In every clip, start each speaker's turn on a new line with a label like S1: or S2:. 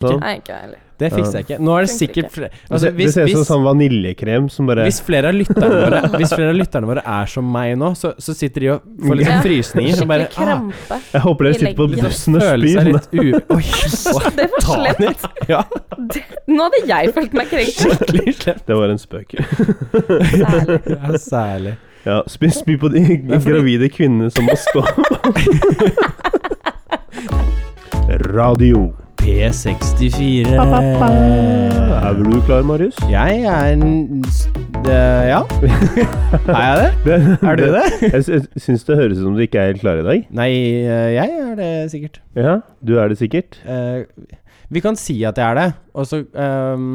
S1: Ja.
S2: Nei, ikke jeg heller.
S3: Det fikser jeg ikke. Nå er det
S2: Funker
S3: sikkert
S2: ikke.
S3: flere altså,
S1: Altså,
S3: hvis,
S1: det ser ut som
S3: hvis,
S1: sånn vaniljekrem som bare
S3: hvis, flere av lytterne våre, hvis flere av lytterne våre er som meg nå, så, så sitter de og får litt
S2: Ja.
S3: sånn frysninger. Og
S2: Skikkelig
S3: bare ah,
S2: krampe.
S1: Jeg håper dere sitter på
S2: legger-
S1: bussen og
S3: føler
S1: spyr.
S3: seg litt u... Oi,
S2: Det var slemt.
S3: Daniel. Ja,
S2: Nå hadde jeg følt meg krenkt.
S3: skikkelig slemt.
S1: Det var en spøk.
S2: Særlig.
S3: Ja, særlig.
S1: Ja, spy, spy på de gravide kvinnene som må stå. Radio.
S3: P64.
S1: Er du klar, Marius?
S3: Jeg er en s- det- Ja. Er jeg det? Er du det?
S1: Jeg sy- jeg syns det høres ut som du ikke er helt klar i dag.
S3: Nei, eh, jeg er det sikkert.
S1: Ja, Du er det sikkert?
S3: Eh, Vi kan si at jeg er det, og så ehm,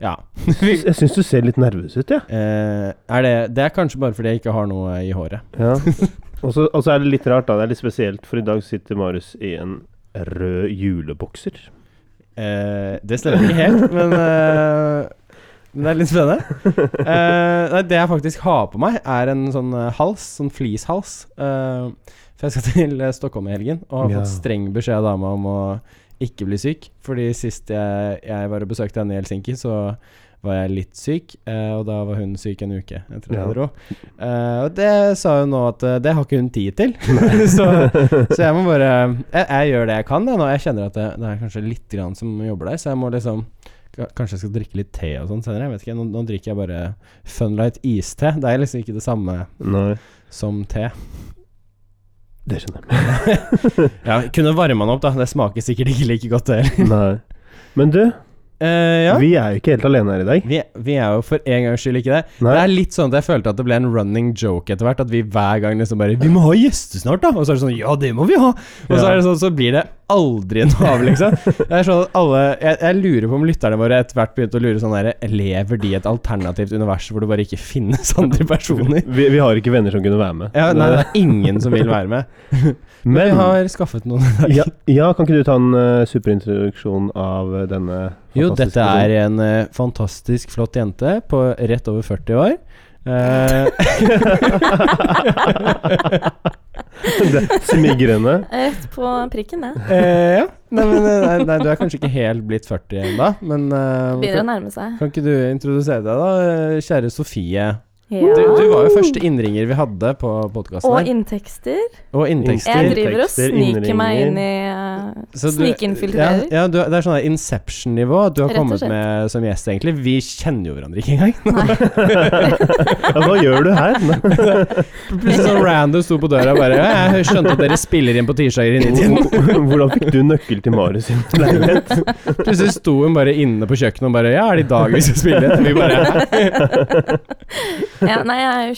S3: Ja. Vi-
S1: Jeg syns du ser litt nervøs ut, jeg.
S3: Eh, er det, det er kanskje bare fordi jeg ikke har noe i håret.
S1: Ja. Og så og så er det litt rart, da. Det er litt spesielt, for i dag sitter Marius i en rød julebokser.
S3: Eh, det stemmer ikke helt, men eh, men det er litt spennende. Eh, nei, det jeg faktisk har på meg, er en sånn eh, hals, sånn flishals. Eh, for jeg skal til eh, Stockholm i helgen og har
S1: Ja.
S3: fått streng beskjed av dama om å ikke bli syk. Fordi sist jeg, jeg var og besøkte henne i Helsinki, så var jeg litt syk, eh, og da var hun syk en uke etter at
S1: Ja.
S3: jeg dro. Eh, og det sa hun nå at eh, det har ikke hun tid til. så, så jeg må bare jeg, jeg gjør det jeg kan da, nå. Jeg kjenner at det, det er kanskje litt grann som jobber der, så jeg må liksom ka- Kanskje jeg skal drikke litt te og sånn senere. Jeg vet ikke, nå, nå drikker jeg bare Funlight iste. Det er liksom ikke det samme
S1: Nei,
S3: som te.
S1: det skjønner jeg.
S3: Ja, Kunne varma den opp, da. Det smaker sikkert ikke like godt, det heller.
S1: Nei. Men du,
S3: Eh, ja.
S1: vi er jo ikke helt alene her i dag.
S3: Vi, vi er jo for en gangs skyld ikke det.
S1: Nei.
S3: Det er litt sånn at jeg følte at det ble en running joke etter hvert. At vi hver gang liksom bare 'Vi må ha gjester snart', da! Og så er det sånn 'Ja, det må vi ha'! Og så,
S1: Ja.
S3: er det sånn, så blir det aldri noe av, liksom. Det er sånn at alle jeg, jeg lurer på om lytterne våre etter hvert begynte å lure sånn derre Lever de i et alternativt univers hvor det bare ikke finnes andre personer?
S1: Vi, vi har ikke venner som kunne være med.
S3: Ja, nei, det er ingen som vil være med. Men vi
S1: Men
S3: har skaffet noen.
S1: ja, ja, kan ikke du ta en eh, superintroduksjon av eh, denne
S3: Jo,
S1: fantastiske
S3: dette er en eh, fantastisk flott jente på rett over 40 år. Eh,
S1: Det er Smigrende.
S2: eh, Rett på prikken, det.
S3: Eh, ja. Nei, men, eh, nei, nei, du er kanskje ikke helt blitt 40 ennå, men eh,
S2: Begynner å
S3: kan,
S2: nærme seg.
S3: kan ikke du introdusere deg, da, eh, kjære Sofie?
S2: Ja.
S3: Du, du var jo første innringer vi hadde på podkasten.
S2: Og inntekster.
S3: og
S2: Jeg
S3: inntekster.
S2: driver og
S1: Inntekster,
S2: sniker meg inn i eh,
S3: Så du-
S2: Snikinfiltrerer.
S3: Ja, ja du, det er sånn der Inception-nivå at du har
S2: Rett og
S3: kommet
S2: slett.
S3: med som gjest, egentlig. Vi kjenner jo hverandre ikke engang.
S1: Ja, hva gjør du her? Nei.
S3: Plutselig sånn random sto på døra og bare ja, Jeg skjønte at dere spiller inn på tirsdager inni tiden.
S1: Hvordan fikk du nøkkel til Marius sin leilighet?
S3: Plutselig sto hun bare inne på kjøkkenet og bare Ja, er det i dag vi skal spille inn? Vi bare
S2: ja, Nei, jeg er jo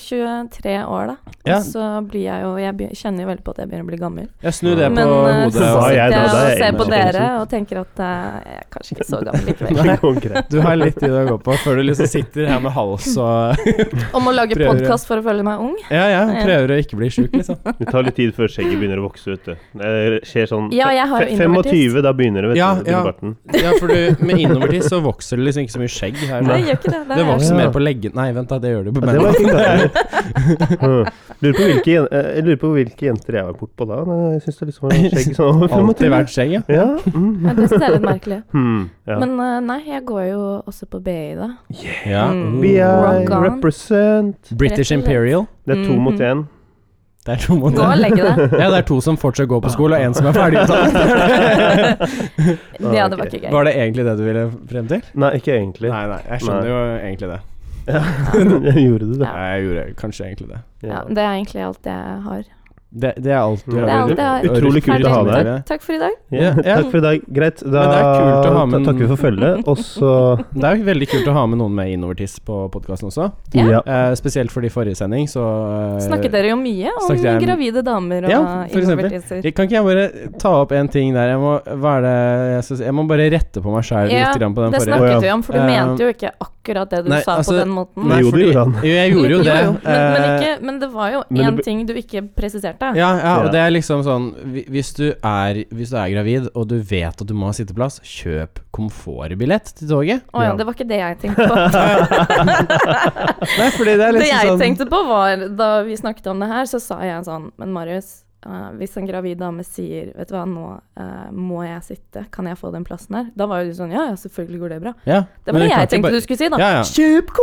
S2: 23 år, da.
S3: Ja.
S2: Og så blir jeg jo Jeg be- kjenner jo veldig på at jeg begynner å bli gammel.
S3: Jeg snur det på
S2: Men eh,
S3: hodet.
S2: så
S1: Hva
S2: sitter
S1: er jeg
S2: jeg
S1: da? Da er
S2: og
S1: jeg
S2: ser på
S1: innenfor.
S2: dere og tenker at eh, jeg er kanskje ikke så gammel likevel.
S1: Det går greit.
S3: Du har litt tid å gå på før du liksom sitter her med hals og
S2: Om å lage
S3: Prøver.
S2: podkast for å føle meg ung?
S3: Ja, ja, prøver å ikke bli sjuk, liksom.
S1: Det tar litt tid før skjegget begynner å vokse, vet du. Det skjer sånn
S2: Ja, jeg har jo
S1: fe- 25, da begynner det, vet
S3: Ja,
S1: du.
S3: ja.
S1: barten.
S3: Ja, for du, med innovertid så vokser det liksom ikke så mye skjegg her.
S2: Nei, gjør ikke det. Det
S3: Det
S2: er-
S3: vokser
S1: Ja.
S3: mer på leggen Nei, vent, da, det gjør det på
S1: Ja, det var
S3: beina.
S1: fint, da. Hm. Lurer på hvilke, jen- eh, jeg lurer på hvilke jenter jeg var bortpå da. Nei, Jeg syns det liksom var skjegg sånn
S3: Alltid vært skjegg, ja.
S1: Ja. Mm.
S3: Mm-hmm.
S2: Ja, det synes jeg er litt merkelig.
S1: Hmm, ja.
S2: Men eh, nei, jeg går jo også på BI, da.
S3: ja.
S2: Mm.
S1: Vi er
S2: Rock on.
S1: represent.
S3: British Imperial.
S1: Det er to mot
S2: Mhm.
S1: én.
S3: Det er to mot
S2: Gå og legge deg.
S3: Ja, det er to som fortsatt går på skole, og én som er ferdig utdannet.
S2: Ja, det var ikke gøy.
S3: Var det egentlig det du ville frem til?
S1: Nei, ikke egentlig.
S3: Nei, nei, jeg skjønner jo egentlig det.
S1: Jeg gjorde det, da.
S3: Nei, jeg gjorde kanskje egentlig det.
S2: Ja, det er egentlig alt jeg har.
S3: Det, det er alt du
S1: Det er
S3: har.
S2: alt jeg har.
S1: Utrolig kult å ha deg her.
S2: Takk for i dag.
S1: Ja,
S3: Ja, ja.
S1: Takk for i dag. Greit, da
S3: Men det er kult å ha med
S1: ta- takker vi for følget. Og så
S3: Det er jo veldig kult å ha med noen med innovertiss på podkasten også.
S2: Ja.
S1: Ja.
S3: Eh, spesielt fordi forrige sending, så eh,
S2: Snakket dere jo mye om
S3: snakket jeg-
S2: gravide damer og
S3: Ja, for eksempel.
S2: innovertiser.
S3: Kan ikke jeg bare ta opp en ting der? Jeg må, hva er det jeg, skal si? jeg må bare rette på meg sjæl
S2: Ja,
S3: litt grann på den
S2: Det
S1: Å,
S3: forrige.
S1: ja.
S2: snakket vi om, for du
S3: Eh,
S2: mente jo ikke akkurat det du
S3: nei,
S2: sa
S3: altså,
S2: på den måten.
S1: Nei, Jo, det gjorde han.
S3: Jo, jeg gjorde jo det.
S2: men, men,
S3: eh,
S2: ikke, men det var jo
S1: Men det
S2: én
S1: be-
S2: ting du ikke presiserte.
S3: ja, ja, og
S1: Ja.
S3: det er liksom sånn hvi- Hvis du er, hvis du er gravid, og du vet at du må ha sitteplass, kjøp komfortbillett til toget.
S2: Å ja,
S1: Ja.
S2: det var ikke det jeg tenkte på.
S3: Nei, fordi det er
S2: Det jeg
S3: liksom sånn
S2: tenkte på var Da vi snakket om det her, så sa jeg sånn Men Marius, eh, hvis en gravid dame sier Vet du hva, nå eh, må jeg sitte, kan jeg få den plassen her? Da var jo du sånn Ja ja, selvfølgelig går det bra.
S3: Ja,
S2: Det
S3: men
S2: var det
S3: hun kan
S2: jeg
S3: ikke
S2: tenkte
S3: bare-
S2: du skulle si, da.
S3: Ja, ja.
S2: Kjøp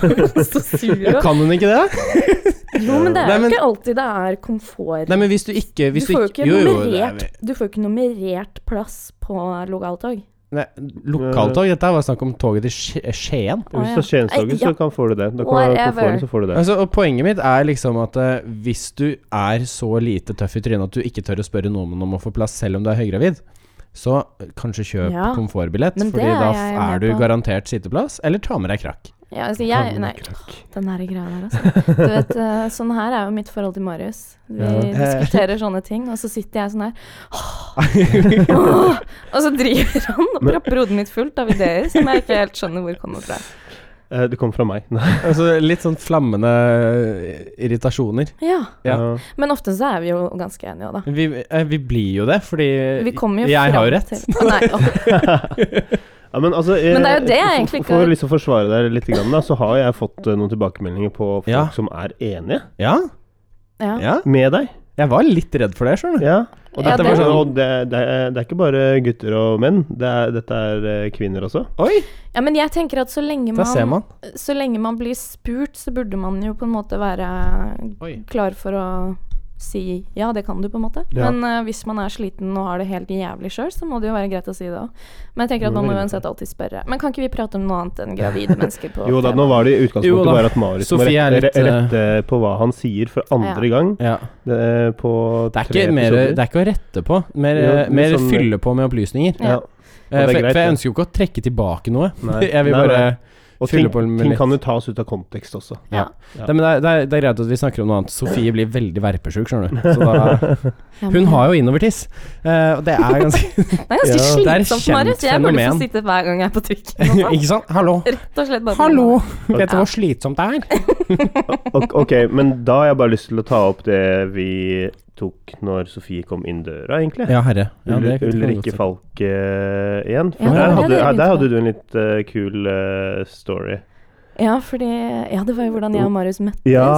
S2: komfortplass! så sur du
S3: Ja,
S2: er.
S3: Kan hun ikke det?
S2: Jo, men det er
S3: Nei, men-
S2: jo ikke alltid det er komfort.
S3: Nei, men hvis du ikke hvis
S2: du får jo ikke
S3: jo, jo, det er-
S2: nummerert Du får jo ikke nummerert plass på lokaltog.
S3: Nei, lokaltog? Dette her var snakk om toget til Sk- Skien.
S2: Å,
S1: Hvis du
S2: ja.
S1: har tjenestedager,
S2: Ja.
S1: så kan får du det. Da kan du ha komforten, så får du det.
S3: Altså, og poenget mitt er liksom at eh, hvis du er så lite tøff i trynet at du ikke tør å spørre nordmenn om å få plass selv om du er høygravid, så eh, kanskje kjøp
S2: Ja.
S3: komfortbillett,
S2: Men
S3: fordi
S2: det er
S3: da
S2: jeg
S3: f-
S2: med
S3: er du
S2: på.
S3: garantert sitteplass, eller ta med deg krakk.
S2: Ja, altså jeg Nei, den her greia der, altså. Du vet, eh, sånn her er jo mitt forhold til Marius. Vi
S1: Ja.
S2: diskuterer sånne ting, og så sitter jeg sånn her Åh! Og så driver han og
S1: Men-
S2: propper hodet mitt fullt av ideer som jeg ikke helt skjønner hvor kommer fra.
S1: Eh, Det kom fra meg. Nei.
S3: Altså, litt sånn flammende eh, irritasjoner.
S2: Ja.
S3: Ja.
S1: Eh,
S2: Men ofte så er vi jo ganske enige òg, da.
S3: Vi, eh, vi blir jo det, fordi
S2: Vi kommer jo
S3: jeg har jo
S2: fram
S3: rett.
S2: til- Å, nei, åh.
S1: ja, men, altså, eh,
S2: Men det er jo det jeg
S1: for,
S2: egentlig
S1: for
S2: ikke-
S1: å liksom forsvare deg litt, grann, da, så har jeg fått eh, noen tilbakemeldinger på folk
S3: Ja.
S1: som er enige
S3: Ja,
S2: Ja.
S3: ja.
S1: med deg.
S3: Jeg var litt redd for det, skjønner du.
S1: Ja. Og
S2: Ja,
S1: dette
S2: det-
S1: var sånn, og det, det, er- det er ikke bare gutter og menn, det er, dette er eh, kvinner også.
S3: Oi,
S2: ja, men jeg tenker at så lenge
S3: da ser
S2: man
S3: man.
S2: så lenge man blir spurt, så burde man jo på en måte være
S3: Oi.
S2: klar for å si ja, det kan du, på en måte.
S1: Ja.
S2: Men eh, hvis man er sliten og har det helt jævlig sjøl, så må det jo være greit å si det òg. Men jeg tenker at
S1: Jo,
S2: man må
S1: veldig.
S2: uansett alltid spørre. Men kan ikke vi prate om noe annet enn gravide mennesker på
S1: Jo da, nå var det i
S3: Jo
S1: utgangspunktet
S3: da.
S1: bare at Marius må
S3: Sofie er
S1: rette,
S3: litt, eh,
S1: re- rette på hva han sier for andre gang
S3: Ja.
S1: eh, på
S3: Det er,
S1: tre
S3: ikke mer,
S1: episoder.
S3: det er ikke å rette på, mer,
S1: Jo, det er
S3: mer
S1: sånn-
S3: fylle på med opplysninger.
S2: Ja.
S1: Ja.
S3: Eh,
S1: Og
S3: for,
S1: det er greit,
S3: for jeg
S1: det.
S3: ønsker jo ikke å trekke tilbake noe.
S1: Nei.
S3: Jeg vil
S1: Nei,
S3: bare
S1: nei. Og
S3: fylle
S1: ting,
S3: på med
S1: ting
S3: litt.
S1: kan jo tas ut av kontekst også.
S2: Ja.
S1: Ja.
S3: Nei, men det, er, det, er, det er greit at vi snakker om noe annet. Sofie blir veldig verpesjuk, skjønner du. Så da,
S2: Ja, men
S3: hun har jo innovertiss. Eh, og det er ganske
S2: Det er
S1: Ja.
S2: ganske
S3: Det er et
S2: slitsomt, Marius. Jeg burde
S3: kjent
S2: få sitte hver gang jeg er på trikken. og
S3: Ikke sant? Hallo.
S2: sånn. Rett og slett bare
S3: Hallo! Vet du hvor slitsomt det er?
S1: Ok, ok, men da har jeg bare lyst til å ta opp det vi tok når Sofie kom inn døra, egentlig.
S3: Ja, herre. Ja,
S1: Ul-
S3: det kan du godt
S1: Ulrikke
S3: si.
S1: Falk eh, igjen. For
S2: Ja, det
S1: der, hadde,
S2: var det dere begynte
S1: der
S2: med.
S1: hadde du en litt eh, kul eh, story.
S2: Ja, fordi Ja, det var jo hvordan jeg og Marius møttes.
S1: Ja,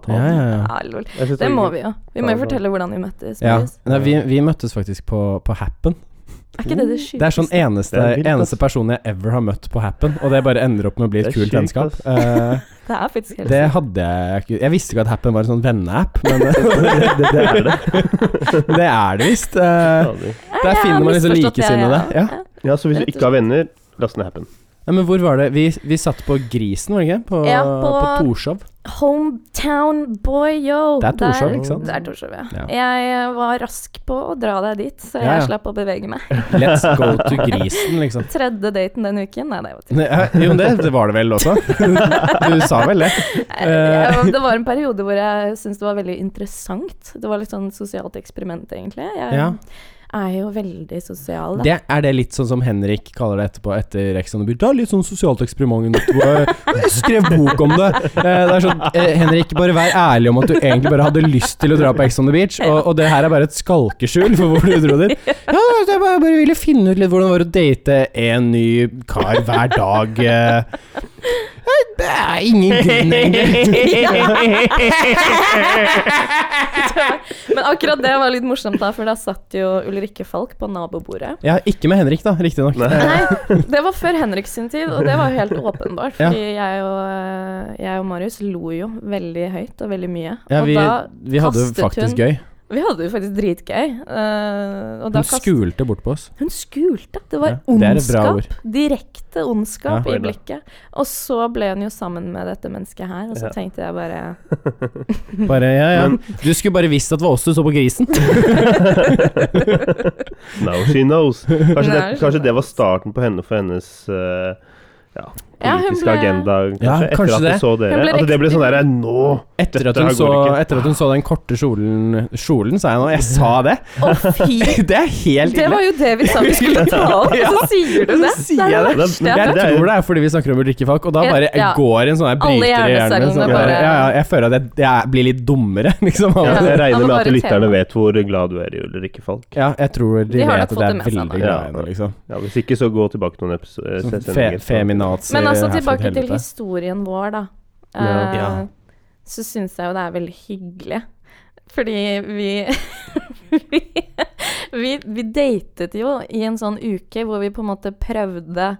S1: ta
S3: Ja,
S1: den.
S3: ja, ja.
S2: Ja, lol.
S1: Jeg synes
S2: Det
S1: var
S2: må
S1: gøy.
S2: vi jo. Vi må jo
S1: Ja, det-
S2: fortelle hvordan vi møttes.
S3: ja.
S2: Marius.
S3: Nei, vi, vi møttes faktisk på, på Happen.
S2: Er ikke det det
S3: Det er sånn
S2: sjukeste?
S3: eneste,
S1: Det er vilt, ass.
S3: eneste person jeg ever har møtt på Happen, og det bare ender opp med å bli et
S1: Det er
S3: kult
S1: sjukt,
S3: vennskap.
S1: ass.
S3: Eh,
S2: Det er faktisk helt
S3: det hadde jeg ikke Jeg visste ikke at Happen var en sånn venneapp, men det,
S1: det, det, det er det.
S3: det er det visst. Eh,
S1: Fader.
S3: Der
S2: jeg
S3: finner
S2: har
S3: man liksom
S2: misforstått det,
S3: likesinnede. Ja.
S1: Ja, så hvis du ikke har venner, last ned Happen.
S3: Nei, men hvor var det? Vi, vi satt på Grisen, var det ikke? På,
S2: Ja,
S3: på...
S2: på-
S3: Torshov.
S2: Hometown boy, yo.
S3: Det er Torshov, ikke sant?
S2: Det er Torshov, ja.
S3: Ja.
S2: Jeg var rask på å dra deg dit, så jeg
S3: Ja, ja.
S2: slapp å bevege meg.
S3: Let's go to Grisen, liksom.
S2: Tredje daten den uken? Nei, det var
S3: Nei, eh, Jo, det, det var det vel også? Du sa vel det?
S2: Eh, Jeg- jeg- Det var en periode hvor jeg syntes det var veldig interessant. Det var litt sånn sosialt eksperiment, egentlig. Jeg
S3: Ja.
S2: er jo veldig sosial, da.
S3: det? Er det litt sånn som Henrik kaller det etterpå etter Ex on the Beach? Det er litt sånn sosialt eksperiment. i natt, hvor Jeg jeg skrev bok om det. Eh, Det er sånn, eh, Henrik, bare vær ærlig om at du egentlig bare hadde lyst til å dra på Ex on the Beach, og, og det her er bare et skalkeskjul for hvor du dro dit. Ja, altså, jeg bare, bare ville finne ut litt hvordan det var å date en ny kar hver dag. eh. Nei, Det er ingen grunn, egentlig.
S2: Men akkurat det var litt morsomt, da, for da satt jo Ulrikke Falk på nabobordet.
S3: Ja, ikke med Henrik, da, riktignok.
S2: Nei, det var før Henrik sin tid, og det var jo helt åpenbart.
S3: Ja.
S2: Fordi jeg, og, eh, jeg og Marius lo jo veldig høyt og veldig mye.
S3: Ja,
S2: og
S3: vi,
S2: da
S3: vi hadde
S2: kastet
S3: faktisk
S2: hun,
S3: gøy.
S2: Vi hadde jo faktisk dritgøy. eh, og
S3: Hun
S2: da kast-
S3: skulte bort på oss.
S2: hun skulte. Det var
S3: Ja, det er et bra
S2: ondskap. Direkte ondskap
S1: Ja.
S2: i blikket. Og så ble hun jo sammen med dette mennesket her, og så
S1: Ja.
S2: tenkte jeg bare Mm.
S3: Bare, ja, ja. Du skulle bare visst at det var oss du så på grisen.
S1: Now she knows. Kanskje, det,
S2: Now she
S1: kanskje det var starten på henne for hennes eh, ja,
S2: Ja, hun
S1: politiske
S2: ble-
S1: agenda, kanskje,
S3: Ja,
S1: etter
S3: kanskje
S1: at
S3: det.
S1: hun så dere.
S2: Hun ble
S1: At det ble
S2: riktig-
S1: sånn derre Nå!
S3: Etter at,
S1: Dette
S3: hun
S1: her
S3: så,
S1: går ikke.
S3: etter at hun så den korte kjolen Kjolen, sa jeg nå. Jeg sa det.
S2: Å, fy!
S3: Det er helt
S2: Det var jo det vi sa vi skulle ta opp, og så sier du det!
S3: sier
S2: Det er
S3: jeg
S2: det
S1: det.
S2: verste jeg
S3: Jeg
S2: har hørt.
S1: Det er jo-
S3: tror det er fordi vi snakker om Ulrikke Falk, og da
S2: Ja,
S3: bare jeg
S2: ja.
S3: går en sånn her
S2: Alle
S3: bryter i hjernen.
S2: hjernecellene
S3: Sånn,
S1: bare-
S3: bare, ja, ja, jeg føler at jeg, jeg blir litt dummere, liksom. av det.
S2: Ja.
S1: Jeg
S2: han
S1: regner
S2: var
S1: med at
S2: bare
S1: lytterne
S2: tema.
S1: vet hvor glad du er i Ulrikke Falk.
S3: Ja, jeg tror de,
S2: De har
S3: vet
S2: nok
S3: at
S2: fått
S3: det
S2: det
S3: er
S2: med seg,
S3: veldig
S1: da.
S3: glad i
S1: Ja.
S3: henne, liksom.
S1: Ja, hvis ikke, så gå tilbake noen episoder.
S3: Sånn Fe, feminazi
S2: Men
S3: herfra
S2: altså
S3: til
S2: tilbake til
S3: helvete.
S2: historien vår, da.
S1: Ja.
S2: Eh,
S3: Ja.
S2: Så syns jeg jo det er veldig hyggelig. Fordi vi vi, vi vi datet jo i en sånn uke hvor vi på en måte prøvde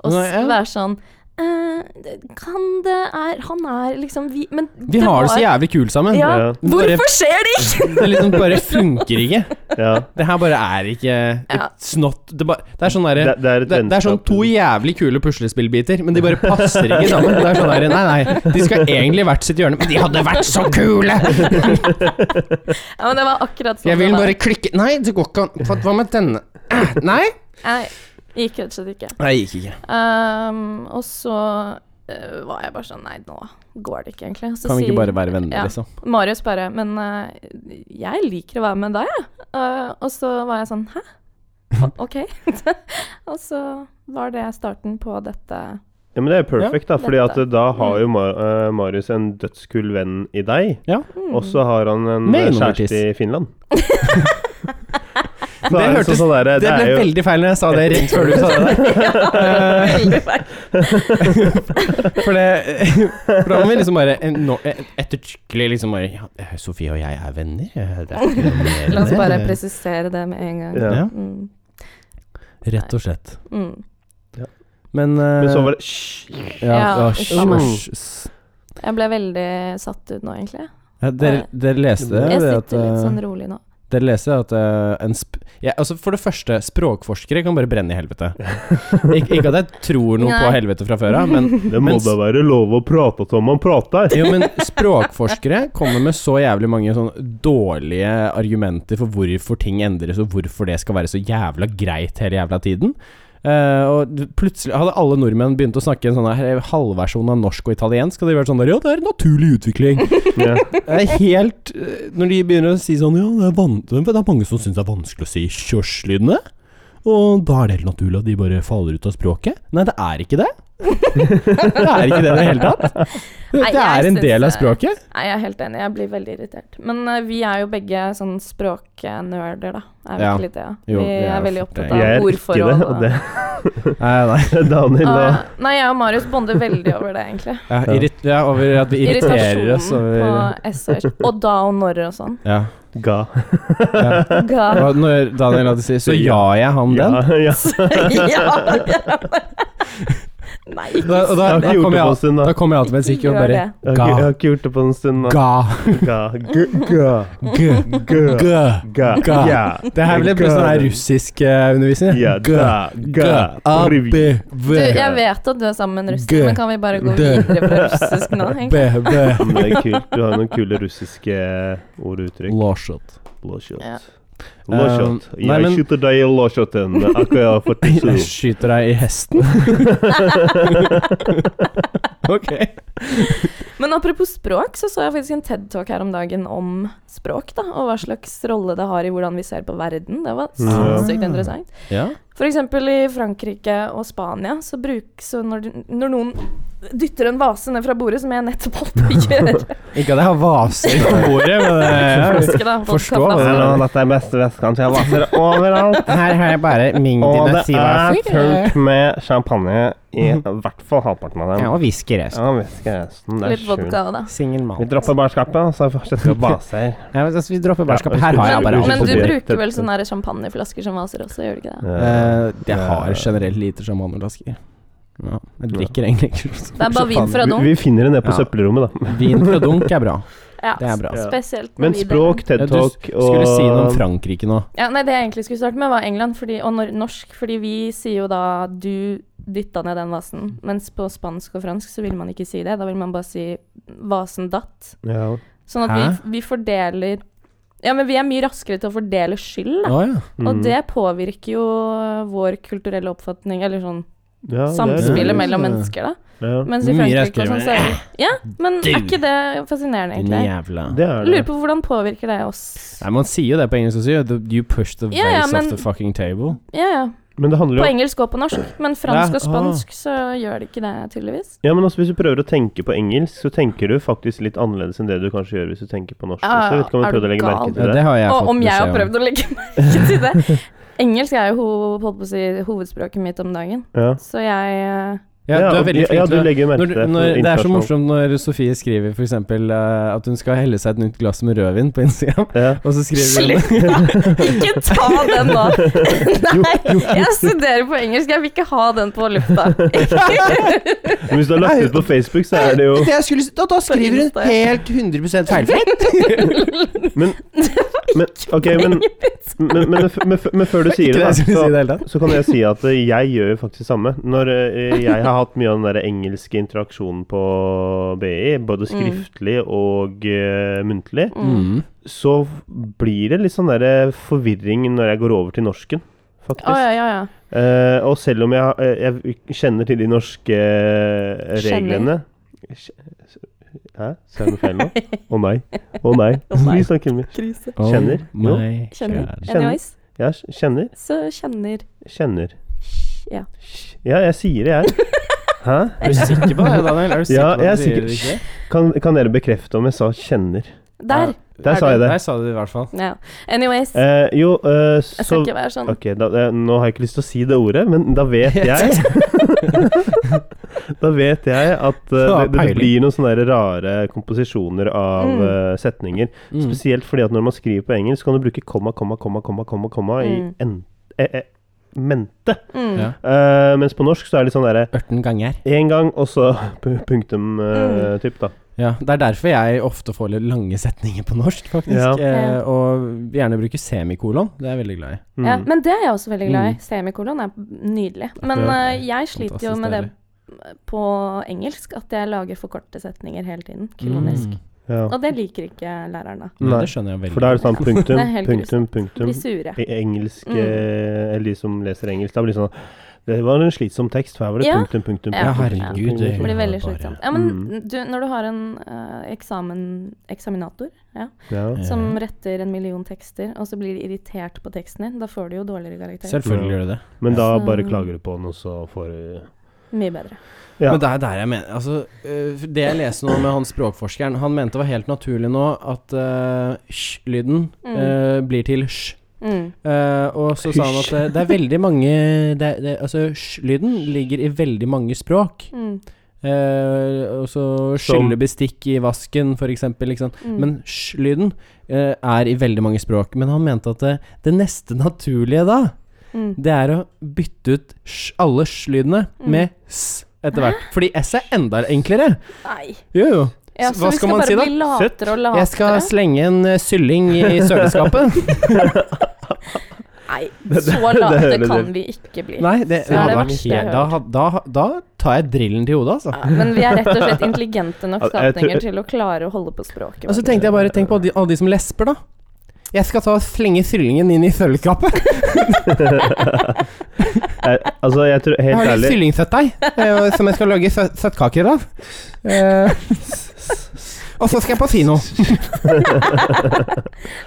S2: å s-
S3: Nei, ja.
S2: være sånn «Eh, det- Kan det er Han er liksom vi Men
S3: Vi har det så jævlig kult sammen.
S2: ja,
S1: Ja.
S2: Hvorfor skjer det ikke?!
S3: Det liksom bare funker ikke.
S1: Ja.
S3: Det her bare er ikke
S2: Ja.
S3: It's not det, bare, det er sånn
S1: Det,
S3: derre
S1: det er et
S3: det, det er sånn
S1: vennskap.
S3: to jævlig kule puslespillbiter, men de bare passer ikke sammen. Det er sånn der, Nei, nei, de skal egentlig hvert sitt hjørne, men de hadde vært så kule!
S2: Ja, men det var akkurat sånn.
S3: Jeg vil
S2: det var.
S3: bare klikke Nei, det går ikke an. Hva- Hva med denne? Nei?
S2: Nei, det gikk rett og slett ikke.
S3: Nei, gikk ikke.
S2: Ehm, og så eh, var jeg bare sånn Nei, nå går det ikke, egentlig. Så
S3: Kan vi
S2: sier-
S3: ikke bare være venner,
S2: Ja.
S3: liksom?
S2: Marius bare Men eh, jeg liker å være med deg, jeg. Eh, og så var jeg sånn Hæ? O- Ok. og så var det starten på dette.
S1: Ja, men det er perfekt, da. Fordi at
S2: Dette.
S1: da har jo Ma eh, Marius en dødskul venn i deg.
S3: Ja.
S2: Mm.
S1: Og så har han en
S3: Med
S1: eh,
S3: innovertiss.
S1: kjæreste i Finland. Så
S3: Det
S1: er
S3: hørtes-
S1: sånn der,
S3: Det
S1: det er
S3: ble
S1: jo-
S3: veldig feil når jeg sa det rett før du sa det.
S2: Veldig feil.
S3: For, det, for da må vi liksom bare eh, nå- eh, ettertrykkelig liksom bare ja, eh, Sofie og jeg er venner. eh, Det er ikke noe mer enn
S2: La oss
S3: det.
S2: bare presisere det med en gang.
S1: Ja.
S3: Ja.
S2: Mm.
S3: Rett og slett.
S2: Mm.
S3: Men, eh,
S1: Men så var det Hysj!
S3: ja,
S2: Ja,
S3: å,
S2: ikke
S1: sant.
S3: sj- sj-
S2: Jeg ble veldig satt ut nå, egentlig.
S3: ja, dere, dere leste det?
S2: Jeg
S3: det at,
S2: sitter litt
S3: eh,
S2: sånn rolig nå.
S3: Dere leser at eh, en sp ja, altså For det første, språkforskere kan bare brenne i helvete. Ik ikke at jeg tror noe på
S2: Nei.
S3: helvete fra før av, men,
S1: Det må
S3: Mens-
S1: da være lov å prate som man prater!
S3: jo, men språkforskere kommer med så jævlig mange sånn dårlige argumenter for hvorfor ting endres, og hvorfor det skal være så jævla greit hele jævla tiden. Eh, og d- plutselig hadde alle nordmenn begynt å snakke en sånn her halvversjon av norsk og italiensk, hadde de vært sånn der Ja, det er naturlig utvikling.
S1: Ja.
S3: Det er helt eh, Når de begynner å si sånn Ja, det er, van det er mange som syns det er vanskelig å si kjørslydene. Og da er det helt naturlig at de bare faller ut av språket. Nei, det er ikke det. det er ikke det i det hele tatt. Det,
S2: Nei,
S3: det
S2: jeg
S3: er en
S2: syns
S3: del av
S2: det-
S3: språket.
S2: Nei, jeg er helt enig. Jeg blir veldig irritert. Men eh, vi er jo begge sånn språknerder, da. Er vi
S3: Ja.
S2: ikke litt det? ja?
S3: Jo,
S2: vi
S3: det er
S2: er
S3: jo
S2: veldig
S3: fort det.
S2: opptatt
S1: Jeg er
S2: av
S1: ikke det,
S2: ordforhold.
S1: og det
S3: Nei, nei.
S1: Daniel og
S2: Ah, nei, jeg og Marius bonder veldig over det, egentlig.
S3: Ja, irrit ja, over at vi irriterer oss over
S2: på SH. Og da og når og sånn.
S3: ja.
S1: Ga.
S3: ja.
S2: Ga.
S3: Og når Daniel hadde sagt 'så ja jeg ham
S1: Ja,
S3: den',
S1: ja.
S2: ja, ja. Nei, ikke
S3: da, og da,
S1: Jeg har
S3: da
S1: ikke gjort
S3: kom
S1: det på en
S3: jeg,
S1: stund,
S3: da
S1: da.
S3: kom jeg alltid med en sikk og
S2: Gjør
S3: bare
S2: det.
S1: Jeg har ikke- jeg har ikke gjort det på en stund. da.
S3: Ga.
S1: Ga. G ga.
S3: G.
S1: Ga.
S3: G.
S1: Ga.
S3: Ga.
S1: Ja.
S3: Det her ble plutselig sånn her russisk eh, undervisning.
S1: Ja, da, ga,
S3: A,
S1: riv.
S3: B,
S2: Du,
S3: V,
S2: jeg vet at du er sammen med en
S3: Gø.
S2: russer, men kan vi bare gå
S3: Dø.
S2: videre fra russisk nå?
S3: B,
S2: egentlig?
S3: B.
S1: Men det er kult. Du har noen kule russiske ord og uttrykk.
S3: Lawshot.
S1: Blåshot.
S2: Ja.
S1: Blåshot.
S3: Um, nei,
S1: jeg
S3: men-
S1: skyter deg i låshoten. Akkurat for
S3: Jeg
S1: tusen.
S3: skyter deg i hesten. ok.
S2: Men apropos språk, så så jeg faktisk en TED-talk her om dagen om språk, da, og hva slags rolle det har i hvordan vi ser på verden. Det var
S1: Ja.
S2: sinnssykt interessant.
S3: Ja.
S2: For eksempel i Frankrike og Spania, så bruk så når, du, når noen dytter en vase ned fra bordet, som jeg nettopp holdt på å gjøre
S3: Ikke at jeg har vaser på bordet, men eh,
S2: Flaske, da,
S3: Forstå
S2: vodkaflaske.
S3: hva det
S1: Dette er beste vestkant. Jeg vaser overalt.
S3: Her har jeg bare min
S1: med champagne i hvert fall halvparten av
S3: og whisky resten.
S1: Ja, whisky resten.
S2: Litt vodka òg, da.
S3: Singel mann.
S1: dropper barskapet, og så fortsetter vi å base her.
S3: Ja, men altså, vi dropper barskapet.
S1: Ja,
S3: Her har jeg
S1: unnskyld,
S3: bare
S1: unnskyld.
S2: Men
S3: alt.
S2: du
S1: det.
S2: bruker vel sånne her champagneflasker som vaser også, gjør du ikke det?
S3: Eh, jeg har generelt lite sjamanolasker. Ja, jeg drikker egentlig ikke så
S2: Det er bare vin fra
S1: Vi,
S2: dunk.
S1: vi finner det ned på
S3: Ja.
S1: søppelrommet, da.
S3: Vin fra dunk er bra.
S2: Ja,
S3: Det er bra.
S1: Ja.
S2: spesielt når
S1: Men
S2: vi
S1: språk, TED
S3: Ja, du
S1: Talk
S3: sk-
S1: og
S3: skulle si noe om Frankrike nå.
S2: Ja, nei, det jeg egentlig skulle starte med, var England fordi, og nor norsk. Fordi vi sier jo da 'du dytta ned den vasen', mens på spansk og fransk så vil man ikke si det. Da vil man bare si 'vasen datt'.
S1: ja.
S2: Sånn at vi, vi fordeler Ja, men vi er mye raskere til å fordele skyld, da.
S3: Å ja.
S1: Mm.
S2: Og det påvirker jo øh, vår kulturelle oppfatning, eller sånn
S1: ja, det er
S2: samspillet
S1: det.
S2: mellom
S3: Ja.
S2: mennesker, da.
S1: Ja.
S2: Mens i
S3: Mye
S2: Frankrike
S3: raskere,
S2: og sånn, så er vi Ja, men er ikke det fascinerende,
S3: Din
S2: egentlig?
S3: jævla
S1: Det er det.
S2: Lurer på hvordan påvirker det oss?
S3: Nei, man sier jo det på engelsk også. jo. The- You push the
S2: Ja, ja,
S3: vase
S2: men-
S3: off the fucking table.
S2: Ja, ja.
S1: Men det handler
S2: På
S1: jo
S2: engelsk og på norsk, men fransk
S3: Ja,
S2: og spansk så gjør det ikke det, tydeligvis.
S1: Ja, men også hvis du prøver å tenke på engelsk, så tenker du faktisk litt annerledes enn det du kanskje gjør hvis du tenker på norsk.
S2: Ja,
S1: også. Jeg vet ikke om
S2: Ah, er
S1: du prøvde å
S2: du
S1: legge
S2: gal?
S1: merke
S3: Ja,
S1: til
S3: det
S1: det.
S3: har jeg
S2: Og
S3: fått
S2: om jeg har
S3: beskjed
S2: prøvd å legge merke til det. Engelsk er jo ho holdt på å si, hovedspråket mitt om dagen,
S1: Ja.
S2: så jeg eh,
S3: Ja, du er
S1: og-
S3: veldig flink
S1: ja,
S3: til
S1: du
S3: det.
S1: legger jo merke
S3: Når,
S1: til det.
S3: når,
S1: for
S3: det er så
S1: internasjonalt.
S3: morsomt når Sofie skriver f.eks. Uh, at hun skal helle seg et nytt glass med rødvin på Instagram,
S1: Ja.
S3: og så skriver hun
S2: Slutt, da! Ikke ta den nå! Nei, jeg studerer på engelsk, jeg vil ikke ha den på lufta.
S1: Men hvis du har lagt ut på Facebook, så er det jo
S3: Jeg skulle, da, da skriver hun
S2: Insta, ja.
S3: helt 100 feilfritt!
S1: Men, men ok, men, men, men, men, men før du sier
S3: Ikke
S1: det, da,
S3: det jeg skulle si i
S1: så,
S3: det hele tatt.
S1: så kan jeg si at eh, jeg gjør jo faktisk det samme. Når eh, jeg har hatt mye av den der engelske interaksjonen på BI, både
S2: Mm.
S1: skriftlig og eh, muntlig,
S3: Mm.
S1: så blir det litt sånn der forvirring når jeg går over til norsken, faktisk.
S2: Å ja, ja, ja.
S1: Eh, og selv om jeg, eh, jeg kjenner til de norske eh, reglene Kje- Hæ? Sa jeg noe feil nå? Å nei. Å nei.
S2: Å nei.
S1: Vi snakker med
S2: Krise.
S3: Oh
S1: Kjenner. Jo.
S3: my
S2: Kjenner.
S3: God.
S2: Anyways,
S1: Jeg kjenner.
S2: så kjenner
S1: Kjenner.
S2: Ja.
S1: Ja, jeg sier det, jeg. Hæ?
S3: Er du sikker på det, Daniel? Er du sikker
S1: Ja,
S3: på
S1: jeg er
S3: at du sier
S1: sikker.
S3: det ikke?
S1: Kan, kan dere bekrefte om jeg sa 'kjenner'?
S2: Der!
S1: Der sa jeg det.
S3: Der sa du det i hvert fall.
S2: Ja. Anyways, jeg
S1: Eh, jo, eh,
S2: skal
S1: så
S2: ikke være sånn.
S1: Ok, da, eh, nå har jeg ikke lyst til å si det ordet, men da vet jeg Da vet jeg at eh,
S3: Ja,
S1: det, det
S3: peiling.
S1: blir noen sånne der rare komposisjoner av
S2: Mm.
S1: eh, setninger.
S3: Mm.
S1: Spesielt fordi at når man skriver på engelsk, kan du bruke komma, komma, komma, komma, komma, komma i
S2: Mm.
S1: en, e, e, mente.
S2: Mm.
S3: Ja.
S1: Eh, mens på norsk så er det litt sånn derre
S3: Ørten ganger.
S1: én gang, og så pu- punktum eh,
S2: Mm.
S1: typ, da.
S3: Ja, Det er derfor jeg ofte får litt lange setninger på norsk, faktisk.
S1: Ja.
S3: Eh, og gjerne bruker semikolon. Det er jeg veldig glad i.
S1: Mm.
S2: Ja, men det er jeg også veldig glad i.
S3: Mm.
S2: Semikolon er nydelig. Men
S1: Ja.
S2: eh, jeg sliter jo
S3: Fantastisk
S2: med det
S3: deilig.
S2: på engelsk, at jeg lager for korte setninger hele tiden. Kronisk.
S3: Mm.
S1: Ja.
S2: Og det liker ikke læreren, da.
S3: Nei,
S1: Nei.
S3: det skjønner jeg veldig.
S1: For da er det sånn punktum,
S2: Det er helt
S1: punktum,
S2: De
S1: punktum.
S2: blir sure.
S1: I engelsk
S2: Mm.
S1: eh, Eller de som leser engelsk, da blir det sånn Det var en slitsom tekst, for her var det
S2: Ja.
S1: punktum, punktum,
S2: Ja,
S1: punktum.
S3: herregud,
S1: punktum,
S3: det-
S2: Det blir
S1: punktum.
S3: Ja,
S2: veldig
S3: bare-
S2: slitsomt. Ja, men
S1: Mm.
S2: du, når du har en eh, eksamen, eksaminator ja,
S1: Ja.
S2: som retter en million tekster, og så blir de irritert på teksten din, da får du jo dårligere karakter.
S3: Selvfølgelig gjør det det.
S1: Men da
S2: Så-
S1: bare klager du på den, og så får du
S2: Mye bedre.
S1: Ja.
S3: Men det er der jeg mener Altså, øh, det jeg leser nå med han språkforskeren Han mente det var helt naturlig nå at øh, sj-lyden
S2: Mm.
S3: øh, blir til sj.
S2: Mm.
S3: Eh, og så sa han at eh, det, det er veldig mange det, det, Altså, sj-lyden ligger i veldig mange språk.
S2: Mm.
S3: Eh, og
S1: Som-
S3: så skylle bestikk i vasken, for eksempel. Liksom.
S2: Mm.
S3: Men sj-lyden eh, er i veldig mange språk. Men han mente at det, det neste naturlige da,
S2: Mm.
S3: det er å bytte ut sj, alle sj-lydene
S2: Mm.
S3: med s etter hvert. Fordi s er enda enklere.
S2: Nei.
S3: Jo, jo.
S2: Ja,
S3: S-
S2: så vi skal bare bli latere og latere.
S3: Jeg skal slenge en eh, sylling i søleskapet.
S2: Nei,
S1: Det- det-
S2: så
S1: det hører
S2: late
S1: du
S2: kan
S1: til.
S2: vi ikke bli.
S3: Nei, det,
S2: Så er
S3: hadde
S2: det
S3: vært
S2: verste
S3: helt
S2: jeg
S3: da, da, da tar jeg drillen til hodet, altså.
S2: Ja, men vi er rett og slett intelligente nok
S1: Ja, jeg tror-
S2: skapninger til å klare å holde på språket.
S3: Og så tenkte jeg bare, tenk på de, alle de som lesper, da. Jeg skal ta og slenge syllingen inn i søleskapet.
S1: Eh, Altså, jeg tror
S3: Jeg
S1: Helt
S3: har litt
S1: ærlig
S3: syllingfettdeig eh, som jeg skal lage sø søtkaker av. Eh, og så skal jeg på kino.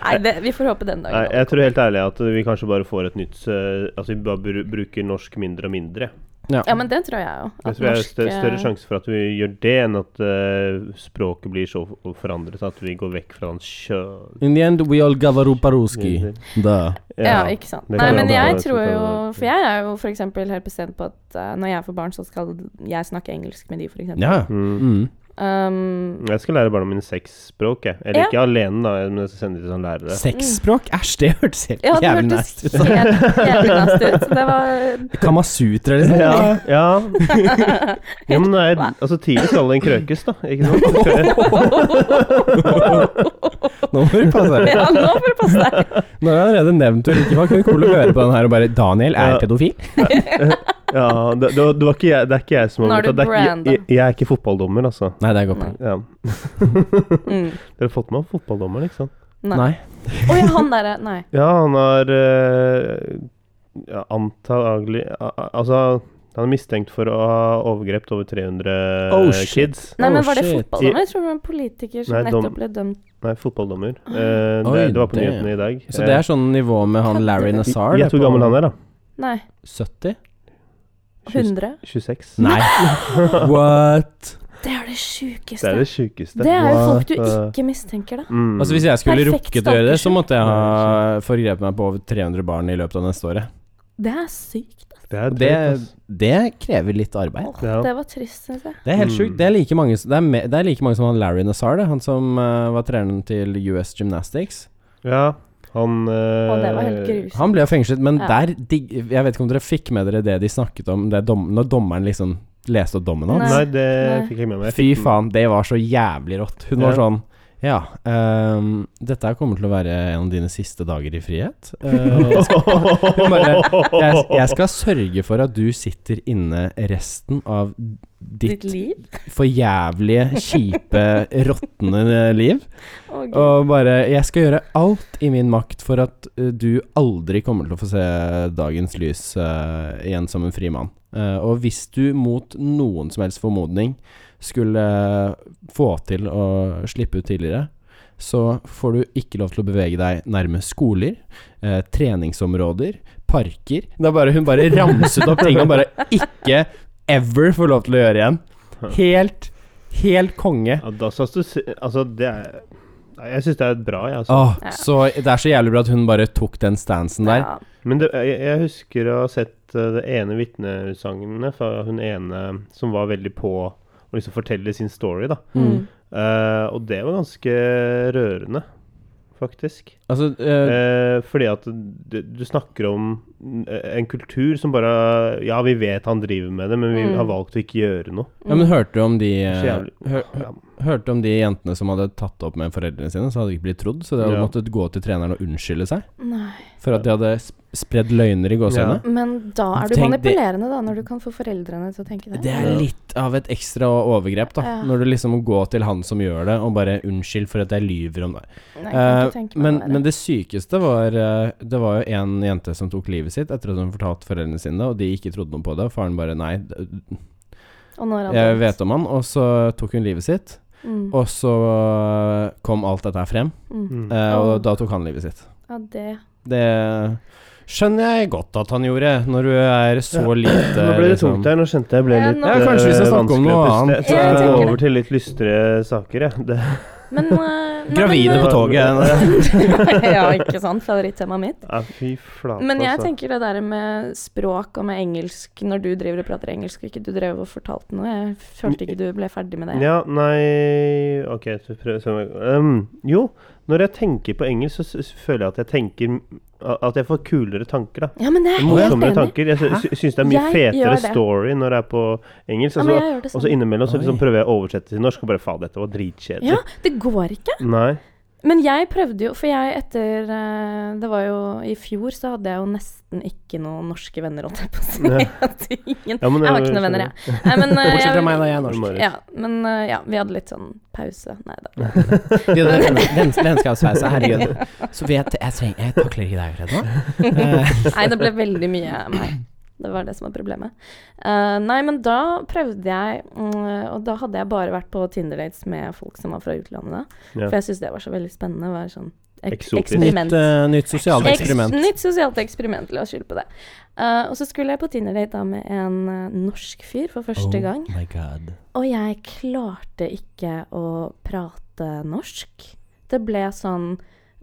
S2: Nei, det, vi får håpe den
S1: Nei,
S2: dagen.
S1: jeg tror helt ærlig at vi kanskje bare får et nytt eh, At vi bare bru- bruker norsk mindre og mindre.
S2: Ja, men det tror jeg jo.
S1: Jeg
S2: at
S1: tror det er
S2: norsk,
S1: større, større
S2: eh,
S1: sjanse for at vi gjør det, enn at eh, språket blir så forandret at vi går vekk fra den sjø...
S3: In the end we all gavaruparuski. Da.
S2: Ja, ikke sant.
S1: det
S2: Nei,
S1: kan
S2: men
S1: være
S2: jeg
S1: det,
S2: tror
S1: det kan
S2: jo
S1: være det.
S2: For jeg er jo f.eks. helt bestemt på at eh, når jeg får barn, så skal jeg snakke engelsk med de, f.eks.
S3: Ja.
S1: Mm.
S3: Mm.
S2: Um,
S1: Jeg skal lære barna mine seks språk, jeg. Eller
S2: Ja.
S1: ikke alene, da, men jeg skal sende dem til sånn lærere.
S3: Sexspråk? Æsj, det hørtes helt
S2: ja, det
S3: jævlig
S2: hørtes
S3: nasty ut. Sånn.
S2: helt jævlig nasty ut. Det var
S3: Kamasutra, liksom.
S1: Ja, ja. ja men det er, altså, tidlig skal den krøkes, da. Ikke sant?
S3: Nå må du passe deg.
S2: Ja, nå får du passe deg.
S3: Nå har jeg allerede nevnt det. Ikke var kun cool å høre på den her og bare Daniel er
S1: Ja.
S3: pedofil.
S1: Ja, det, det, var- det, var ikke jeg, det er ikke jeg som
S2: Nå er
S1: har
S2: du
S1: det. Er, ikke-
S2: branda.
S1: jeg, jeg, jeg er ikke fotballdommer, altså.
S3: Nei, det er godt poeng.
S1: Ja.
S2: Mm.
S1: Dere har fått med opp fotballdommeren, ikke sant?
S2: Nei.
S3: Nei.
S2: Å ja, han derre Nei.
S1: Ja, han har eh, ja, antagelig a- a- Altså, han er mistenkt for å ha overgrepet over 300
S3: Oh, shit.
S1: kids.
S2: Nei,
S3: Oh,
S2: men var det
S3: shit.
S2: fotballdommer? Jeg tror det var en politiker som
S1: Nei, dom-
S2: nettopp ble dømt.
S1: Nei, fotballdommer. Eh,
S3: Oi,
S1: det, det var på
S3: det-
S1: nyhetene i dag.
S3: Så det er sånn nivå med han Larry Nassar?
S1: Gjett hvor gammel han er, da.
S2: Nei,
S3: 70?
S2: 100?
S1: 26.
S3: Nei. What?
S2: Det er det
S1: Det
S2: sjukeste.
S1: er det sjukeste.
S2: Det er jo folk du
S1: What?
S2: ikke mistenker, da.
S1: Mm.
S3: Altså Hvis jeg skulle
S2: Perfekt
S3: rukket å gjøre det, så
S2: stalkerskyld.
S3: måtte jeg ha forgrepet meg på over 300 barn i løpet av neste året.
S2: Det er sykt.
S1: det er
S3: Det,
S1: drøyt, ass.
S3: Det krever litt arbeid.
S2: Åh,
S1: Ja.
S2: Det var trist, syns jeg.
S3: Det er helt
S1: Mm.
S3: sjukt. Det, er like mange s- det, er me- det er like mange som han Larry Nassar, det. Han som eh, var treneren til US Gymnastics.
S1: Ja, han
S2: Og det var helt
S1: eh,
S2: grusomt.
S3: Han ble jo fengslet, men
S2: Ja.
S3: der digg- Jeg vet ikke om dere fikk med dere det de snakket om det dom, når dommeren liksom leste opp dommen hans?
S1: Nei, det
S2: Nei.
S1: fikk jeg med meg. Jeg fikk
S3: Fy
S1: den.
S3: faen, det var så jævlig rått. Hun var
S1: Ja.
S3: sånn Ja, ehm, dette her kommer til å være en av dine siste dager i frihet. Eh, Hun bare, jeg, jeg skal sørge for at du sitter inne resten av ditt
S2: Ditt liv?
S3: forjævlige, kjipe, råtne liv.
S2: Å, Gud.
S3: Og bare Jeg skal gjøre alt i min makt for at eh, du aldri kommer til å få se dagens lys eh, igjen som en fri mann. Eh, og hvis du mot noen som helst formodning skulle få til å slippe ut tidligere, så får du ikke lov til å bevege deg nærme skoler, eh, treningsområder, parker Da bare hun bare ramset opp ting han bare ikke ever får lov til å gjøre igjen. Helt, helt konge.
S1: Ja, da satt du s- Altså, det er Nei, Jeg syns det er bra, jeg, altså.
S3: Åh,
S2: Ja.
S3: så Det er så jævlig bra at hun bare tok den stansen der.
S2: Ja.
S1: Men det, jeg, jeg husker å ha sett eh, det ene vitneutsagnet fra hun ene som var veldig på å liksom fortelle sin story, da.
S3: Mm.
S2: Mm.
S1: Eh, og det var ganske rørende, faktisk.
S3: Altså, eh,
S1: Eh, fordi at du, du snakker om eh, en kultur som bare Ja, vi vet han driver med det, men vi
S2: Mm.
S1: har valgt å ikke gjøre noe.
S3: ja, men hørte du om de eh,
S1: Så jævlig.
S3: hør, hør-
S1: Ja.
S3: Hørte om de jentene som hadde tatt opp med foreldrene sine, så hadde de ikke blitt trodd, så de hadde
S1: Ja.
S3: måttet gå til treneren og unnskylde seg
S2: Nei.
S3: for at de hadde sp- spredd løgner i gåsehudene.
S2: Men da er du
S3: Tenk det-
S2: manipulerende, da, når du kan få foreldrene til å tenke det.
S3: Det er litt av et ekstra overgrep, da,
S2: Ja.
S3: når du liksom må gå til han som gjør det, og bare 'unnskyld for at jeg lyver om det'.
S2: Nei, jeg kan ikke
S3: Eh,
S2: tenke meg
S3: men,
S2: det
S3: men
S2: verre.
S3: det sykeste var eh, Det var jo en jente som tok livet sitt etter at hun fortalte foreldrene sine det, og de ikke trodde noe på det, og faren bare 'nei, d-
S2: Og når han
S3: jeg
S2: døde.
S3: vet om han', og så tok hun livet sitt,
S2: Mm.
S3: og så kom alt dette her frem,
S2: Mm.
S1: Mm.
S3: eh, og
S2: Åh.
S3: da tok han livet sitt.
S2: Ja, det
S3: Det skjønner jeg godt at han gjorde, når du er så lite
S1: Nå ble det
S3: liksom-
S1: tungt her. Nå skjønte jeg ble
S2: Ja,
S1: litt
S2: nå- Ja,
S3: kanskje vi skal
S1: eh,
S3: snakke
S1: vanskelig å
S3: om noe
S1: puste.
S3: annet.
S1: Jeg tror jeg
S2: Ja, jeg
S1: skal
S2: tenker
S1: over til litt lystre saker, jeg. Det,
S2: Men eh, nei,
S3: Gravide
S2: men,
S3: på toget.
S2: eh, ja, ikke sant? Favorittemaet mitt.
S1: ja, fy flate,
S2: Men jeg
S1: altså.
S2: tenker det der med språk og med engelsk Når du driver og prater engelsk og ikke du drev og fortalte noe Jeg følte ikke du ble ferdig med det.
S1: Ja, nei Ok, så prøv så, um, Jo, når jeg tenker på engelsk, så s- s- føler jeg at jeg tenker At jeg får kulere tanker, da.
S2: Ja, men det er jeg helt
S1: Morsommere
S2: enig. i.
S1: tanker. Jeg sy- sy- syns det er mye
S2: Jeg
S1: fetere
S2: gjør det.
S1: story når det er på engelsk.
S2: Ja,
S1: Altså,
S2: men jeg gjør det
S1: og så
S2: sånn.
S1: innimellom så liksom
S3: Oi.
S1: prøver jeg å oversette til norsk, og bare faen, dette var dritkjedelig.
S2: Ja, det går ikke.
S1: Nei.
S2: Men jeg prøvde jo, for jeg etter eh, Det var jo i fjor, så hadde jeg jo nesten ikke noen norske venner, holdt jeg på å si.
S1: Nei.
S2: Jeg hadde ingen.
S1: Ja, men det- sånn
S2: Jeg har ikke noen venner, jeg. Nei, men, eh,
S3: Bortsett fra
S2: jeg-
S3: meg, da. Jeg er
S1: Når
S3: norsk.
S1: Marius-
S2: Ja, men eh, ja, vi hadde litt sånn pause. Nei da.
S3: Ja, det er lens- Lenskapsfeise, herregud. Så vet jeg trenger Jeg takler ikke deg akkurat nå.
S1: Eh.
S2: Nei, det ble veldig mye meg. Det var det som var problemet. Eh, nei, men da prøvde jeg mm, Og da hadde jeg bare vært på Tinder-dates med folk som var fra utlandet.
S1: Ja.
S2: For jeg syntes det var så veldig spennende. Var sånn ek
S1: Eksotisk.
S2: eksperiment.
S3: Nytt, eh, nytt sosialt
S2: Eks-
S3: eksperiment.
S2: Nytt sosialt eksperiment, la oss skylde på det. Eh, og så skulle jeg på Tinder-date da med en eh, norsk fyr for første gang.
S3: Oh my god.
S2: Og jeg klarte ikke å prate norsk. Det ble sånn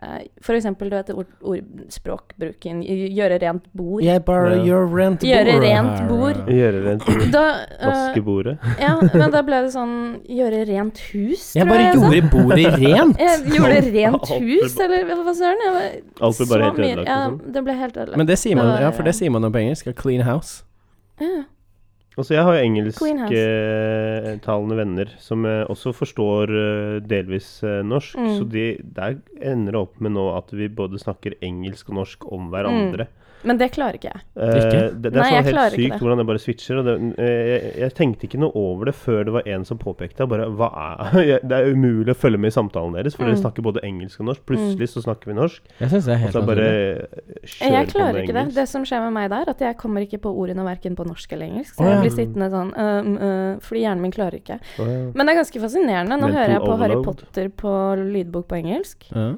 S2: eh, For eksempel, du vet ord, ord, språkbruken gj- Gjøre rent bord.
S3: Jeg bare
S1: Ja.
S3: gjør rent bord.
S2: Gjøre rent
S3: her.
S2: bord.
S1: Gjøre det
S2: Da, eh,
S1: Vaske bordet.
S2: ja, men da ble det sånn Gjøre rent hus,
S3: Jeg
S2: tror
S3: bare
S2: jeg altså. jeg sa.
S3: gjorde bordet rent.
S2: Jeg gjorde rent
S1: Alt ble
S2: hus, eller hva- hva søren? Jeg var-
S1: Alt ble bare
S2: så
S1: helt
S2: mye-
S1: ødelagt,
S2: Ja,
S1: liksom.
S2: det ble helt ødelagt.
S3: Men det sier man,
S2: var-
S3: ja, for det sier man jo på engelsk. A clean house.
S2: Ja.
S1: Altså, jeg har jo
S2: Queen
S1: engelsktalende venner som eh, også forstår eh, delvis eh, norsk,
S2: Mm.
S1: så de, der ender det opp med nå at vi både snakker engelsk og norsk om hverandre.
S2: Men det klarer ikke jeg.
S1: Eh,
S3: Mm. Ikke?
S1: det, det er
S2: Nei,
S1: sånn
S2: jeg klarer
S1: helt
S2: ikke
S1: sykt
S2: det.
S1: hvordan det bare switcher. Og det, eh, jeg, jeg tenkte ikke noe over det før det var en som påpekte bare, hva er, jeg- Det er umulig å følge med i samtalen deres, for
S2: Mm.
S1: dere snakker både engelsk og norsk. Plutselig så snakker vi norsk,
S3: Jeg syns det
S1: og
S3: er helt
S1: så bare
S3: naturlig.
S1: eh, kjører
S2: Jeg
S1: på
S2: klarer
S1: med
S2: ikke det.
S1: engelsk.
S2: Det som skjer med meg der, at jeg kommer ikke på ordene verken på norsk eller engelsk. Så
S3: Å, ja.
S2: jeg blir sittende sånn øhm, øh, Fordi hjernen min klarer ikke.
S1: Å, ja.
S2: Men det er ganske fascinerende. Nå
S1: Mental
S2: hører jeg på Harry
S1: overload.
S2: Potter på lydbok på engelsk.
S3: Ja.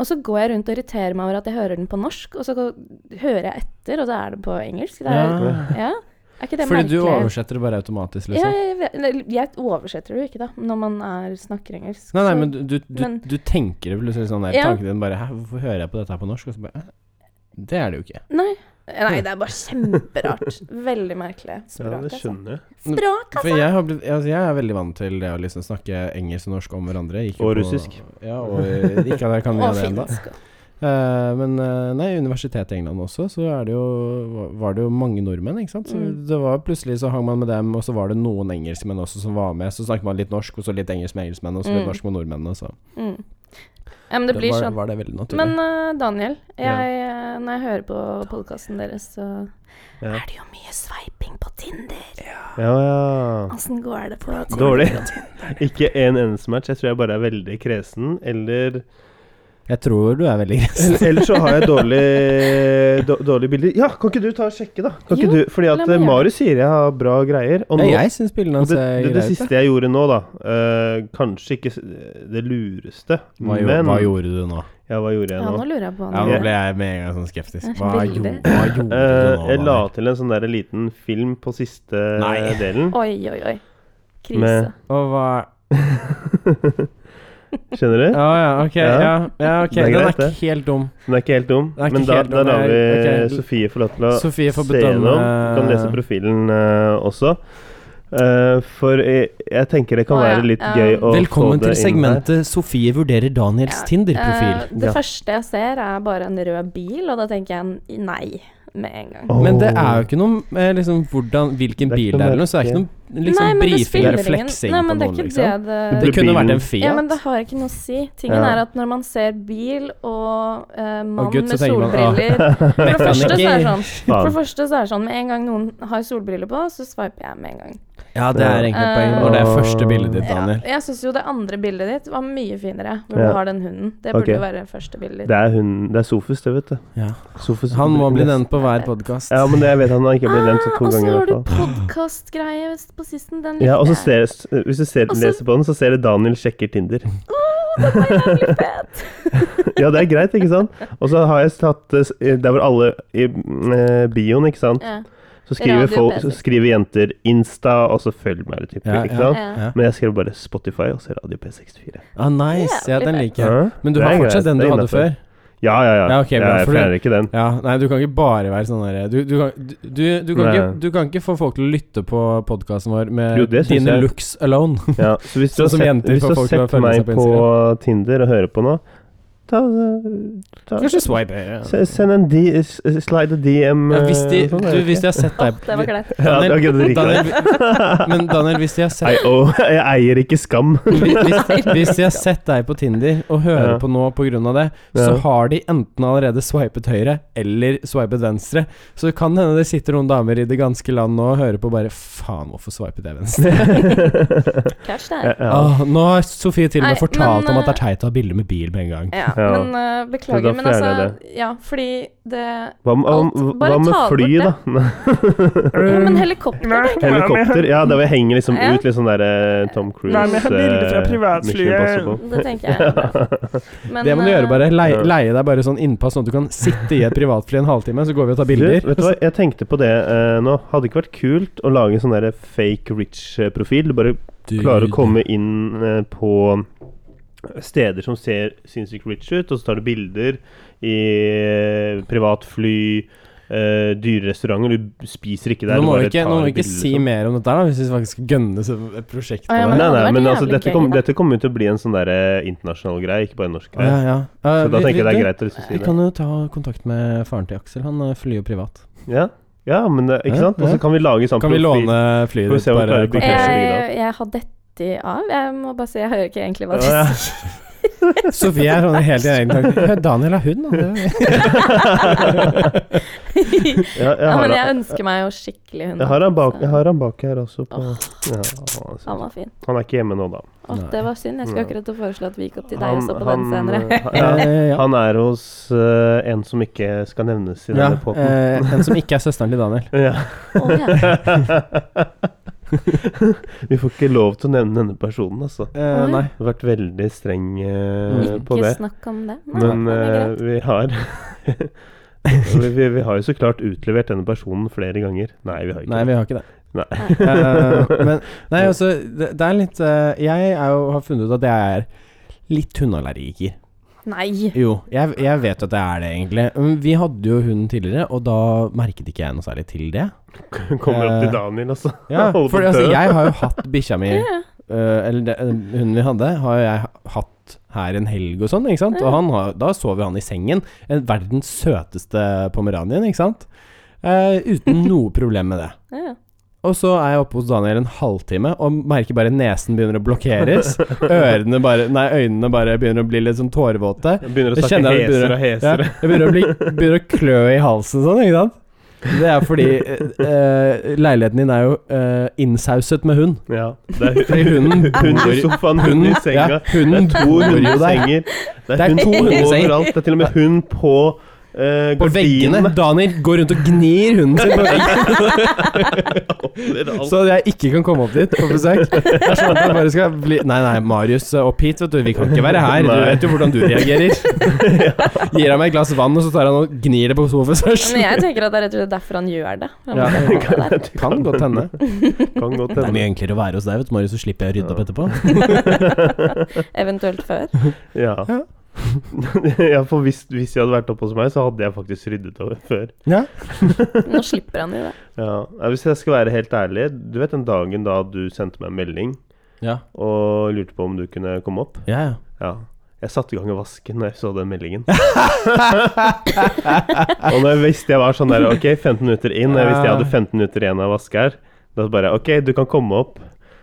S2: Og så går jeg rundt og irriterer meg over at jeg hører den på norsk, og så går- hører jeg etter, og så er det på engelsk. Det er,
S3: Ja.
S2: ja. Er ikke det
S3: Fordi du
S2: merkelig?
S3: oversetter det bare automatisk,
S2: Ja,
S3: liksom?
S2: jeg, vet- eller, jeg oversetter det jo ikke, da, når man er, snakker engelsk.
S3: Nei, nei,
S2: Så-
S3: men du, du, du,
S2: men-
S3: du tenker det plutselig sånn der
S2: Ja.
S3: Tanken din bare Hæ, hvorfor hører jeg på dette her på norsk? Og så bare Hæ? Det er det jo ikke.
S2: Nei, Nei, det er bare kjemperart. Veldig merkelig.
S1: Ja,
S2: Språk,
S1: det
S2: altså.
S1: skjønner jeg.
S3: Mm.
S2: Språk,
S3: For
S2: altså!
S3: jeg, har blitt, altså jeg er veldig vant til det å liksom snakke engelsk og norsk om hverandre. Gikk jo
S1: Og
S3: på-
S1: russisk.
S3: Ja, og eh, ikke at jeg kan
S2: Og
S3: gjøre det ennå.
S2: finsk. og-
S3: Eh, men eh, nei, universitetet i England også, så er det jo, var det jo mange nordmenn, ikke sant. Så
S2: Mm.
S3: det var plutselig så hang man med dem, og så var det noen engelskmenn også som var med. Så snakket man litt norsk, og så litt engelsk med engelskmenn, og så litt
S2: Mm.
S3: norsk med nordmenn. Og så
S2: Mm. Ja, men det blir
S3: var,
S2: sånn.
S3: var det veldig naturlig.
S2: Men eh, Daniel,
S1: Ja.
S2: jeg, eh, når jeg hører på podkasten deres, så
S1: Ja.
S2: er det jo mye sveiping på Tinder.
S1: Ja, ja.
S2: Åssen går det på Tinder?
S1: Dårlig. Ikke en eneste match. Jeg tror jeg bare er veldig kresen, eller
S3: jeg tror du er veldig gresen.
S1: Eller eller så har jeg dårlig, då- dårlige bilder. Ja, kan ikke du ta og sjekke, da? Kan ikke
S2: Jo,
S1: du, fordi
S2: la
S1: at
S2: meg
S1: eh,
S2: gjøre
S1: Mari sier jeg har bra greier. Og
S3: Ja,
S1: nå,
S3: jeg syns bildene
S1: og
S3: hans
S1: det,
S3: er
S1: det, det
S3: greie ut.
S1: siste jeg gjorde nå, da eh, Kanskje ikke s- det lureste,
S3: Hva,
S1: men
S3: gjo- hva gjorde du nå?
S1: Ja, hva gjorde jeg
S2: Ja, nå
S1: nå?
S2: lurer jeg på
S3: Ja,
S2: hva
S3: nå
S2: han
S3: ble jeg med en gang sånn skeptisk. Hva,
S2: Veldig.
S3: gjo, hva gjorde du nå?
S1: Eh, jeg la
S3: Daniel?
S1: til en sånn der liten film på siste
S3: Nei.
S1: delen.
S2: Oi, oi, oi.
S1: Med-
S2: Krise.
S3: Og hva
S1: Skjønner du?
S3: Å ja, ok. Ja,
S1: Ja.
S3: ja, ok.
S1: Det er
S3: Den er
S1: greit,
S3: ikke
S1: det.
S3: helt dum.
S1: Den er ikke helt dum.
S3: Den er ikke
S1: Men da,
S3: helt dum,
S1: da lar vi
S3: jeg- ok.
S1: Sofie få lov til å
S3: Sofie får
S1: se
S3: bedømme-
S1: gjennom. Du kan lese profilen eh, også. Eh, for jeg, jeg tenker det kan
S2: Å, ja. Um,
S1: være litt
S2: Ja.
S1: gøy å
S3: Velkommen
S1: få det
S3: til
S1: inn her.
S3: segmentet 'Sofie vurderer Daniels
S2: Ja, Eh,
S3: Tinder-profil'.
S2: det
S1: Ja.
S2: første jeg ser, er bare en rød bil, og da tenker jeg nei med en gang.
S1: Åh.
S3: Men det er jo ikke noe eh, liksom, hvordan, hvilken
S1: Det er ikke
S3: bil det er,
S1: noe
S3: eller noe, så det er ikke
S1: merke.
S3: noe liksom,
S2: det
S3: brifing
S2: spiller
S3: eller
S2: ingen-
S3: fleksing
S2: Nei,
S3: på
S2: men det er
S3: noen.
S2: ikke
S3: Liksom. Det
S2: det det
S1: blir
S3: kunne vært
S1: bilen.
S3: en Fiat.
S2: ja, men det har ikke noe å si. Tingen
S1: Ja.
S2: er at når man ser bil og eh, mann
S3: Og gutt, så
S2: med
S3: tenker man, ah,
S2: solbriller For det
S3: Kan
S2: første så er det
S3: ikke-
S2: sånn For det første så er det sånn med en gang noen har solbriller på, så swiper jeg med en gang.
S3: Ja, det er egentlig et poeng
S2: Eh,
S3: når det er første bildet ditt,
S2: Ja,
S3: Daniel.
S2: jeg syns jo det andre bildet ditt var mye finere, hvor
S1: Ja.
S2: du har den hunden. Det burde
S1: Ok.
S2: jo være første bildet ditt.
S1: Det er hun Det er Sofus, det, vet du.
S3: Ja.
S1: Sofus
S3: Han må bli
S1: Brynäs.
S3: nevnt på hver podkast.
S1: Ja, men det, jeg vet han har ikke blitt nevnt så to
S2: Ah, og så
S1: ganger. i
S2: har du
S1: hvert fall.
S2: podkastgreie på sisten. Den
S1: Ja, og så
S2: likte jeg.
S1: ser, Hvis du ser,
S2: Og så-
S1: leser på den, så ser du Daniel sjekker Tinder.
S2: Å, den var jævlig fet!
S1: Ja, det er greit, ikke sant? Og så har jeg tatt eh, s- Der hvor alle i eh, bioen, ikke sant,
S2: Ja,
S1: så skriver,
S2: Radio
S1: folk,
S2: PC.
S1: så skriver jenter Insta, og så følg meg, det type,
S3: Ja,
S1: ikke
S3: ja.
S1: sant?
S2: ja.
S3: Ja.
S1: Men jeg skrev bare Spotify, og så Radio P64.
S3: Ah, nice. Ja, den liker jeg.
S1: Ja,
S3: Men du
S1: det
S3: har
S1: er greit,
S3: fortsatt den
S1: det
S3: du
S1: er
S3: hadde
S1: innenfor.
S3: før?
S1: Ja, ja, ja.
S3: Ja, ok, bra,
S1: Ja, jeg
S3: for du-
S1: fjerner ikke den.
S3: Ja, nei, du kan ikke bare være sånn derre du, du, kan- du, du, du, kan
S1: Nei.
S3: ikke- du kan ikke få folk til å lytte på podkasten vår med
S1: Jo, det syns
S3: dine
S1: jeg.
S3: looks alone.
S1: Ja, så hvis du har
S3: Sånn som
S1: sett,
S3: jenter
S1: hvis
S3: får
S1: du har
S3: folk til å
S1: sett
S3: følge
S1: meg
S3: seg på
S1: på Tinder og hører på nå, ta, ta
S3: Kanskje swipe høyre.
S1: se- Send en D, s- slide a DM
S3: Ja, hvis, de,
S1: eh, sånn,
S3: du,
S1: er det
S3: hvis de
S1: ikke?
S3: har sett
S2: Åh,
S3: deg
S2: det var greit.
S1: Ja, det var ikke det du liker.
S3: Daniel, Men Daniel, hvis de har sett
S1: I owe- Jeg eier ikke skam.
S3: hvis, hvis de har sett deg på Tinder og hører
S1: Ja.
S3: på nå pga. det, så
S1: Ja.
S3: har de enten allerede swipet høyre eller swipet venstre. Så kan hende det sitter noen damer i det ganske land nå og hører på bare Faen, hvorfor swipet jeg venstre?
S2: Catch det her.
S1: Ja.
S3: Åh, nå har Sofie til og
S2: Nei,
S3: med fortalt
S2: men, eh,
S3: om at det er teit å ha bilde med bil med en gang.
S2: Ja,
S1: Ja.
S2: men eh,
S1: Så da
S2: beklager, men
S1: fjerner jeg
S2: altså Ja, fordi det
S1: Hva med, hva,
S2: Alt.
S1: med-
S2: Bare
S1: hva med
S2: ta det
S1: fly, da?
S2: Ja, men helikopter tenker jeg.
S1: Helikopter? Ja, der hvor jeg henger liksom
S2: Ja.
S1: ut litt sånn der eh, Tom Cruise
S4: Nei, men jeg har bilder fra
S1: eh,
S4: privatflyet.
S1: Mission Impossible.
S2: Det tenker jeg. er bra. Men,
S3: Det må du
S2: eh,
S3: gjøre, bare leie,
S1: Ja.
S3: leie deg bare sånn innpass, sånn at du kan sitte i et privatfly en halvtime, så går vi og tar bilder.
S1: Du, vet du hva, jeg tenkte på det eh, nå. Hadde ikke vært kult å lage en sånn der fake rich-profil? Du bare klarer å komme inn eh, på steder som ser sinnssykt rich ut, og så tar du bilder i eh, privat fly, eh, dyre restauranter Du spiser ikke der.
S3: nå
S1: du
S3: må vi
S1: bare
S3: ikke,
S1: tar
S3: nå må vi ikke
S1: bilder,
S3: si
S1: liksom.
S3: mer om dette, her, da, hvis vi faktisk skal gønne så- et prosjekt på
S2: Å, ja,
S1: Nei,
S3: det.
S2: hadde
S1: nei,
S2: vært
S1: men
S2: jævlig
S1: altså, dette
S2: gøy,
S1: kommer
S2: da.
S1: dette kommer jo til å bli en sånn der eh, internasjonal greie, ikke bare en norsk
S3: Å,
S1: greie.
S3: ja.
S1: Så
S3: Eh,
S1: da
S3: vi-
S1: tenker jeg det
S3: vi-
S1: er greit å si
S3: Vi
S1: det.
S3: kan jo ta kontakt med faren til Aksel. Han eh, flyr jo privat.
S1: Ja, ja men det, ikke
S3: Ja,
S1: sant? Og
S3: ja.
S1: så kan vi lage sånn
S3: Kan vi
S1: profil-
S3: låne flyet
S1: Får vi
S3: ditt?
S1: se om vi
S3: Bare
S1: klarer å
S3: kort
S1: Ok, så blir
S2: Jeg, jeg, har dette av. Jeg må bare si jeg hører ikke egentlig hva du
S1: Å, ja.
S2: sier.
S3: Sofie er sånn helt i egen tanke. «Hør, Daniel har hund, da. Det-
S1: Ja, jeg
S2: Ja,
S1: har
S2: men
S1: han-
S2: jeg ønsker meg jo skikkelig hund.
S1: jeg har han bak,
S2: så-
S1: jeg har han bak her også. På, ja,
S2: Han
S1: altså.
S2: var fin.
S1: han er ikke hjemme nå, da.
S2: Å,
S3: Nei.
S2: det var synd. Jeg skulle
S1: Ja.
S2: akkurat å foreslå at vi gikk opp til deg
S1: Han,
S2: og så på den
S1: han,
S2: senere.
S1: ja,
S3: Eh, ja.
S1: han er hos eh, en som ikke skal nevnes i
S3: Ja,
S1: denne poden.
S3: eh, en som ikke er søsteren til Daniel.
S1: Ja.
S2: Å, ja.
S1: eh, Vi får ikke lov til å nevne denne personen, altså.
S3: Eh,
S2: Oi.
S3: nei.
S1: Jeg har vært veldig streng eh,
S3: Mm.
S1: på
S2: Ikke
S1: det.
S2: snakk om det. Nei,
S1: Men
S2: det er
S1: eh,
S2: greit.
S1: vi har vi, vi, vi har jo så klart utlevert denne personen flere ganger. Nei, vi har ikke
S3: Nei, vi har ikke det.
S1: Nei.
S3: Eh, men nei, altså, det, det er litt eh, Jeg er jo, har funnet ut at jeg er litt hundeallergiker.
S2: Nei.
S3: Jo, jeg, jeg vet at det er det, egentlig. Men Vi hadde jo hund tidligere, og da merket ikke jeg noe særlig til det.
S1: Kommer opp
S3: Eh,
S1: til Daniel, altså.
S3: Ja,
S1: Holder på
S3: for
S1: å
S3: altså,
S1: dø.
S3: jeg har jo hatt bikkja mi
S2: Ja.
S3: øh, Eller det, hunden vi hadde, har jo jeg hatt her en helg og sånn, ikke sant? Og han har, da sover han i sengen. En verdens søteste pomeranien, ikke sant? Eh, uten noe problem med det.
S2: Ja.
S3: Og så er jeg oppe hos Daniel en halvtime og merker bare nesen begynner å blokkeres. Ørene bare, nei, øynene bare begynner å bli litt sånn tårevåte.
S1: Jeg Begynner å
S3: Jeg
S1: snakke
S3: kjenner jeg
S1: hesere
S3: begynner-
S1: og hesere.
S3: Ja, jeg begynner å, bli, begynner å klø i halsen sånn, ikke sant? Det er fordi eh, eh, leiligheten din er jo eh, innsauset med hund.
S1: Ja. Det er
S3: Fordi hunden
S1: hund i
S3: bor
S1: sofaen, hund i
S3: ja,
S1: senga.
S3: hunden
S1: Det er to
S3: bor jo der.
S1: hundesenger. Det
S3: Det er
S1: er hund
S3: to hundesenger.
S1: overalt. Det er til og med hund på eh,
S3: På veggene.
S1: gardinene.
S3: Daniel går rundt og gnir hunden sin på veggen,
S1: Overalt.
S3: så jeg ikke kan komme opp dit på besøk. Det er sånn at jeg bare skal bli Nei, nei, Marius, opp hit, vet du. Vi kan ikke være her. Du
S1: Nei.
S3: vet jo hvordan du reagerer. Gir han meg et glass vann, og så tar han og gnir det på sofaen.
S2: Men jeg tenker at det er rett og slett derfor han gjør det. Han
S3: Ja.
S2: bare holder det der.
S3: Kan godt hende.
S1: Kan godt
S3: Det er mye
S1: hende.
S3: enklere å være hos deg, vet du, Marius, så slipper jeg å rydde opp etterpå.
S2: Eventuelt før.
S1: Ja.
S3: Ja.
S1: ja, for hvis, hvis jeg hadde vært oppe hos meg, så hadde jeg faktisk ryddet over før.
S3: Ja.
S2: Nå slipper han jo det.
S1: Ja, ja, Hvis jeg skal være helt ærlig Du vet den dagen da du sendte meg en melding
S3: Ja,
S1: og lurte på om du kunne komme opp?
S3: ja.
S1: Ja. Jeg satte i gang å vaske når jeg så den meldingen. og når jeg visste jeg var sånn der Ok, 15 minutter inn, og jeg visste jeg hadde 15 minutter igjen av å vaske her, da bare Ok, du kan komme opp.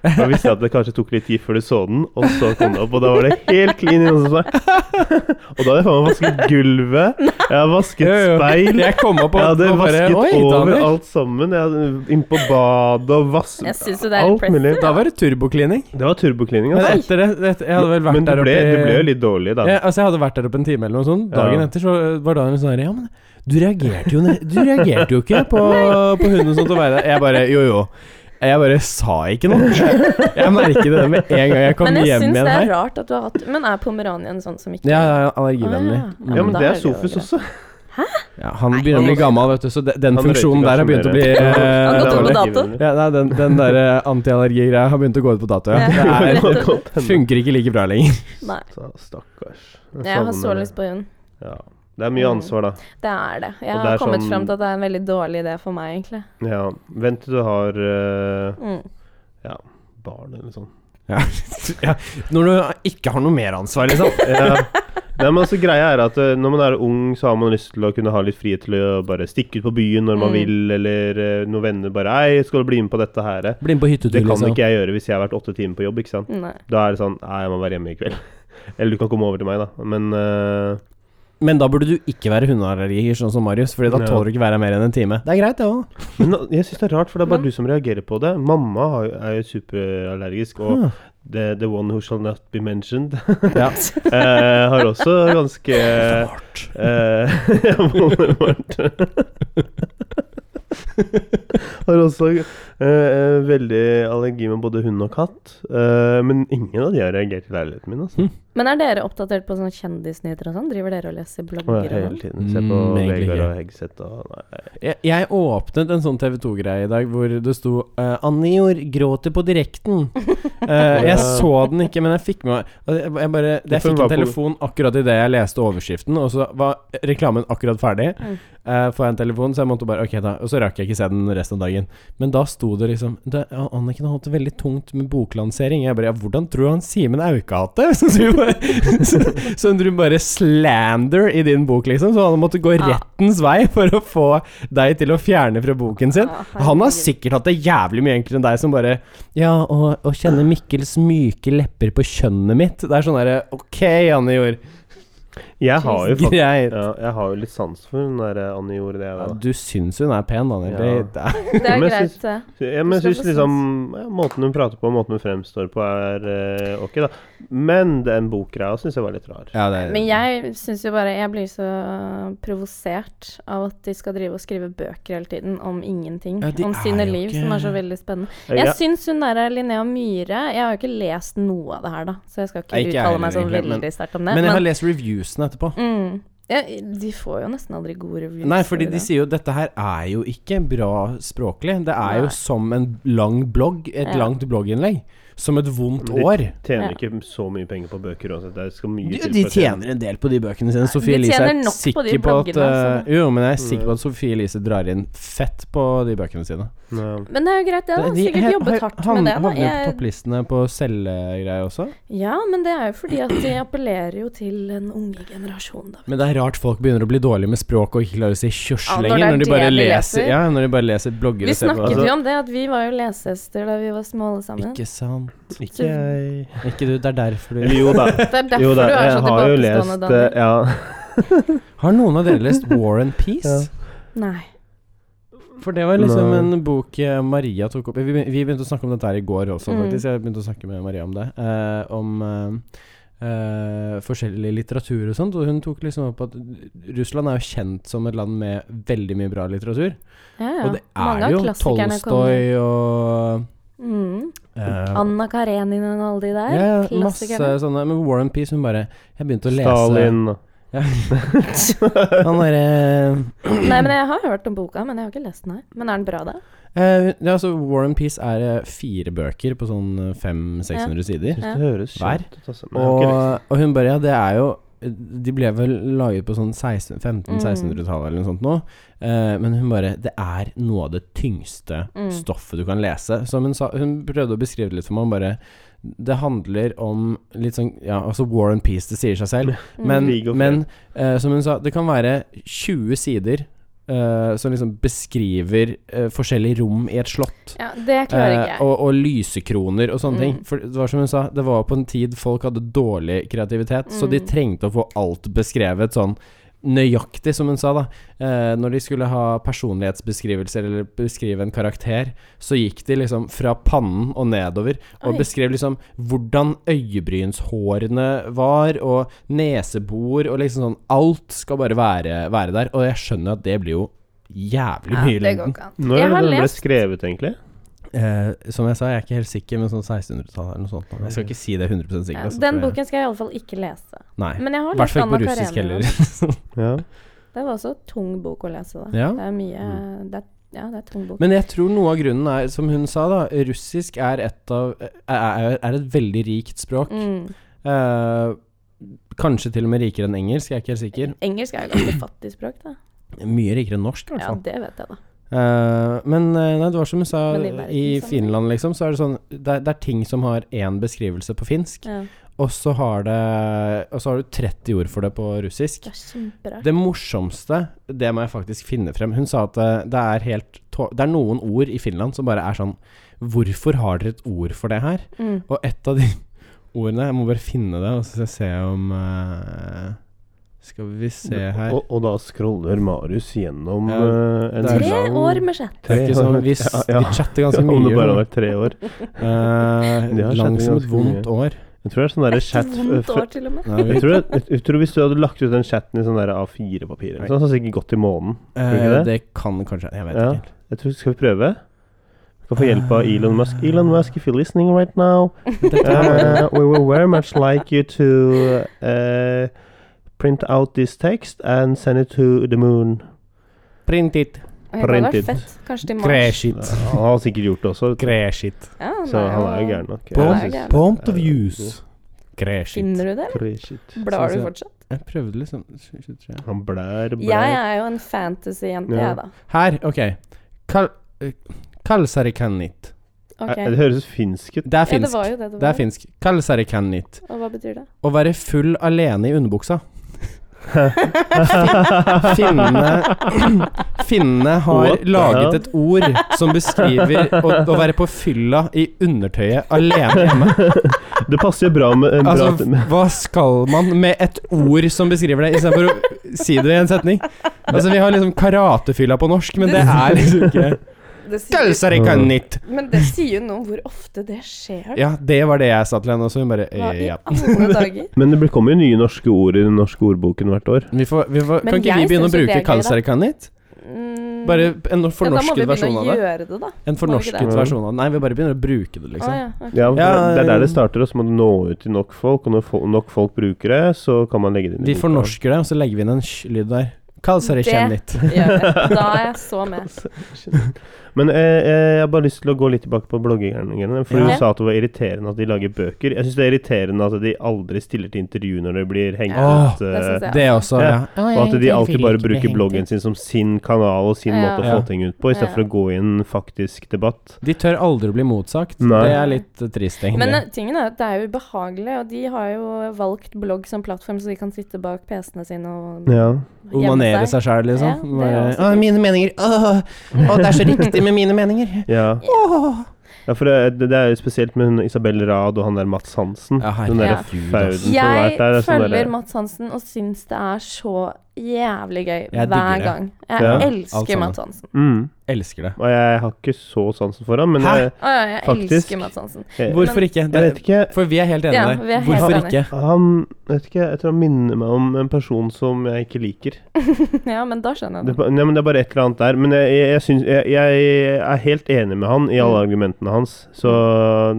S1: Da visste jeg at det kanskje tok litt tid før du så den, og så kom det opp, og da var det helt clean inne hos meg. og da hadde jeg faen meg vasket gulvet, jeg har vasket speil,
S3: Jeg kom opp og,
S1: jeg hadde
S3: og bare
S1: vasket
S3: Oi,
S1: over
S3: Daniel.
S1: alt sammen. Jeg hadde inn på badet og vask...
S2: Jeg synes jo det er impressive,
S3: Da var det turboklining.
S1: Det var turboklining,
S3: Men
S1: altså.
S3: etter det, det Jeg hadde vel vært
S1: Men du
S3: der
S1: ble,
S3: oppe i-
S1: du ble jo litt dårlig, da.
S3: ja, Altså, jeg hadde vært der oppe en time eller noe sånt.
S1: Ja.
S3: Dagen etter så var Daniel sånn her Ja, men du reagerte jo, ne- du reagerte jo ikke på, på hunden og sånt å være der. Jeg bare Jo, jo. Jeg bare sa ikke noe. Jeg, jeg merket det med en gang jeg kom
S2: Men jeg
S3: hjem
S2: syns
S3: igjen
S2: det er
S3: her.
S2: rart at du har hatt Men er pomeranien sånn som ikke
S3: Ja, ja, allergivennlig.
S2: Ah,
S3: Mm.
S1: Ja, men
S2: Da
S1: det er
S2: er
S1: sånn.
S2: det jo
S1: Sofus
S2: greit.
S1: også.
S3: Ja, han begynner å bli gammel, vet du, så de, den
S1: Han
S3: funksjonen
S1: røyker
S3: der har
S1: kanskje
S3: begynt å
S1: mer.
S3: bli
S2: Han har
S3: eh,
S2: gått
S3: dårlig.
S2: over
S1: Ja,
S2: dato.
S3: Ja, nei, den, den der eh, antiallergigreia har begynt å gå ut på dato, ja.
S2: Ja.
S3: Det
S1: det kan
S3: er,
S1: hende.
S3: funker ikke like bra lenger.
S2: Nei.
S1: Så, Stakkars.
S2: Jeg har så
S1: savner
S2: lyst
S1: det.
S2: på hund.
S1: Ja. Det er mye ansvar, da.
S2: Det er det. Jeg
S1: Og det
S2: har
S1: er
S2: kommet
S1: sånn-
S2: frem til at det er en veldig dårlig idé for meg, egentlig.
S1: Ja. Vent til du har eh,
S2: Mm.
S1: barn eller sånn. noe sånt.
S3: Ja. Ja. Når du ikke har noe mer ansvar, liksom.
S1: Ja. Nei, men altså Greia er at eh, når man er ung, så har man lyst til å kunne ha litt frihet til å bare stikke ut på byen når man
S2: Mm.
S1: vil, eller eh, noen venner bare 'Hei, skal du bli med på dette her?'
S3: Bli med på hyttetur,
S1: Det kan
S3: liksom.
S1: ikke jeg gjøre hvis jeg har vært åtte timer på jobb, ikke sant.
S2: Nei.
S1: Da er det sånn Nei, jeg må være hjemme i kveld. Eller du kan komme over til meg, da. Men eh,
S3: Men da burde du ikke være hundeallergiker, sånn som Marius, Fordi da
S1: Ja.
S3: tåler du ikke være her mer enn en time. Det er greit, det òg.
S1: men nå- jeg syns det er rart, for det er bare
S2: Men-
S1: du som reagerer på det. Mamma har jo- er jo superallergisk, og the, the One Who Shall Not Be Mentioned
S3: Ja.
S1: eh, har også ganske eh, ja, vonde barn. Har også eh, eh, veldig allergi med både hund og katt. Eh, men ingen av de har reagert i leiligheten min. Altså.
S2: Men er dere oppdatert på sånne kjendisnyheter og sånn? Driver dere og leser
S1: Og
S2: blogger
S1: jeg
S2: og
S1: hele
S2: sånn?
S1: tiden ser på
S3: Mm, egentlig
S1: Vegard
S3: ikke.
S1: og Hegseth og nei.
S3: Jeg, jeg åpnet en sånn TV2-greie i dag hvor det sto eh, Annior gråter på direkten. Eh, jeg så den ikke, men jeg fikk med meg jeg, jeg, bare, jeg
S1: Hvorfor
S3: fikk
S1: var
S3: en
S1: på-
S3: telefon akkurat idet jeg leste overskriften, og så var reklamen akkurat ferdig.
S2: Mm.
S3: Eh, får jeg en telefon, så jeg måtte bare Ok, da. Og så rakk jeg ikke se den resten av dagen. Men da sto det liksom det, ja, Anniken har hatt det veldig tungt med boklansering. Jeg bare Ja, hvordan tror du han Simen Auke har hatt det? Så du bare, så, så du bare slander i din bok, liksom. Så han måtte gå
S2: Ja.
S3: rettens vei for å få deg til å fjerne fra boken sin.
S2: Ja, herregud.
S3: Han har sikkert hatt det jævlig mye enklere enn deg som bare Ja, og, og kjenne Mikkels myke lepper på kjønnet mitt. Det er sånn derre Ok, Anne Jord.
S1: Jeg har jo faktisk
S3: Greit.
S1: Ja, jeg har jo litt sans for den der eh, Anne gjorde det.
S3: Ja,
S1: Da.
S3: du syns hun er pen, Daniel.
S1: Ja.
S3: Det, det er
S2: Det er
S1: Men jeg
S2: greit.
S1: syns-
S2: det.
S1: Så, ja, men jeg
S2: Du skal
S1: syns
S2: få
S1: liksom ja, Måten hun prater på, måten hun fremstår på, er eh, ok, da. Men den bokgreia syns jeg var litt rar.
S3: Ja, det er
S2: Men jeg syns jo bare Jeg blir så provosert av at de skal drive og skrive bøker hele tiden om ingenting.
S3: Ja, de
S2: om
S3: er
S2: sine
S3: jo
S2: liv,
S3: ikke-
S2: som er så veldig spennende.
S1: Eh,
S2: Jeg
S1: ja,
S2: syns hun der er Linnea Myhre Jeg har jo ikke lest noe av det her, da, så jeg skal ikke
S3: Nei, ikke jeg
S2: uttale meg så
S3: heller, egentlig, men-
S2: veldig sterkt om det.
S3: Men jeg har
S2: Men,
S3: lest reviewsene etterpå.
S2: mm, Ja, de får jo nesten aldri gode reviews.
S3: Nei, fordi de
S2: gjør det?
S3: sier jo dette her er jo ikke bra språklig. Det er
S2: Nei.
S3: jo som en lang blogg, et
S2: Ja.
S3: langt blogginnlegg. Som et vondt
S1: Men de
S3: år.
S1: Tjener
S2: Ja.
S1: ikke så mye penger på bøker uansett. Det skal mye
S3: De,
S1: til
S3: de
S1: for å tjene.
S3: tjener en del på de bøkene sine. Sofie
S2: de
S3: Elise
S2: tjener
S3: er
S2: nok på
S3: sikker på,
S2: de
S3: at
S2: bloggene, altså,
S3: eh, Jo, men jeg er sikker
S1: Mm.
S3: på at Sofie Elise drar inn fett på de bøkene sine.
S1: Ja.
S2: Men det er jo greit, det. da
S3: De-
S2: Sikkert
S3: he- har-
S2: jobbet hardt
S3: han-
S2: med det. da
S3: Havner jo på
S2: Jeg-
S3: topplistene på selgegreier også.
S2: Ja, men det er jo fordi at de appellerer jo til den unge generasjonen, da.
S3: Men det er rart folk begynner å bli dårlige med språk og ikke klarer å si kjørs
S2: Ja, når
S3: lenger.
S2: det er
S3: Når de
S2: det
S3: bare
S2: de
S3: leser,
S2: leser.
S3: ja, når de bare leser blogger
S2: Vi
S3: og ser på
S2: snakket
S1: altså-
S2: jo om det, at vi var jo lesehester da vi var små alle sammen.
S3: Ikke sant.
S1: Ikke jeg.
S3: Ikke du, det er derfor
S1: Eller
S3: du
S1: jo da.
S2: Det er derfor
S1: Jo da,
S2: du er
S1: jeg
S2: så
S1: har jo
S2: tilbakestående,
S1: lest eh,
S2: Daniel.
S1: Ja.
S3: Har noen av dere lest War and Peace?
S1: Ja.
S2: Nei.
S3: For det var liksom
S1: Nei.
S3: en bok eh, Maria tok opp Vi, vi begynte å snakke om dette her i går også,
S2: Mm.
S3: faktisk. Jeg begynte å snakke med Maria om det. eh, om eh, eh, forskjellig litteratur og sånt. Og hun tok liksom opp at Russland er jo kjent som et land med veldig mye bra litteratur.
S2: Ja, ja.
S3: Og det
S2: Mange
S3: er
S2: av
S3: jo
S2: klassikerne kommer.
S3: Tolstoy og
S2: Mm.
S3: eh,
S2: Anna Karenina og alle de der.
S3: ja, ja, masse
S2: klassikerne.
S3: sånne Men War and Peace, hun bare Jeg begynte å lese
S1: Stalin
S3: Han eh, derre
S2: Nei, men jeg har hørt om boka, men jeg har ikke lest den her. Men er den bra, da?
S3: eh, ja, altså War and Peace er eh, fire bøker på sånn 500-600 sider.
S1: Syns det høres
S3: Hver.
S1: kjent ut, altså. Men jeg har ikke lest.
S3: Og, og hun bare Ja, det er jo De ble vel laget på sånn 16 1500-1600-tallet eller noe sånt nå. Eh, men hun bare Det er noe av det tyngste
S2: Mm.
S3: stoffet du kan lese. Som hun sa Hun prøvde å beskrive det litt for meg. Hun bare Det handler om litt sånn Ja, altså War and Peace, det sier seg selv.
S2: Mm.
S3: Men,
S1: Krig og fred.
S3: men eh, som hun sa, det kan være 20 sider eh, som liksom beskriver eh, forskjellige rom i et slott.
S2: Ja, det klarer ikke
S3: Eh,
S2: jeg.
S3: og, og lysekroner og sånne ting.
S2: Mm.
S3: For det var som hun sa, det var på en tid folk hadde dårlig kreativitet, så de
S2: Mm.
S3: trengte å få alt beskrevet sånn nøyaktig, som hun sa, da. Eh, når de skulle ha personlighetsbeskrivelser eller beskrive en karakter, så gikk de liksom fra pannen og nedover og
S2: Oi.
S3: beskrev liksom hvordan øyebrynshårene var, og nesebor og liksom sånn Alt skal bare være, være der. Og jeg skjønner at det blir jo jævlig
S2: Ja,
S3: mye i
S2: det går
S3: lengden.
S2: ikke an.
S1: Når
S2: Jeg
S1: er
S2: har
S1: det den ble
S2: lest
S1: skrevet, egentlig?
S3: Eh, som jeg sa, jeg er ikke helt sikker, men sånn 1600-tallet eller noe sånt. Jeg skal ikke si det 100
S2: ja,
S3: sikkert. altså,
S2: Den
S3: for jeg-
S2: boken skal jeg iallfall ikke lese.
S3: Nei.
S2: Men jeg har
S3: I hvert
S2: lest
S3: fall
S2: Anna
S3: ikke på russisk
S2: Karenina.
S3: heller.
S1: Ja.
S2: Det var også tung bok å lese, da.
S3: Ja. Mm.
S2: Det er mye det er, Ja, det er tung bok.
S3: men jeg tror noe av grunnen er, som hun sa, da Russisk er et, av, er, er et veldig rikt språk.
S2: Mm.
S3: Eh, kanskje til og med rikere enn engelsk, jeg er ikke helt sikker.
S2: Engelsk er jo ganske fattig språk, da.
S3: Mye rikere enn norsk, i hvert
S2: Ja,
S3: fall.
S2: det vet jeg, da.
S3: Eh, men eh, nei, det var som hun sa,
S2: Men i verden
S3: i
S2: sammenheng.
S3: Finland, liksom, så er det sånn Det er, det er ting som har én beskrivelse på finsk,
S2: Ja.
S3: og så har det Og så har du 30 ord for det på russisk.
S2: Det er kjemperart.
S3: Det morsomste, det må jeg faktisk finne frem. Hun sa at eh, det er helt tå- Det er noen ord i Finland som bare er sånn Hvorfor har dere et ord for det her?
S2: Mm.
S3: Og et av de ordene Jeg må bare finne det, og så skal jeg se om eh, Skal vi se her
S1: Og, og da scroller Marius gjennom
S3: Ja,
S1: eh, en
S3: det er-
S2: Tre
S1: lang
S2: år med sjett.
S3: Det er ikke sånn, vi, s-
S1: Ja, ja.
S3: vi chatter ganske
S1: Om det
S3: mye.
S1: bare har
S3: nå.
S1: vært tre år.
S3: Eh,
S1: De har chattet
S3: lang som et
S1: ganske
S3: vondt år.
S1: Jeg tror det er sånn derre
S2: Et
S1: chat
S2: vondt
S1: f-
S2: år, til og med.
S3: Nei,
S1: jeg tror, det, jeg tror Hvis du hadde lagt ut den chatten i sånn der A4-papir, eller noe sånt, så hadde det sikkert gått i månen. ikke
S3: eh,
S1: det?
S3: det kan kanskje Jeg vet
S1: Ja.
S3: ikke.
S1: Jeg tror, skal vi prøve? Vi kan få hjelp
S3: Eh.
S1: av Elon Musk. Elon Musk, if you're listening right now, uh, we would very much like you to uh, print out this text and send it to the moon.
S3: Print it.
S2: Det hadde vært
S1: Printed.
S2: fett. Kanskje til mars.
S3: Crash it.
S1: Han har sikkert gjort det også,
S3: Crash it.
S2: Ja,
S1: så
S2: nei,
S1: han er jo
S2: og-
S1: gæren nok.
S2: Bom.
S1: Jeg synes-
S2: gæren.
S3: Point of use. Crash it.
S2: Finner du det?
S1: Shit.
S2: Blar
S3: Synes
S2: du
S3: jeg-
S2: fortsatt?
S3: Jeg prøvde liksom 23
S1: Han blær, blær.
S2: Jeg er jo en fantasy-jente,
S1: Ja.
S2: jeg, da.
S3: Her, ok. Kal eh, Kalsarikannit.
S2: Ok.
S1: Eh, Det høres finsk ut.
S3: Det er
S2: Ja, det
S3: finsk.
S2: var jo det det
S3: det er
S2: var.
S3: finsk. Kalsarikannit.
S2: Og hva betyr det?
S3: Å være full alene i underbuksa. Finnene Finnene har
S1: What the hell?
S3: laget et ord som beskriver å, å være på fylla i undertøyet alene hjemme.
S1: Det passer jo bra med en bra
S3: Altså, hva skal man med et ord som beskriver det, istedenfor å si det i en setning? Altså, vi har liksom karatefylla på norsk, men det er liksom ikke
S2: Det sier,
S3: Kalsarikannit.
S2: men det sier jo noe om hvor ofte det skjer.
S3: Ja, det var det jeg sa til henne også. Hun bare
S2: Hva
S3: eh,
S2: i
S3: ja.
S2: alle dager?
S1: Men det blir- kommer jo nye norske ord i den norske ordboken hvert år.
S3: Vi får, vi får,
S2: Men
S3: kan ikke vi
S2: jeg
S3: begynne å
S2: synes jo
S3: bruke
S2: det er gøy, da.
S3: kalsarikannit?
S2: mm,
S3: Bare en fornorsket versjon
S2: Ja,
S3: av det.
S2: da må vi begynne å gjøre det, da.
S3: En fornorsket
S1: det?
S3: versjon av det. Nei, vi bare begynner å bruke det,
S2: Å
S3: liksom.
S2: ja. ok.
S1: Ja, for
S3: Ja,
S1: det er der det
S3: eh,
S1: starter, og så må du nå ut til nok folk. Og når fo- nok folk bruker det, så kan man legge det inn i
S3: Vi
S1: boka.
S3: fornorsker det, og så legger vi inn en sj-lyd der. Kalsare
S2: Det-
S3: kjennit.
S2: Gjør det. Da er jeg så med.
S1: Men eh, eh, jeg har bare lyst til å gå litt tilbake på bloggerne. For
S2: Ja.
S1: du sa at det var irriterende at de lager bøker. Jeg syns det er irriterende at de aldri stiller til intervju når de blir hengt
S3: Ja.
S1: ut.
S2: Det
S1: eh,
S2: synes jeg.
S3: Det også, ja.
S1: og at de alltid bare bruker bloggen sin som sin kanal og sin
S2: Ja.
S1: måte å få
S3: Ja.
S1: ting ut på,
S2: Ja.
S1: istedenfor for å gå i en faktisk debatt.
S3: De tør aldri å bli motsagt.
S1: Nei.
S3: Det er litt eh, trist, egentlig.
S2: Men eh, tingen er at det er jo ubehagelig, og de har jo valgt blogg som plattform, så de kan sitte bak PC-ene sine og
S1: Ja.
S3: Onanere seg sjæl, liksom.
S2: Ja, det er
S3: Bare,
S2: også
S3: «Å,
S2: fint.»
S3: mine meninger. Åh, åh, det er så riktig med mine meninger.
S1: ja.
S3: Åh.
S1: Ja, for det, det- det er jo spesielt med hun Isabel Rad og han der Mats Hansen.
S3: Ja, herregud, altså.
S1: den der
S2: Ja.
S1: fauden som har
S2: Jeg
S1: vært der. er sånn
S2: følger
S1: der-
S2: Mats Hansen og syns det er så jævlig gøy
S3: digger
S2: hver
S3: det.
S2: gang. Jeg
S1: Ja.
S3: Alt
S2: elsker
S3: sammen.
S2: Mats Hansen.
S1: mm.
S3: Elsker det.
S1: Og jeg har ikke så sansen for ham, men
S3: Hæ?
S1: jeg,
S2: Å ja, jeg
S1: Faktisk.
S2: elsker Mats Hansen.
S1: jeg, jeg,
S3: Hvorfor ikke? Det,
S1: vet ikke
S3: for vi er helt enige
S2: Ja, vi er
S3: der.
S2: helt
S3: Hvorfor
S2: enige.
S3: ikke?
S1: Han vet ikke, jeg tror han minner meg om en person som jeg ikke liker.
S2: ja, men da skjønner
S1: Det, er
S2: jeg det.
S1: ba- nei, men det er bare et eller annet der. Men jeg, jeg, jeg, syns- jeg, jeg er helt enig med han i
S2: Mm.
S1: alle argumentene hans. Så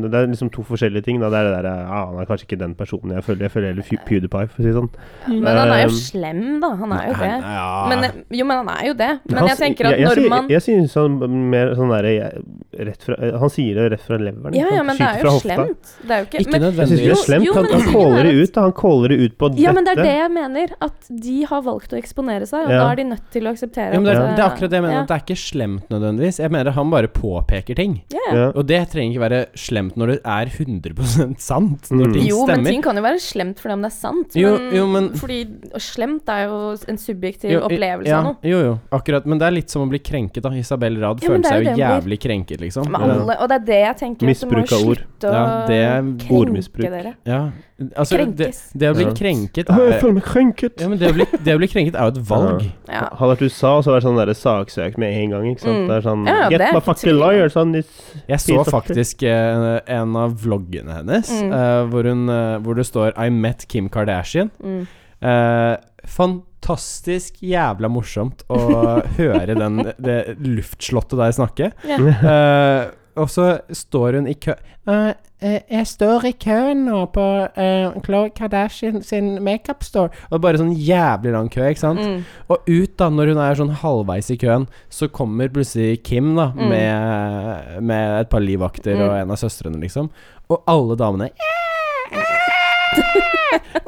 S1: det er liksom to forskjellige ting. Da. Det er det der ja, Han er kanskje ikke den personen jeg følger. Jeg følger heller Fu- PewDiePie, for å si det sånn.
S2: Men han
S1: Ehm,
S2: er jo slem, da. Han er jo det. Men,
S3: Ja.
S2: eh, jo, men han er jo det. Men
S1: Han
S2: jeg
S1: si-
S2: tenker at
S1: jeg,
S2: når
S1: jeg,
S2: man
S1: Jeg, jeg synes han mer sånn derre jeg- rett fra eh, Han sier det rett fra leveren.
S2: Ja,
S1: ikke
S2: ja,
S1: sant?
S2: men det
S1: Skyter
S2: er
S1: fra
S2: jo
S1: hofta.
S2: slemt. Det er jo ikke
S3: Ikke
S2: men,
S1: Jeg syns ikke det er
S3: nødvendigvis.
S2: Jo,
S1: slemt.
S2: jo,
S1: han,
S2: men
S1: han
S2: tingen
S1: caller
S2: er
S1: det
S2: at-
S1: ut. da. Han caller det ut på dette.
S2: Ja, men det er det jeg mener. At de har valgt å eksponere seg, og
S1: Ja.
S2: da er de nødt til å akseptere
S3: Jo, men det, er,
S2: at,
S3: det er akkurat det jeg mener.
S2: ja.
S3: at Det er ikke slemt nødvendigvis. Jeg mener han bare påpeker ting.
S2: Ja, ja.
S1: Ja.
S3: Og det trenger ikke være slemt når det er 100 sant. Når
S1: Mm.
S3: ting
S2: Jo, men
S3: stemmer.
S2: ting kan jo være slemt fordi om det er sant. Men,
S3: Jo, jo, men-
S2: Fordi og slemt er jo en subjektiv
S3: Jo, i-
S2: opplevelse
S3: ja,
S2: av noe.
S3: Jo, jo, akkurat. Men det er litt som å bli krenket, da. Isabel Rad
S2: Ja, men
S3: følte
S2: det er
S3: seg
S2: jo
S3: jo
S2: det hun
S3: jævlig krenket, liksom.
S2: Men
S1: Ja.
S2: alle, og det er det jeg tenker. at du må
S1: Misbruk av ord.
S2: slutte å
S3: Ja, det er
S1: ordmisbruk.
S2: krenke dere.
S3: Ja. Altså, det,
S2: Krenkes.
S3: det å bli
S1: Ja.
S3: krenket
S1: Å, Jeg
S3: er,
S1: føler meg krenket.
S3: ja, men det, å bli, det å bli krenket er jo et valg.
S2: Ja.
S1: Hadde vært USA, så hadde det vært sånn der saksøkt med en gang. ikke sant?
S2: Mm.
S1: Det er sånn
S2: Ja, ja,
S1: Get
S2: det er
S1: my
S2: ikke
S1: fucking
S2: tvil om.
S1: liar, son. It's
S3: Jeg så
S1: Fint sagt.
S3: faktisk eh, en av vloggene hennes
S2: Mm.
S3: eh, hvor, hun, eh, hvor det står I met Kim Kardashian.
S2: Mm.
S3: Eh, fantastisk jævla morsomt å høre den, det luftslottet der snakke.
S2: Ja.
S3: Eh, og så står hun i kø Eh, eh, Jeg står i køen nå på eh, Khloe Kardashian sin makeup store. Og det er bare sånn jævlig lang kø, ikke sant?
S2: Mm.
S3: Og ut, da, når hun er sånn halvveis i køen, så kommer plutselig Kim, da,
S2: Mm.
S3: med, med et par livvakter og
S2: Mm.
S3: en av søstrene, liksom. Og alle damene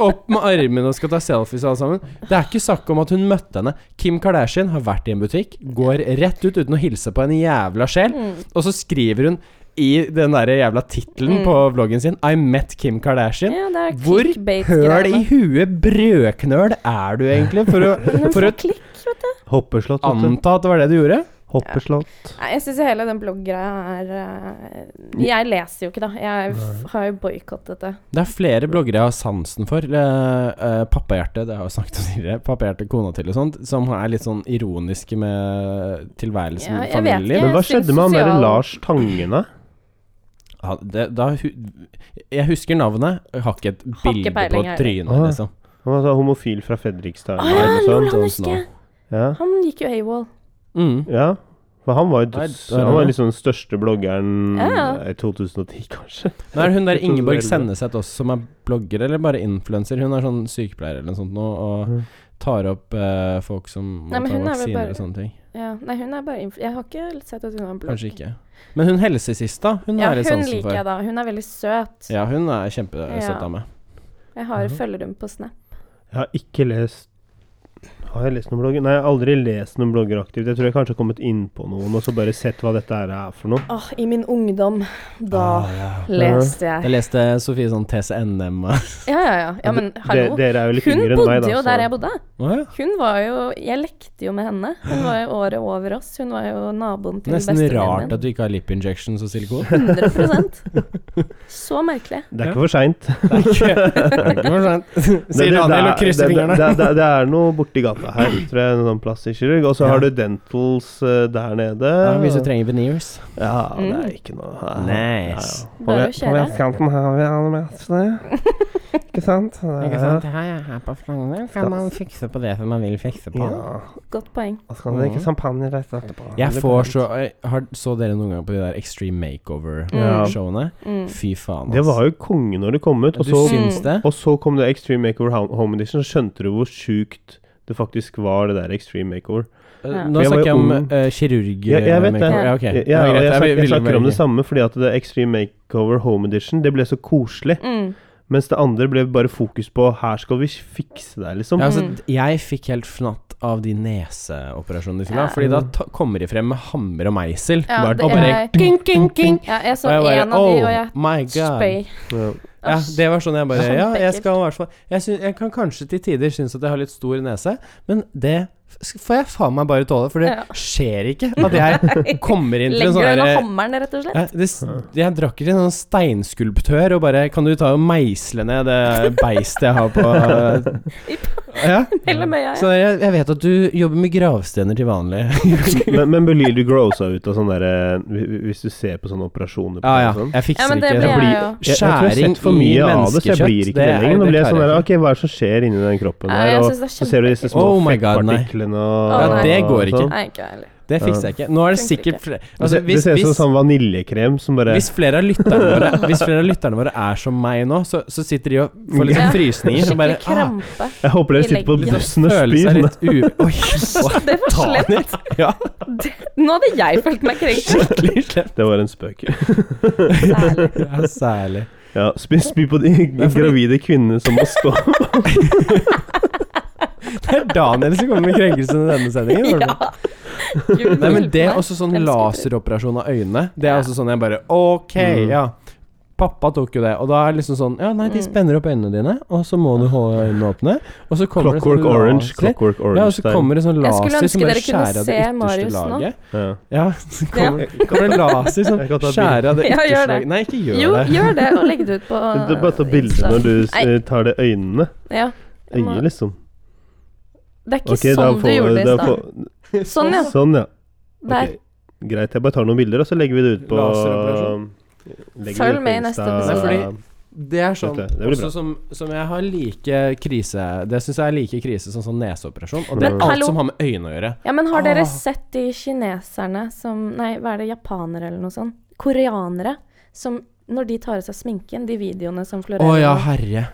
S3: Opp med armene og skal ta selfies og alle sammen. Det er ikke snakk om at hun møtte henne. Kim Kardashian har vært i en butikk, går rett ut uten å hilse på en jævla sjel,
S2: Mm.
S3: og så skriver hun i den der jævla tittelen
S2: Mm.
S3: på vloggen sin I met Kim Kardashian.
S2: ja, det er
S3: Hvor høl i huet brødknøl er du egentlig for å, for å
S2: klikk, vet du.
S1: Hoppeslott. vet du.
S3: anta at det var det du gjorde?
S1: Hoppeslott.
S2: Nei, jeg syns hele den bloggreia er eh, Jeg leser jo ikke, da. Jeg f- har jo boikottet det.
S3: Det er flere blogger jeg har sansen for. Eh, eh, Pappahjerte, det har jeg jo snakket om tidligere. Pappahjerte, kona til og sånt, som er litt sånn ironiske med tilværelsen
S2: Ja,
S3: i
S2: jeg vet
S3: familieliv.
S2: ikke.
S1: Men hva
S2: Jeg syns
S1: skjedde med han derre
S2: sosial-
S1: Lars Tangen, da?
S3: Ja, det, da, hu- jeg husker navnet, jeg har ikke et
S2: Har ikke
S3: bilde på
S2: peiling, jeg.
S3: trynet,
S1: Ah.
S3: liksom.
S1: Han var så homofil fra Fredrikstad.
S2: Å
S1: eller noe
S2: ja, lol,
S1: sånt.
S2: han
S3: Don't
S2: husker jeg.
S1: Ja.
S2: Han gikk jo AWOL.
S3: Mm.
S1: ja. For han var jo
S3: Nei,
S1: døds...
S3: der er
S1: Han var
S3: det.
S1: liksom den største bloggeren
S2: Ja, ja.
S1: eh, i 2010, kanskje.
S3: Men er det hun der
S1: Jeg tror
S3: Ingeborg
S1: det var eldre.
S3: Senneset også, som er blogger eller bare influenser? Hun er sånn sykepleier eller noe sånt nå, og
S1: Mhm.
S3: tar opp eh, folk som
S2: Nei,
S3: må
S2: men
S3: ta
S2: hun er vel
S3: vaksiner
S2: bare-
S3: og sånne ting.
S2: Ja, nei, hun er bare influ... Jeg har ikke sett at hun har en blogg.
S3: Kanskje ikke. Men hun helsesista, hun
S2: Ja,
S3: har jeg litt
S2: hun
S3: sansen
S2: liker
S3: for.
S2: jeg, da. Hun er veldig søt.
S3: Ja, Mhm. hun er kjempesøt
S2: Ja.
S3: dame.
S2: Jeg har, følger hun på Snap.
S1: Jeg har ikke lest Har jeg lest noen blogger? Nei, jeg har aldri lest noen blogger aktivt. Jeg tror jeg kanskje har kommet inn på noen og så bare sett hva dette her er for noe.
S2: Åh, i min ungdom, da
S3: Ah,
S2: leste jeg
S3: Jeg leste Sofie sånn TCNM og
S2: Ja, ja, ja. ja men hallo.
S1: De- Dere er jo litt
S2: Hun
S1: yngre enn meg, da.
S2: bodde jo
S1: så-
S2: der jeg bodde.
S3: Å ja.
S2: Hun var jo Jeg lekte jo med henne. Hun var jo året over oss. Hun var jo naboen til
S3: Nesten rart
S2: bestevennen
S3: at du ikke har lip injections og silikon.
S2: min. 100 Så merkelig.
S1: Det er ikke for seint.
S3: Det er ikke, det er ikke for sent.
S1: Det-
S3: Sier
S1: det- det
S3: Daniel
S1: er-
S3: og krysser
S1: det- det-
S3: fingrene.
S1: Det, det, det er noe borti gata her, tror jeg. En sånn plastikkirurg. Og så har du Dentals eh, der nede.
S3: Ja, hvis du trenger veneers.
S1: Ja, det
S2: Mm.
S1: er ikke noe her. Ja,
S3: Nice.
S1: ja.
S2: Bare å kjøre.
S1: vestkanten har vi alle med det. Ikke sant? Det er-
S3: Ikke sant? Her, jeg er her på Frogner kan man fikse på det som man vil fikse på.
S1: Ja.
S2: Godt poeng.
S1: Og så kan dere
S3: Mm.
S1: drikke champagne rett etterpå.
S3: Jeg får så jeg har, Så dere noen gang på de der Extreme
S2: Ja.
S3: Makeover-showene?
S2: Mm.
S3: Fy faen,
S1: Det var jo konge når det kom ut. Og
S3: Du
S1: så,
S3: syns det?
S1: og så kom det Extreme Makeover Ho- Home Edition, og skjønte du hvor sjukt det faktisk var, det der Extreme Makeover.
S2: Ja.
S3: Nå
S1: Jeg var
S3: snakker jeg om
S1: ung.
S3: eh, kirurg...
S1: Ja, jeg vet det.
S3: makeover. Ja, ok.
S1: Jeg, jeg,
S3: Ja, greit.
S1: jeg,
S3: Jeg
S1: snakker,
S3: ville
S1: jeg snakker om
S3: bare-
S1: det samme, fordi at det Extreme Makeover Home Edition Det ble så koselig.
S2: Mm.
S1: Mens det andre ble bare fokus på 'her skal vi fikse deg', liksom.
S3: Ja, altså,
S2: Mm.
S3: jeg fikk helt fnatt av de neseoperasjonene de skulle
S2: Ja.
S3: ha. Fordi da ta, kommer de frem med hammer og meisel.
S2: Ja,
S3: Bare-
S2: det-
S3: og bare
S2: jeg-
S3: king, king, king.
S2: Ja, jeg så
S3: Og jeg bare
S2: en av de, og
S3: Oh
S2: jeg
S3: my god.
S2: spøy.
S1: Ja.
S3: Ja,
S2: Asj.
S3: det var sånn jeg bare
S2: Sånn
S3: Ja, jeg
S2: ekkelt.
S3: skal i hvert fall jeg, syn- jeg kan kanskje til tider synes at jeg har litt stor nese, men det f- får jeg faen meg bare tåle, for det
S2: Ja.
S3: skjer ikke at jeg kommer inn til en
S2: Legger
S3: sånn
S2: du under
S3: derre
S2: hammeren, rett og slett?
S3: jeg, det, s- jeg drakk ikke en sånn steinskulptør og bare Kan du ta og meisle ned det beistet jeg har på Ja.
S2: Eller med jeg?
S3: Så jeg, jeg vet at du jobber med gravstener til vanlig.
S1: Men, men blir du grossa ut av sånn derre Hvis du ser på sånne operasjoner på
S3: Ja, ja.
S1: og sånn?
S3: Jeg
S2: Ja,
S3: fikser
S2: men det
S3: ikke
S2: blir
S1: Jeg
S2: jeg
S1: blir-
S2: jo.
S1: Jeg, jeg tror jeg har sett for mye av det, så jeg blir ikke det lenger. Nå blir jeg sånn der Ok, hva er det som skjer inni den kroppen
S2: Nei,
S1: her?
S2: jeg
S1: Og
S2: synes det er
S1: så ser du disse små
S3: Oh my God, nei.
S1: fettpartiklene og
S2: Ja, det
S3: går ikke.
S1: sånn.
S2: Nei, ikke jeg heller.
S3: Det fikser jeg ikke. Nå er det
S2: Funker
S3: sikkert
S2: ikke.
S3: flere altså,
S1: Det-
S3: hvis,
S1: det ser ut som
S3: hvis,
S1: sånn vaniljekrem som bare
S3: hvis, flere av lytterne våre, hvis flere av lytterne våre er som meg nå, så, så sitter de og får litt
S2: Ja.
S3: sånn frysninger. Og
S2: Skikkelig
S3: bare ah,
S2: krampe.
S1: Jeg håper dere
S2: i
S1: sitter på
S2: leggen.
S1: bussen og
S3: føler
S1: spyr.
S3: seg
S1: men-
S3: litt u... Oi, hva?
S2: Det var slemt.
S3: Daniel? Ja,
S2: Nå hadde jeg følt meg krenket.
S3: skikkelig slemt.
S1: Det var en spøk.
S2: Særlig.
S3: Ja, særlig.
S1: Ja, spy, spy på de gravide kvinnene som må stå
S3: Det er Daniel som kommer med krenkelsene i denne sendingen.
S2: Ja. Gud,
S3: Nei, men det er
S2: hjelpe meg.
S3: også sånn
S2: Elsker
S3: laseroperasjon av øynene. Det er
S2: Ja.
S3: også sånn jeg bare Ok,
S1: Mm.
S3: ja. Pappa tok jo det, og da er det liksom sånn Ja, nei, de
S2: Mm.
S3: spenner opp øynene dine, og så må du holde øynene åpne. Og så kommer
S1: Clockwork
S3: det sånn
S1: Orange.
S3: laser.
S1: Clockwork
S3: Ja, og så
S1: Orange-stein.
S3: kommer det sånn
S2: Jeg skulle
S3: laser som
S2: ønske
S3: bare
S2: dere kunne
S3: skjærer av det
S2: se
S3: ytterste
S2: Marius nå.
S3: laget.
S1: Ja.
S3: Ja, så kommer, kommer det laser som
S1: Jeg kan ta bilde.
S3: skjærer av det
S2: Ja, gjør
S3: ytterste
S2: det.
S3: laget. Nei, ikke gjør
S2: Jo,
S3: det.
S2: gjør det, og legg det ut på
S1: Det er bare å ta bilde når du s-
S2: Nei.
S1: tar det øynene.
S2: Ja. Jeg må-
S1: Øyet, liksom.
S2: Det er ikke
S1: Ok, da
S2: sånn du
S1: får-
S2: gjorde det
S1: da
S2: i stad.
S1: får-
S2: Sånn, ja.
S1: Sånn, ja.
S2: Der.
S1: Ok, Greit. Jeg bare tar noen bilder, og så legger vi det ut på
S3: Laseroperasjon.
S1: legger
S2: Følg
S1: det ut på
S2: med i neste
S1: Insta.
S2: episode.
S3: Nei, fordi- Det er sånn
S1: Dette, det blir bra.
S3: også som, som jeg har like krise Det syns jeg er like krise som sånn neseoperasjon. Og
S1: Men
S3: det er alt
S2: hallo.
S3: som har med øynene å gjøre.
S2: Ja, men har
S3: Ah.
S2: dere sett de kineserne som Nei, hva er det, japanere eller noe sånt? Koreanere som Når de tar av seg sminken, de videoene som
S3: Å
S2: florerer
S3: ja,
S2: nå.
S3: herre.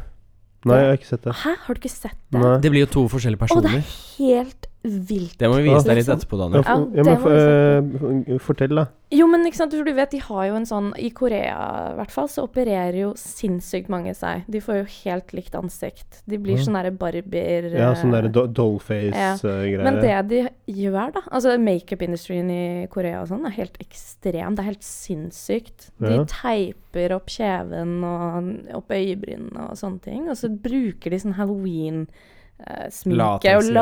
S1: Nei, jeg har ikke sett det.
S2: Hæ, har du ikke sett det?
S1: Nei.
S3: Det blir jo to forskjellige
S2: Å, det
S3: personer.
S2: er helt vilt.
S3: Det må vi vise deg litt
S2: Liksom.
S3: etterpå,
S1: Ja,
S3: Daniel.
S1: for,
S2: Ja,
S1: ja,
S2: det
S1: men
S2: må
S1: for, eh, fortell, da.
S2: Jo, men ikke sant, for du vet, de har jo en sånn I Korea, i hvert fall, så opererer jo sinnssykt mange seg. De får jo helt likt ansikt. De blir
S1: Ja.
S2: sånn derre barber...
S1: Mm. Ja, sånn
S2: eh,
S1: der do- eh, dollface-greier.
S2: Ja. Men det de gjør, da Altså makeup-industrien i Korea og sånn er helt ekstrem. Det er helt sinnssykt. De
S1: Ja.
S2: teiper opp kjeven og opp øyebrynene og sånne ting. Og så bruker de sånn halloween-sminke og
S3: Lateksgreier, liksom.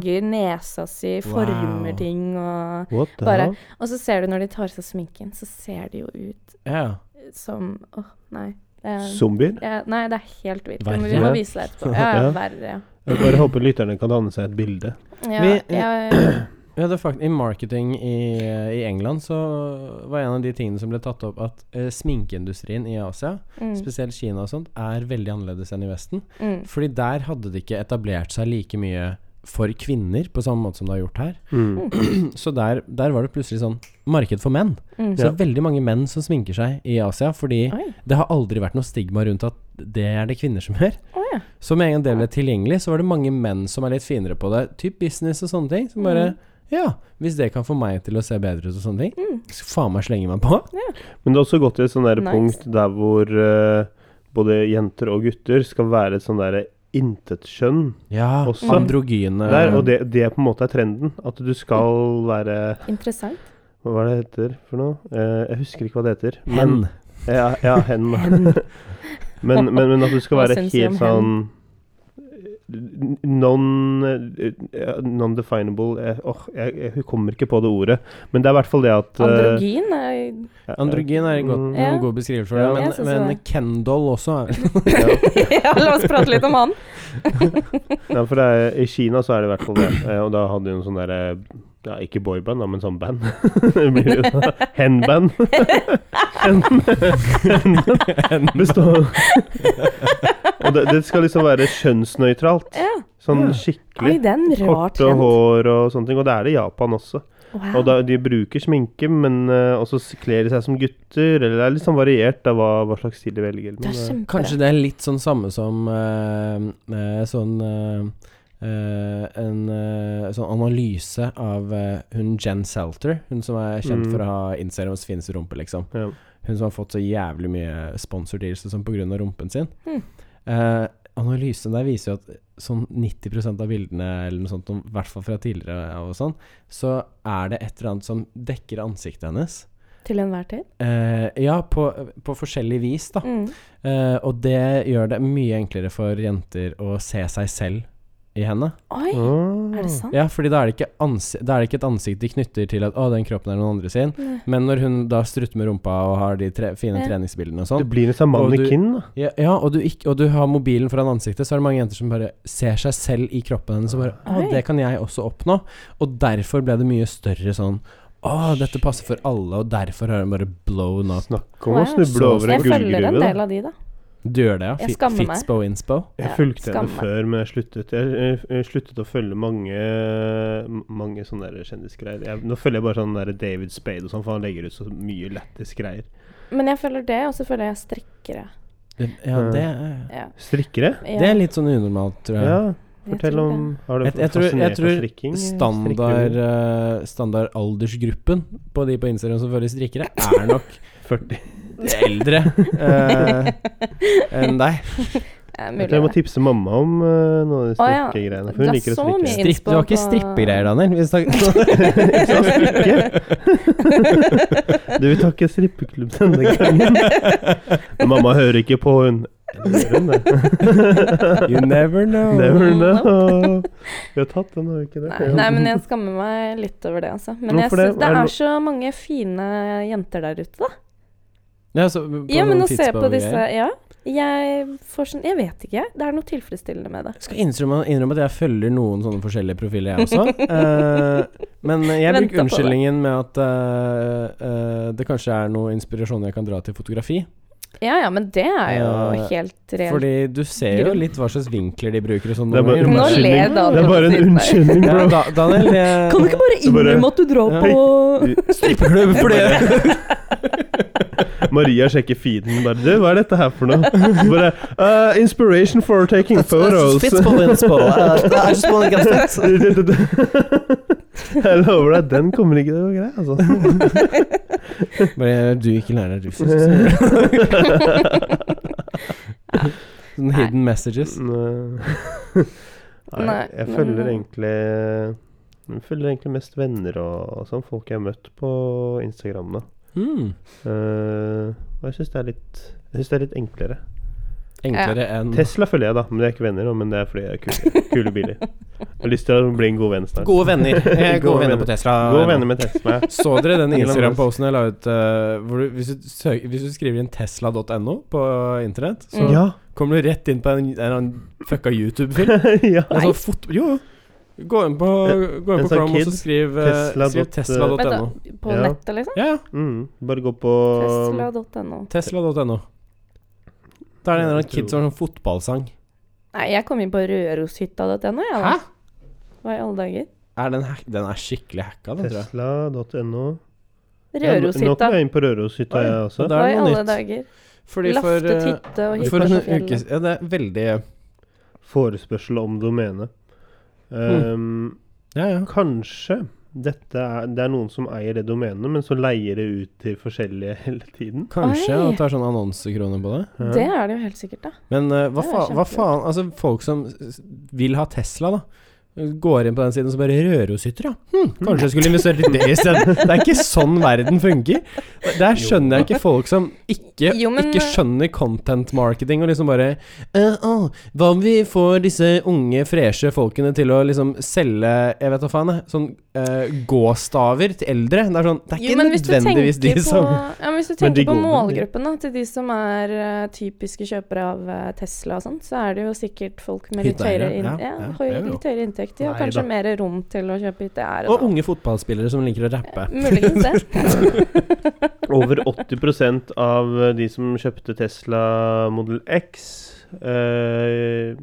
S2: lager nesa si, former
S3: Wow.
S2: ting og
S1: What the
S2: Bare-
S1: hell?
S2: Og så ser du når de tar av seg sminken, så ser de jo ut
S3: Ja.
S2: som Åh, nei. Det er,
S1: Zombier?
S2: ja, nei, det er helt vilt.
S3: Verre.
S2: Men vi må vise deg etterpå. Ja, ja,
S1: Ja.
S2: verre.
S1: Jeg bare håper lytterne kan danne seg et bilde.
S2: Ja,
S3: Vi-
S2: jeg,
S3: Vi hadde fakt I marketing i, i England så var en av de tingene som ble tatt opp, at eh, sminkeindustrien i Asia,
S2: mm,
S3: spesielt Kina og sånt, er veldig annerledes enn i Vesten.
S2: mm.
S3: Fordi der hadde det ikke etablert seg like mye for kvinner på samme måte som det har gjort her.
S1: Mm.
S3: Så der, der var det plutselig sånn marked for menn.
S2: Mm.
S3: Så det er veldig mange menn som sminker seg i Asia, fordi
S2: Oi.
S3: det har aldri vært noe stigma rundt at det er det kvinner som gjør.
S2: Å ja.
S3: Så med en gang det ble tilgjengelig, så var det mange menn som er litt finere på det. Typ business og sånne ting. Som
S2: Mm.
S3: bare Ja, hvis det kan få meg til å se bedre ut og sånne ting,
S2: Mm.
S3: så faen meg slenge meg på.
S1: Men det har også gått til et sånn der
S2: Nice.
S1: punkt der hvor eh, både jenter og gutter skal være et sånn derre intetkjønn
S3: Ja,
S1: Også.
S3: androgyne
S1: der, og det, det på en måte er trenden. At du skal være
S2: Interessant.
S1: Hva er det det heter for noe? Eh, jeg husker ikke hva det heter.
S3: hen.
S1: Men, ja, ja, hen. men, men, men at du skal
S2: Hva
S1: være
S2: syns du
S1: helt
S2: om
S1: sånn du, non, eh, Non-definable eh, Åh, jeg, jeg kommer ikke på det ordet. Men det er i hvert fall det at eh,
S2: Androgyn er
S1: ja, eh,
S3: Androgyn er en god,
S1: Mm.
S2: Ja.
S3: en god beskrivelse for
S1: Ja.
S3: det,
S2: Jeg
S3: men,
S2: synes
S3: men
S2: det.
S3: Kendal også er
S2: Ja, la oss prate litt om han.
S1: Nei, for det er, I Kina så er det i hvert fall det. Eh, Og da hadde de en sånn derre ja, Ikke boyband, da, men sånn band. Det blir jo sånn Henband. Hen- Består Og det, det skal liksom være kjønnsnøytralt.
S2: Ja.
S1: Sånn
S2: Oi,
S1: skikkelig.
S2: det er en rar
S1: Korte
S2: trend.
S1: hår og sånne ting. Og det er det i Japan også.
S2: Wow.
S1: Og da, de bruker sminke, men eh, også s- kler de seg som gutter. Eller det er litt sånn variert da, hva, hva slags stil de velger.
S2: det
S1: Men,
S2: er
S1: eh,
S2: kjempebra.
S3: Kanskje det er litt sånn samme som eh, eh, sånn eh, eh, en eh, sånn analyse av eh, hun Jen Selter, hun som er kjent
S1: Mm.
S3: for å ha Instagrams fins rumpe, liksom.
S1: Ja.
S3: Hun som har fått så jævlig mye sponsordeals og sånn pga. rumpen sin.
S2: Mm.
S3: Eh, analysen der viser jo at sånn 90 av bildene, eller noe sånt, i hvert fall fra tidligere, og sånn, så er det et eller annet som dekker ansiktet hennes.
S2: Til enhver tid.
S3: Eh, ja, på, på forskjellig vis, da.
S2: Mm.
S3: Eh, og det gjør det mye enklere for jenter å se seg selv i henne.
S2: Oi,
S1: ah.
S2: er det sant?
S3: Ja, fordi da er det ikke, ansi da er det ikke et ansikt de knytter til at 'å, den kroppen er noen andre sin',
S2: Nei.
S3: men når hun da strutter med rumpa og har de tre fine
S2: Ja.
S3: treningsbildene og
S1: Det
S3: sånn
S1: blir en sånn
S3: Og du-
S1: mannekin, da.
S3: ja, ja, og, du ikke, og du har mobilen foran ansiktet, så er det mange jenter som bare ser seg selv i kroppen hennes og bare 'Å,
S2: Oi.
S3: det kan jeg også oppnå'. Og derfor ble det mye større sånn 'Å, dette passer for alle', og derfor har hun bare blown up.
S1: Snakk om å
S2: Wow.
S1: snuble
S3: Så-
S1: over en
S2: Jeg følger en
S1: gullgruve. da.
S2: del av de, da.
S3: Du gjør det, ja?
S2: Jeg
S3: Fi-
S2: skammer meg.
S3: Fitspo inspo?
S1: Jeg
S2: Ja,
S1: fulgte
S2: skam
S1: henne
S2: meg.
S1: før, men jeg sluttet Jeg, jeg, jeg sluttet å følge mange Mange sånne der kjendisgreier. Jeg, nå følger jeg bare sånn der David Spade og sånn, for han legger ut så mye lættis greier.
S2: Men jeg føler det, og så føler jeg strekkere.
S3: Ja,
S1: Mm.
S3: det er
S2: Ja.
S1: Strikkere?
S2: Ja,
S3: Det er litt sånn unormalt, tror jeg.
S1: Ja,
S2: jeg
S1: fortell
S2: tror
S1: om
S2: det.
S1: Har du
S3: Jeg- jeg tror- jeg
S1: fascinert av
S3: tror
S1: strikking?
S3: Standard,
S1: Strikker
S3: eh, standard aldersgruppen på de på Instagram som følger strikkere, er nok
S1: 40.
S3: eldre eh, enn deg.
S2: Det er
S1: Jeg tror jeg må
S2: mulig. det.
S1: tipse mamma om eh, noen av de
S2: Å, ja.
S1: strikkegreiene.
S2: Det
S1: For
S2: er
S1: hun liker å
S2: så
S1: strikke.
S2: mye.
S3: Stripp, du har ikke strippegreier, Daniel? Vi snakker-
S1: Du vil takke strippeklubb denne gangen. Men mamma hører ikke på, hun. Eller gjør hun det?
S3: You never know.
S1: Never know. Vi har tatt den, har vi ikke det?
S2: Mm. Nei, nei, men jeg skammer meg litt over det, altså. Men jeg
S1: Hvorfor det?
S2: synes det
S1: Er det no-
S2: er så mange fine jenter der ute, da.
S3: Ja, så på
S2: Ja, men
S3: sånn
S2: å se på disse
S3: tidsbogreier.
S2: Ja. Jeg får sånn Jeg vet ikke, jeg. Det er noe tilfredsstillende med det.
S3: Jeg skal innrømme, innrømme at jeg følger noen sånne forskjellige profiler, jeg også. Eh, men jeg
S2: Venta på
S3: bruker
S2: det.
S3: unnskyldningen med at eh, eh, det kanskje er noe inspirasjon jeg kan dra til fotografi.
S2: Ja ja, men det er jo
S3: Ja,
S2: helt reelt.
S3: Eh, Fordi du ser jo
S2: grunn.
S3: litt hva slags vinkler de bruker og sånn.
S1: Det er bare
S3: noen
S1: en
S3: ganger.
S2: Nå ler
S1: unnskyldning.
S2: Daniel
S1: Det er bare en unnskyldning, bro.
S3: Ja, da,
S2: sitt der.
S3: Daniel, jeg,
S2: Kan du ikke bare
S1: Du bare-
S2: innrømme at du drar
S3: Ja.
S2: på
S3: Strippeklubb for det!
S1: Maria sjekker feeden bare Du, hva er dette her for noe? Så Bare, «Uh, inspiration for taking photos. Jeg lover deg, den kommer ikke til å gå grei, altså.
S3: Bare du ikke lærer deg russisk. så- Sånn hidden messages.
S1: Nei. Nei,
S2: Nei,
S1: jeg
S2: men- eh,
S1: følger egentlig jeg følger egentlig mest venner og, og sånn, folk jeg har møtt på Instagram. da
S3: Hmm.
S2: Mm.
S1: Eh, Og jeg syns det er litt Jeg synes det er litt enklere.
S3: Enklere enn
S1: Tesla følger jeg, da, men det er ikke venner. nå, Men det er fordi jeg er kule, kule biler. Jeg har lyst til å bli en god venn snart.
S3: Gode venner. Eh,
S1: Gode
S3: Gode venner på
S1: venner.
S3: Tesla.
S1: Gode venner med Tesla.
S3: Så dere den
S1: Elon
S3: Instagram-posten jeg la ut? eh, hvor du, hvis, du søker, hvis du skriver inn tesla.no på internett, så
S2: Mm.
S1: Ja.
S3: kommer du rett inn på en, en eller annen fucka YouTube-film.
S1: ja.
S3: Det er sånn fot jo, jo. Gå inn på, gå inn
S1: En
S3: på
S1: sånn
S3: Chrome og
S1: kid.
S3: så skriv eh,
S1: Tesla
S3: skriv
S1: dot-
S3: tesla.no.
S2: Vent da, På
S1: Ja.
S2: nettet, liksom?
S3: ja, ja.
S1: Mm. Bare gå på
S2: Tesla.no.
S3: Tesla.no. Da er det en eller annen kid som har sånn fotballsang.
S2: Nei, jeg kom inn på røroshytta.no, jeg, da. Hva i alle dager?
S3: Er den, hack den er skikkelig hacka, den, tror jeg.
S1: Tesla.no. Ja, nå- nå
S2: Røroshytta.
S1: kom jeg inn på Røroshytta,
S3: Oi.
S1: jeg også.
S3: Da
S2: Hva
S3: er
S2: i
S3: det noe
S2: alle
S3: nytt.
S2: dager?
S3: Fordi for,
S2: Laftet
S3: eh,
S2: hytte og
S3: for en
S2: hytta på
S3: uke
S2: fjellet.
S3: siden Ja, det er veldig
S1: Forespørsel om domene.
S2: Mm.
S1: Um,
S3: Ja, ja.
S1: Kanskje dette er, det er noen som eier det domenet, men så leier det ut til forskjellige hele tiden.
S3: Kanskje
S2: Oi.
S3: at det er sånn annonsekroner på det.
S1: Ja.
S2: Det er det jo helt sikkert, da.
S3: Men eh, hva,
S2: Det er
S3: fa hva
S2: kjempelurt.
S3: faen Altså, folk som s- vil ha Tesla, da. Går inn på den siden og så bare Røroshytter, ja. Hm,
S2: Hmm.
S3: kanskje jeg skulle investert i det isteden. Det er ikke sånn verden funker. Der skjønner jeg ikke folk som ikke,
S2: Jo, men- eh,
S3: ikke skjønner content marketing og liksom bare eh, å, Hva om vi får disse unge, freshe folkene til å liksom selge Jeg vet da faen, jeg. Sånn eh, gåstaver til eldre. Det er sånn Det er
S2: Jo,
S3: ikke
S2: men hvis du
S3: nødvendigvis de
S2: tenker på-
S3: som
S2: ja, men Hvis du
S1: Men de
S2: tenker på
S1: går med det.
S2: målgruppen da, til de som er eh, typiske kjøpere av eh, Tesla og sånn, så er det jo sikkert folk med litt
S3: Hytteeiere,
S2: høyere, inn,
S3: ja,
S2: ja,
S3: ja,
S2: høy,
S3: det er jo.
S2: litt høyere inntekt de,
S1: Nei
S2: og
S1: da.
S2: kanskje mer rom til å kjøpe hytte. Er
S3: Og unge fotballspillere som liker å rappe.
S2: Muligens det.
S1: Over 80 av eh, de som kjøpte Tesla Model X, eh,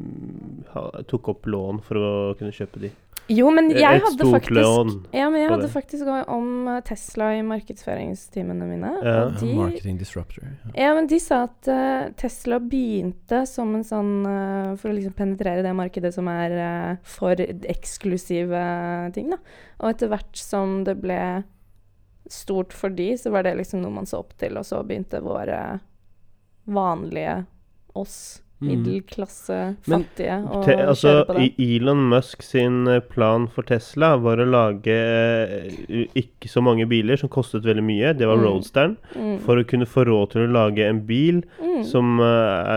S1: ha- tok opp lån for å kunne kjøpe de.
S2: Jo, men jeg
S1: Et
S2: hadde
S1: stort
S2: faktisk
S1: lån.
S2: ja, men jeg
S1: på
S2: hadde
S1: det.
S2: faktisk også om eh, Tesla i markedsføringstimene mine.
S1: Ja.
S2: Og de
S3: Marketing disruptor. Ja.
S2: Ja, men de sa at eh, Tesla begynte som en sånn eh, For å liksom penetrere det markedet som er eh, for eksklusive ting, da. Og etter hvert som det ble stort for de, så var det liksom noe man så opp til, og så begynte våre vanlige oss,
S3: Mm.
S2: middelklasse,
S3: Men
S2: fattige, å
S1: Te, altså,
S2: kjøre på det.
S1: I- Elon Musk sin eh, plan for Tesla var å lage eh, ikke så mange biler som kostet veldig mye. Det var
S2: Mm.
S1: Roadsteren.
S2: Mm.
S1: For å kunne få råd til å lage en bil
S2: Mm.
S1: som eh,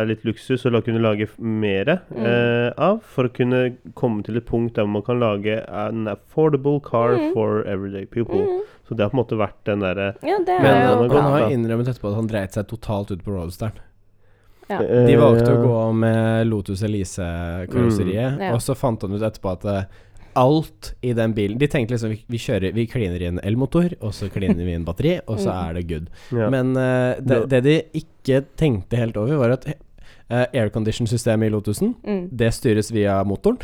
S1: er litt luksus, og la kunne lage mer
S2: Mm.
S1: av. For å kunne komme til et punkt der man kan lage an affordable car
S2: Mm.
S1: for everyday people.
S2: Mm.
S1: Så det har på en måte vært den derre
S2: Ja, det
S1: Men den
S2: er jo
S1: var
S3: Men
S2: bra.
S3: han
S1: god.
S3: har
S1: da.
S3: innrømmet etterpå at han dreit seg totalt ut på Roadsteren.
S2: Ja.
S1: eh,
S3: De valgte å gå med Lotus Elise-karosseriet,
S2: Mm. Ja.
S3: og så fant han ut etterpå at eh, alt i den bilen De tenkte liksom vi, vi kjører Vi kliner i en elmotor, og så kliner vi i en batteri, og så
S2: Mm.
S3: er det good.
S1: ja.
S3: Men eh, det, det de ikke tenkte helt over, var at eh, aircondition-systemet i Lotusen
S2: Mm.
S3: det styres via motoren.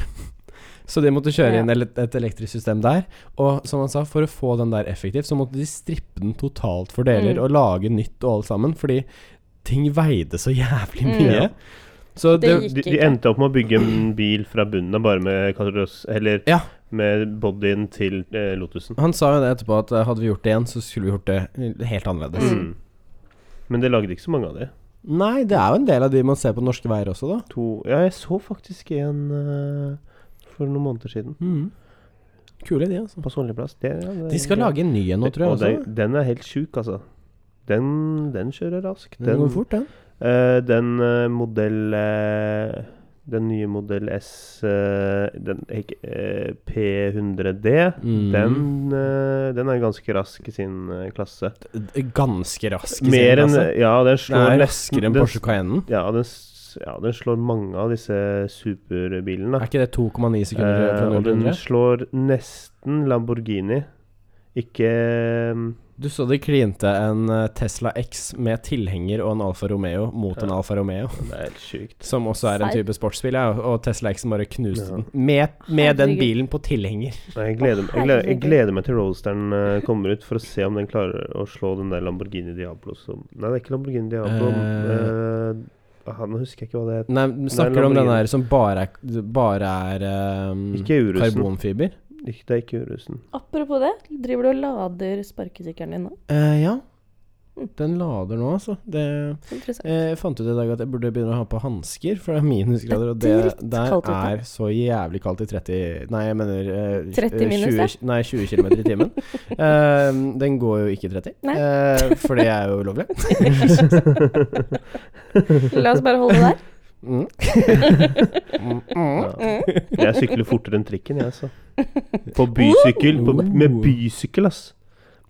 S3: Så de måtte kjøre
S2: Ja.
S3: inn ele- et elektrisk system der. Og som han sa, for å få den der effektivt, så måtte de strippe den totalt for deler
S2: Mm.
S3: og lage nytt og alt sammen, fordi ting veide så jævlig
S2: Mm.
S3: mye.
S1: Ja.
S3: Så det,
S2: Det gikk
S1: de, de endte opp med å bygge en bil fra bunnen av, bare med kaross... Eller
S3: Ja.
S1: med bodyen til eh, Lotusen.
S3: Han sa jo det etterpå, at eh, hadde vi gjort det igjen, så skulle vi gjort det helt annerledes.
S2: Mm.
S1: Mm. Men det lagde ikke så mange av de.
S3: Nei, det er jo en del av de man ser på norske veier også, da.
S1: To Ja, jeg så faktisk en eh, for noen måneder siden.
S3: Kule de, altså.
S1: På Solliplass. Det- ja, det-
S3: Mm. De skal lage en ny en nå, tror
S1: Og
S3: jeg.
S1: den, den er helt sjuk, altså. Den, den kjører raskt.
S3: Også. Den går fort, den.
S1: Eh, den eh, modell eh, Den nye modell S eh, Den ikke, eh, P100D.
S3: Mm.
S1: Den, eh, den er ganske rask i sin eh, klasse.
S3: D- Ganske rask. i sin
S1: Mer enn
S3: klasse.
S1: Ja, den
S3: Den
S1: slår
S3: er
S1: nesten-
S3: raskere enn
S1: den-
S3: Porsche Cayenne.
S1: Ja den, s- ja, den slår mange av disse superbilene.
S3: Er ikke det 2,9 sekunder
S1: Eh,
S3: fra
S1: og den
S3: 0
S1: slår nesten Lamborghini. Ikke mm,
S3: Du så de klinte en eh, Tesla X med tilhenger og en Alfa Romeo mot en
S1: Ja.
S3: Alfa Romeo,
S1: Det er helt sjukt.
S3: som også er en
S2: Serr?
S3: type sportsbil, ja, og- og Tesla X-en bare knuste
S1: Ja.
S3: den. Med, med den
S2: Herregud.
S3: bilen på tilhenger.
S1: Nei, Jeg gleder, meg- jeg, gleder, jeg gleder meg til Roadsteren eh, kommer ut, for å se om den klarer å slå den der Lamborghini Diablo som Nei, det er ikke Lamborghini Diablo. eh, ah, nå husker jeg ikke hva det het.
S3: Nei, du snakker om den
S1: Lamborghini.
S3: der som bare er, bare er eh,
S1: Ikke Urusen.
S3: karbonfiber?
S1: Ikke, det er ikke Urusen.
S2: Apropos det, driver du og lader sparkesykkelen din nå?
S3: Eh, ja.
S2: Mm.
S3: Den lader nå, altså. Det
S2: Interessant.
S3: Eh, Jeg fant ut i dag at jeg burde begynne å ha på hansker, for det er minusgrader, og
S2: Det
S3: det
S2: er
S3: der
S2: dritkaldt ute.
S3: er så jævlig kaldt i 30 Nei, jeg mener eh,
S2: 30
S3: eh,
S2: minus,
S3: 20, Nei, 20 km i timen. Eh, den går jo ikke 30,
S2: Nei.
S3: eh, for det er jo ulovlig.
S2: La oss bare holde det der.
S3: Mm. Mm, mm.
S1: Ja. Jeg sykler fortere enn trikken, jeg, altså. På bysykkel. På, med bysykkel, ass.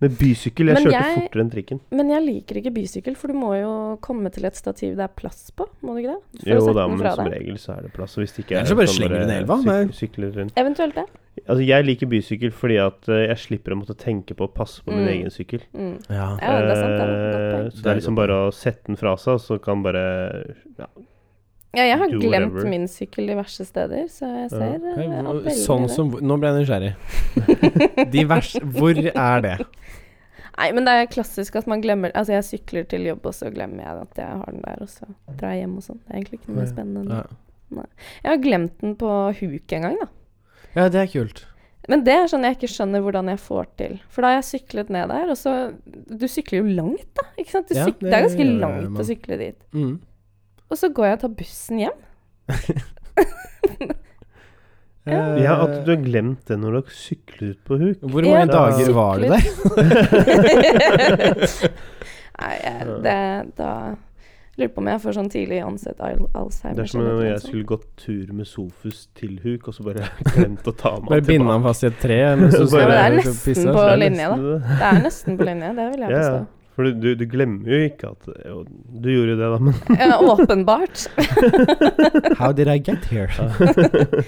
S1: Med bysykkel. Jeg
S2: Men
S1: kjørte
S2: jeg-
S1: fortere enn trikken.
S2: Men jeg liker ikke bysykkel, for du må jo komme til et stativ det er plass på, må du ikke det? For å
S1: Jo
S2: sette
S1: da,
S2: den
S1: men
S2: fra
S1: som
S2: deg.
S1: regel så er det plass. Og hvis det ikke er
S3: Ellers så bare
S1: sånn
S3: slenger du den i elva,
S1: syk-
S3: men-
S1: Sykler rundt
S2: Eventuelt det.
S1: Altså, jeg liker bysykkel fordi at eh, jeg slipper å måtte tenke på å passe på min
S2: Mm.
S1: egen sykkel.
S2: Mm.
S3: Ja.
S2: Ja, det er sant. Det
S1: Eh,
S2: er et godt poeng.
S1: Så det er liksom bare å sette den fra seg, og så kan bare ja.
S2: Ja, jeg har
S1: do
S2: glemt
S1: whatever.
S2: min sykkel diverse steder, så jeg
S1: Ja.
S2: ser eh, jeg
S3: Hei,
S2: har veldig
S3: Sånn
S2: det.
S3: som Nå ble jeg nysgjerrig. De vers, hvor er det?
S2: Nei, men det er klassisk at man glemmer Altså, jeg sykler til jobb, og så glemmer jeg at jeg har den der, og så drar jeg hjem og sånn. Det er egentlig ikke noe
S1: Ja.
S2: spennende. enn det.
S3: Ja,
S2: Jeg har glemt den på huk en gang, da.
S3: ja det er kult.
S2: Men det er sånn jeg ikke skjønner hvordan jeg får til. For da har jeg syklet ned der, og så Du sykler jo langt, da. Ikke sant? Du
S3: Ja,
S2: syk,
S3: det
S2: det er ganske
S3: gjør
S2: langt
S3: man.
S2: å sykle dit.
S3: Mm.
S2: Og så går jeg og tar bussen hjem.
S3: Eh,
S1: Ja, at du har glemt det når du har syklet ut på huk.
S3: Hvor mange
S2: Ja,
S3: dager
S1: syklet.
S3: var du der?
S2: Nei, jeg, det, da lurer på om jeg får sånn tidlig onset al-
S1: Det
S2: Alzheimer.
S1: er som
S2: eller
S1: når
S2: noe
S1: jeg
S2: sånt.
S1: skulle gått tur med Sofus til huk, og så bare glemt å ta med
S3: Bare binde han fast i et tre? Mens du
S1: Bare-
S3: står
S1: Ja,
S3: der
S2: men det er
S3: og
S2: nesten
S3: pisser.
S2: på
S3: Det er
S2: linje,
S3: nesten-
S2: da. Det er nesten på linje, det vil jeg
S1: Ja,
S2: påstå.
S1: For du, du, du glemmer jo ikke at jo, Du gjorde jo det, da, men
S2: Ja, åpenbart.
S3: How did I get here?
S1: I don't know.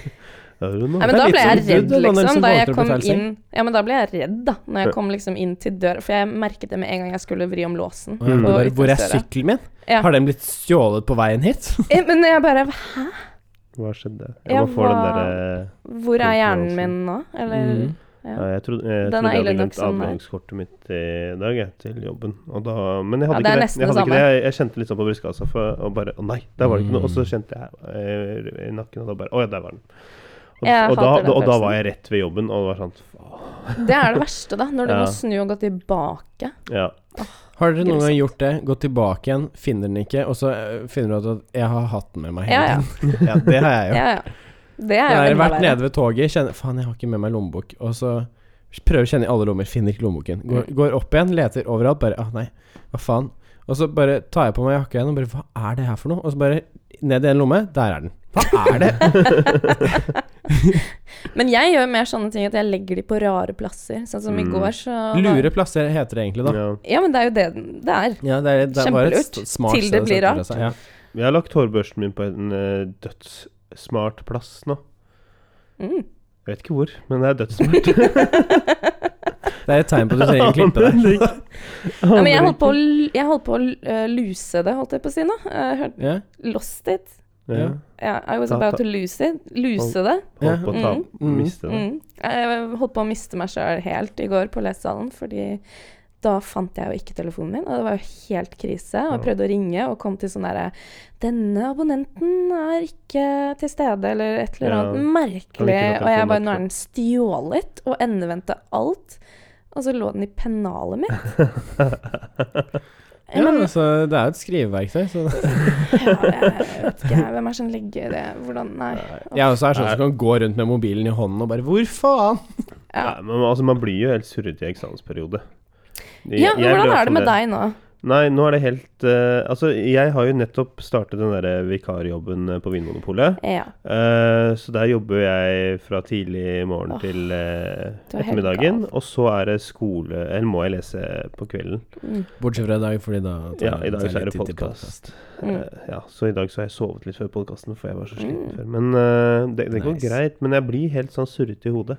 S2: Nei, men
S3: Det er
S2: da
S3: litt sånn som
S2: ble jeg
S3: Dudd,
S2: redd,
S3: eller noen
S2: liksom.
S3: som
S2: Da
S3: våger
S2: jeg
S3: å
S2: kom
S3: betale seg.
S2: inn Ja, men da ble jeg redd, da. Når
S1: Ja.
S2: jeg kom liksom inn til dør For jeg merket det med en gang jeg skulle vri om låsen.
S3: Og jeg
S1: Mm.
S2: på
S3: bare, Hvor er
S2: ytterdøra.
S3: sykkelen min?
S2: Ja.
S3: Har den blitt stjålet på veien hit?
S2: Eh, Men jeg bare
S1: Hva skjedde? Jeg,
S2: Jeg
S1: må få den
S2: var-
S1: derre ja,
S2: Hvor er hjernen min nå? Eller
S3: Mm.
S2: ja.
S1: Jeg trodde jeg, trodde
S2: Den er
S1: jeg hadde
S2: ille nok
S1: glemt
S2: som eh, den er.
S1: adgangskortet mitt i dag, jeg, til jobben. Og da, men jeg hadde
S2: Ja,
S1: ikke
S2: det er
S1: det.
S2: nesten
S1: Jeg, hadde
S2: det
S1: ikke det. jeg, jeg kjente litt sånn på brystkassa for, og bare Å nei, der var det ikke noe.
S3: Mm.
S1: Og så kjente jeg eh, i nakken, og da bare Å ja, der var den. Og,
S2: Jeg
S1: og, da,
S2: hater den
S1: og da
S2: følelsen.
S1: var jeg rett ved jobben, og det var sånn faen.
S2: Det er det verste, da. Når du
S1: Ja.
S2: må snu og gå tilbake.
S1: Ja.
S3: Har dere noen gang
S2: Grusomt.
S3: gjort det? Gått tilbake igjen, finner den ikke, og så eh, finner du ut at 'jeg har hatt den med meg'?
S2: Ja, ja.
S3: ja det har jeg gjort.
S2: ja, ja. Det er
S3: Jeg
S2: jo
S3: har
S2: enda
S3: vært
S2: verre.
S3: nede ved toget, kjenner Faen, jeg har ikke med meg lommebok. Og så prøver å kjenne i alle lommer, finner ikke lommeboken. Går,
S2: Mm.
S3: går opp igjen, leter overalt, bare Ah, nei, hva faen. Og så bare tar jeg på meg jakka igjen og bare Hva er det her for noe? Og så bare ned i en lomme, der er den. Hva er det?
S2: Men jeg gjør mer sånne ting at jeg legger de på rare plasser. Sånn som i
S1: Mm.
S2: går, så
S3: Lure plasser heter det egentlig, da.
S1: ja.
S2: Ja, men det er jo det den- det er.
S3: Ja, det, er, det var et
S2: Kjempelurt.
S3: st- smart
S2: Til det
S3: sted å
S2: blir
S3: sette
S2: rart.
S3: seg, Ja.
S1: Jeg har lagt hårbørsten min på en eh, dødssmart plass nå.
S2: Mm.
S1: Jeg vet ikke hvor, men det er dødssmart.
S3: Det er et tegn på at du trenger å klippe deg.
S2: Ja, men jeg holdt på å, l- jeg holdt på å l- eh, luse det, holdt jeg på å si nå. Jeg hørte
S3: Ja.
S2: Lost it.
S1: ja.
S2: Ja, I was
S1: Ta-
S2: about
S1: ta-
S2: to lose it. Luse det.
S1: Holdt på å ta,
S3: Mm.
S1: miste det.
S2: Mm. Jeg holdt på å miste meg sjøl helt i går på lesesalen, fordi da fant jeg jo ikke telefonen min, og det var jo helt krise. Og jeg prøvde å ringe og kom til sånn derre 'Denne abonnenten er ikke til stede', eller et eller
S1: Ja.
S2: annet
S1: Kan ikke
S2: merkelig.
S1: ta
S2: Og jeg bare
S1: telefonen
S2: 'Nå er den stjålet', og endevendte alt. Og så lå den i pennalet mitt.
S3: ja,
S2: Men
S3: altså, det er jo et skriveverktøy, så
S2: ja, jeg vet ikke hvem er det som legger det Hvordan Nei.
S3: Jeg også er sånn som kan gå rundt med mobilen i hånden og bare Hvor faen?
S1: Ja.
S2: Ja.
S1: men altså, man blir jo helt surrete i eksamensperiode. Jeg-
S2: Ja,
S1: jeg ble
S2: men hvordan er
S1: iallfall
S2: det med deg nå?
S1: Nei, nå er det helt eh, Altså, jeg har jo nettopp startet den derre vikarjobben eh, på Vinmonopolet.
S2: Ja.
S1: Eh, så der jobber jeg fra tidlig morgen
S2: Åh,
S1: til eh,
S2: du er helt
S1: ettermiddagen.
S2: gal.
S1: Og så er det skole Eller må jeg lese på kvelden?
S2: Mm.
S3: Bortsett fra i dag, fordi da tar
S1: Ja, i dag
S3: tar
S1: så er
S3: litt
S1: det
S3: tid til
S1: podkast.
S2: Mm.
S1: Eh, Ja, så i dag så har jeg sovet litt før podkasten, for jeg var så sliten
S2: Mm.
S1: før. Men eh, det, det går
S3: Nice.
S1: greit. Men jeg blir helt sånn surrete i hodet.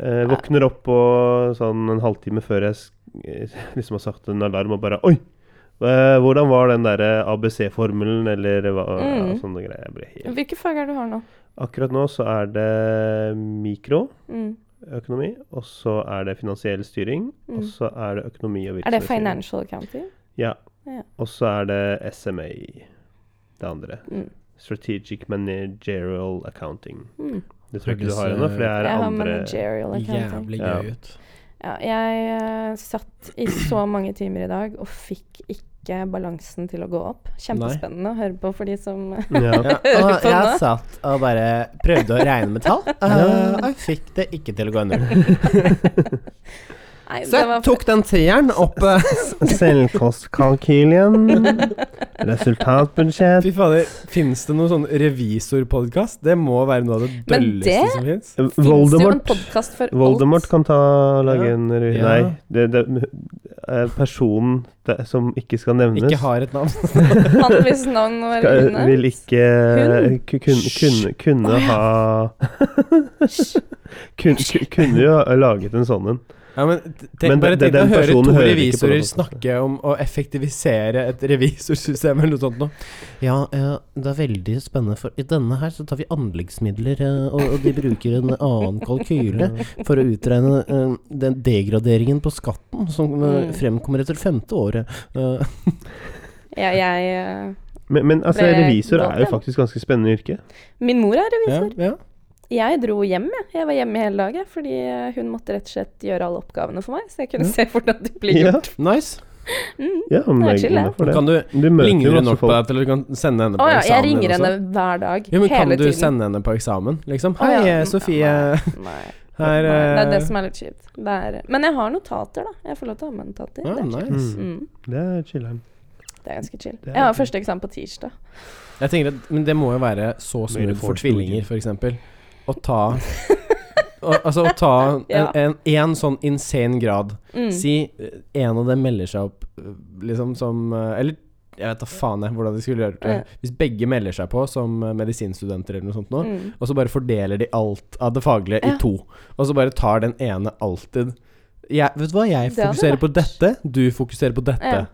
S1: Eh, våkner opp og sånn en halvtime før jeg sk- eh, liksom har sagt en alarm, og bare Oi! eh, hvordan var den derre ABC-formelen, eller hva ja,
S2: Mm.
S1: sånne greier. Jeg blir helt
S2: Hvilke fag er det du har nå?
S1: Akkurat nå så er det mikroøkonomi,
S2: Mm.
S1: og så er det finansiell styring, og
S2: Mm.
S1: så er det økonomi og
S2: Er det
S1: virksomhetsstyring.
S2: financial accounting?
S1: Ja.
S2: Ja.
S1: Og så er det SMA, det andre.
S2: Mm.
S1: Strategic Managerial Accounting.
S2: Mm.
S1: Det tror jeg ikke du
S3: Høres,
S1: har ennå, for det er
S2: Jeg har
S1: andre
S2: managerial accounting.
S3: Jævlig
S1: Ja.
S3: gøy ut.
S2: Ja, jeg eh, satt i så mange timer i dag og fikk ikke balansen til å gå opp. Kjempespennende å høre på for de som
S1: ja.
S3: Ja,
S2: Hører
S3: og
S2: på
S3: jeg
S2: nå.
S3: satt og bare prøvde å regne med tall, eh, og fikk det ikke til å gå i null.
S2: Nei,
S3: Så jeg tok den treeren opp eh,
S1: Selvkostkalkylien. Resultatbudsjett.
S3: Fy fader, fins det noen sånn revisorpodkast? Det må være noe av det
S2: Men
S3: dølleste
S2: det-
S3: som fins.
S2: Fins det jo en
S1: Voldemort.
S2: podkast for
S1: Voldemort
S2: alt?
S1: kan ta lage
S3: Ja.
S1: en revy.
S3: Ja.
S1: Nei, det, det, eh, personen det, som ikke skal nevnes,
S3: Ikke har et navn.
S2: Han hvis navn var
S1: skal, eh,
S2: inne.
S1: vil ikke eh,
S2: Hun?
S1: ku- kun- kunne, kunne
S2: Å, ja.
S1: ha
S2: Hysj.
S1: kun, ku- Kunne jo ha laget en sånn en.
S3: Ja, men tenk
S1: Men
S3: bare
S1: det- det-
S3: tenk å
S1: den
S3: høre
S1: personen
S3: to
S1: hører ikke på
S3: revisorer
S1: den podcasten.
S3: snakke om å effektivisere et revisorsystem eller noe sånt noe. Ja, eh, det er veldig spennende, for i denne her så tar vi anleggsmidler, eh, og de bruker en annen kalkyle for å utregne eh, den degraderingen på skatten som
S2: eh, Mm.
S3: fremkommer etter femte året. Eh,
S2: Ja, jeg eh,
S1: Men, men altså,
S2: Ble
S1: revisor
S2: godt,
S1: er jo
S2: ja.
S1: faktisk ganske spennende yrke.
S2: Min mor er revisor.
S3: ja, ja.
S2: Jeg dro hjem, jeg. Jeg var hjemme hele dagen fordi eh, hun måtte rett og slett gjøre alle oppgavene for meg, så jeg kunne
S3: Ja.
S2: se hvordan de ble gjort.
S3: Nice.
S1: Ja, men
S2: Det
S1: det
S2: er
S1: er
S2: chill, det.
S1: glad for det.
S3: Kan du,
S1: Du møter jo
S3: Ringer du
S1: masse
S3: nok på
S1: folk.
S3: deg til at du kan sende henne
S2: Å
S3: på
S2: ja, jeg
S3: eksamen?
S2: ringer
S3: eller noe
S2: henne
S3: sånt?
S2: hver dag.
S3: Ja, men
S2: hele
S3: Kan du
S2: tiden.
S3: sende henne på eksamen, liksom?
S2: Å,
S3: Hei,
S2: ja.
S3: eh, Sofie.
S2: Nei,
S3: Her
S2: nei, det er det
S3: eh,
S2: som er litt kjipt. Det er, men jeg har notater, da. Jeg får lov til å ha med notater.
S3: ja,
S2: det, er chill.
S3: nice.
S1: Mm.
S2: mm,
S1: Det er chiller'n.
S2: det er ganske chill.
S1: Det er
S2: Jeg har
S1: chill.
S2: første eksamen på tirsdag.
S3: Jeg tenker at, Men det må jo være så smooth for
S1: forstudie.
S3: tvillinger, f.eks. Å ta å, Altså å ta en,
S2: Ja.
S3: en, en sånn insane grad.
S2: Mm.
S3: Si eh, en av dem melder seg opp, eh, liksom som eh, Eller jeg vet da faen jeg hvordan de skulle gjøre det.
S2: Ja.
S3: Hvis begge melder seg på som eh, medisinstudenter eller noe sånt nå,
S2: Mm.
S3: Og så bare fordeler de alt av det faglige
S2: Ja.
S3: i to. Og så bare tar den ene alltid jeg, Vet du hva, jeg
S2: Det hadde
S3: fokuserer på
S2: vært-
S3: dette, du fokuserer på dette.
S2: Ja.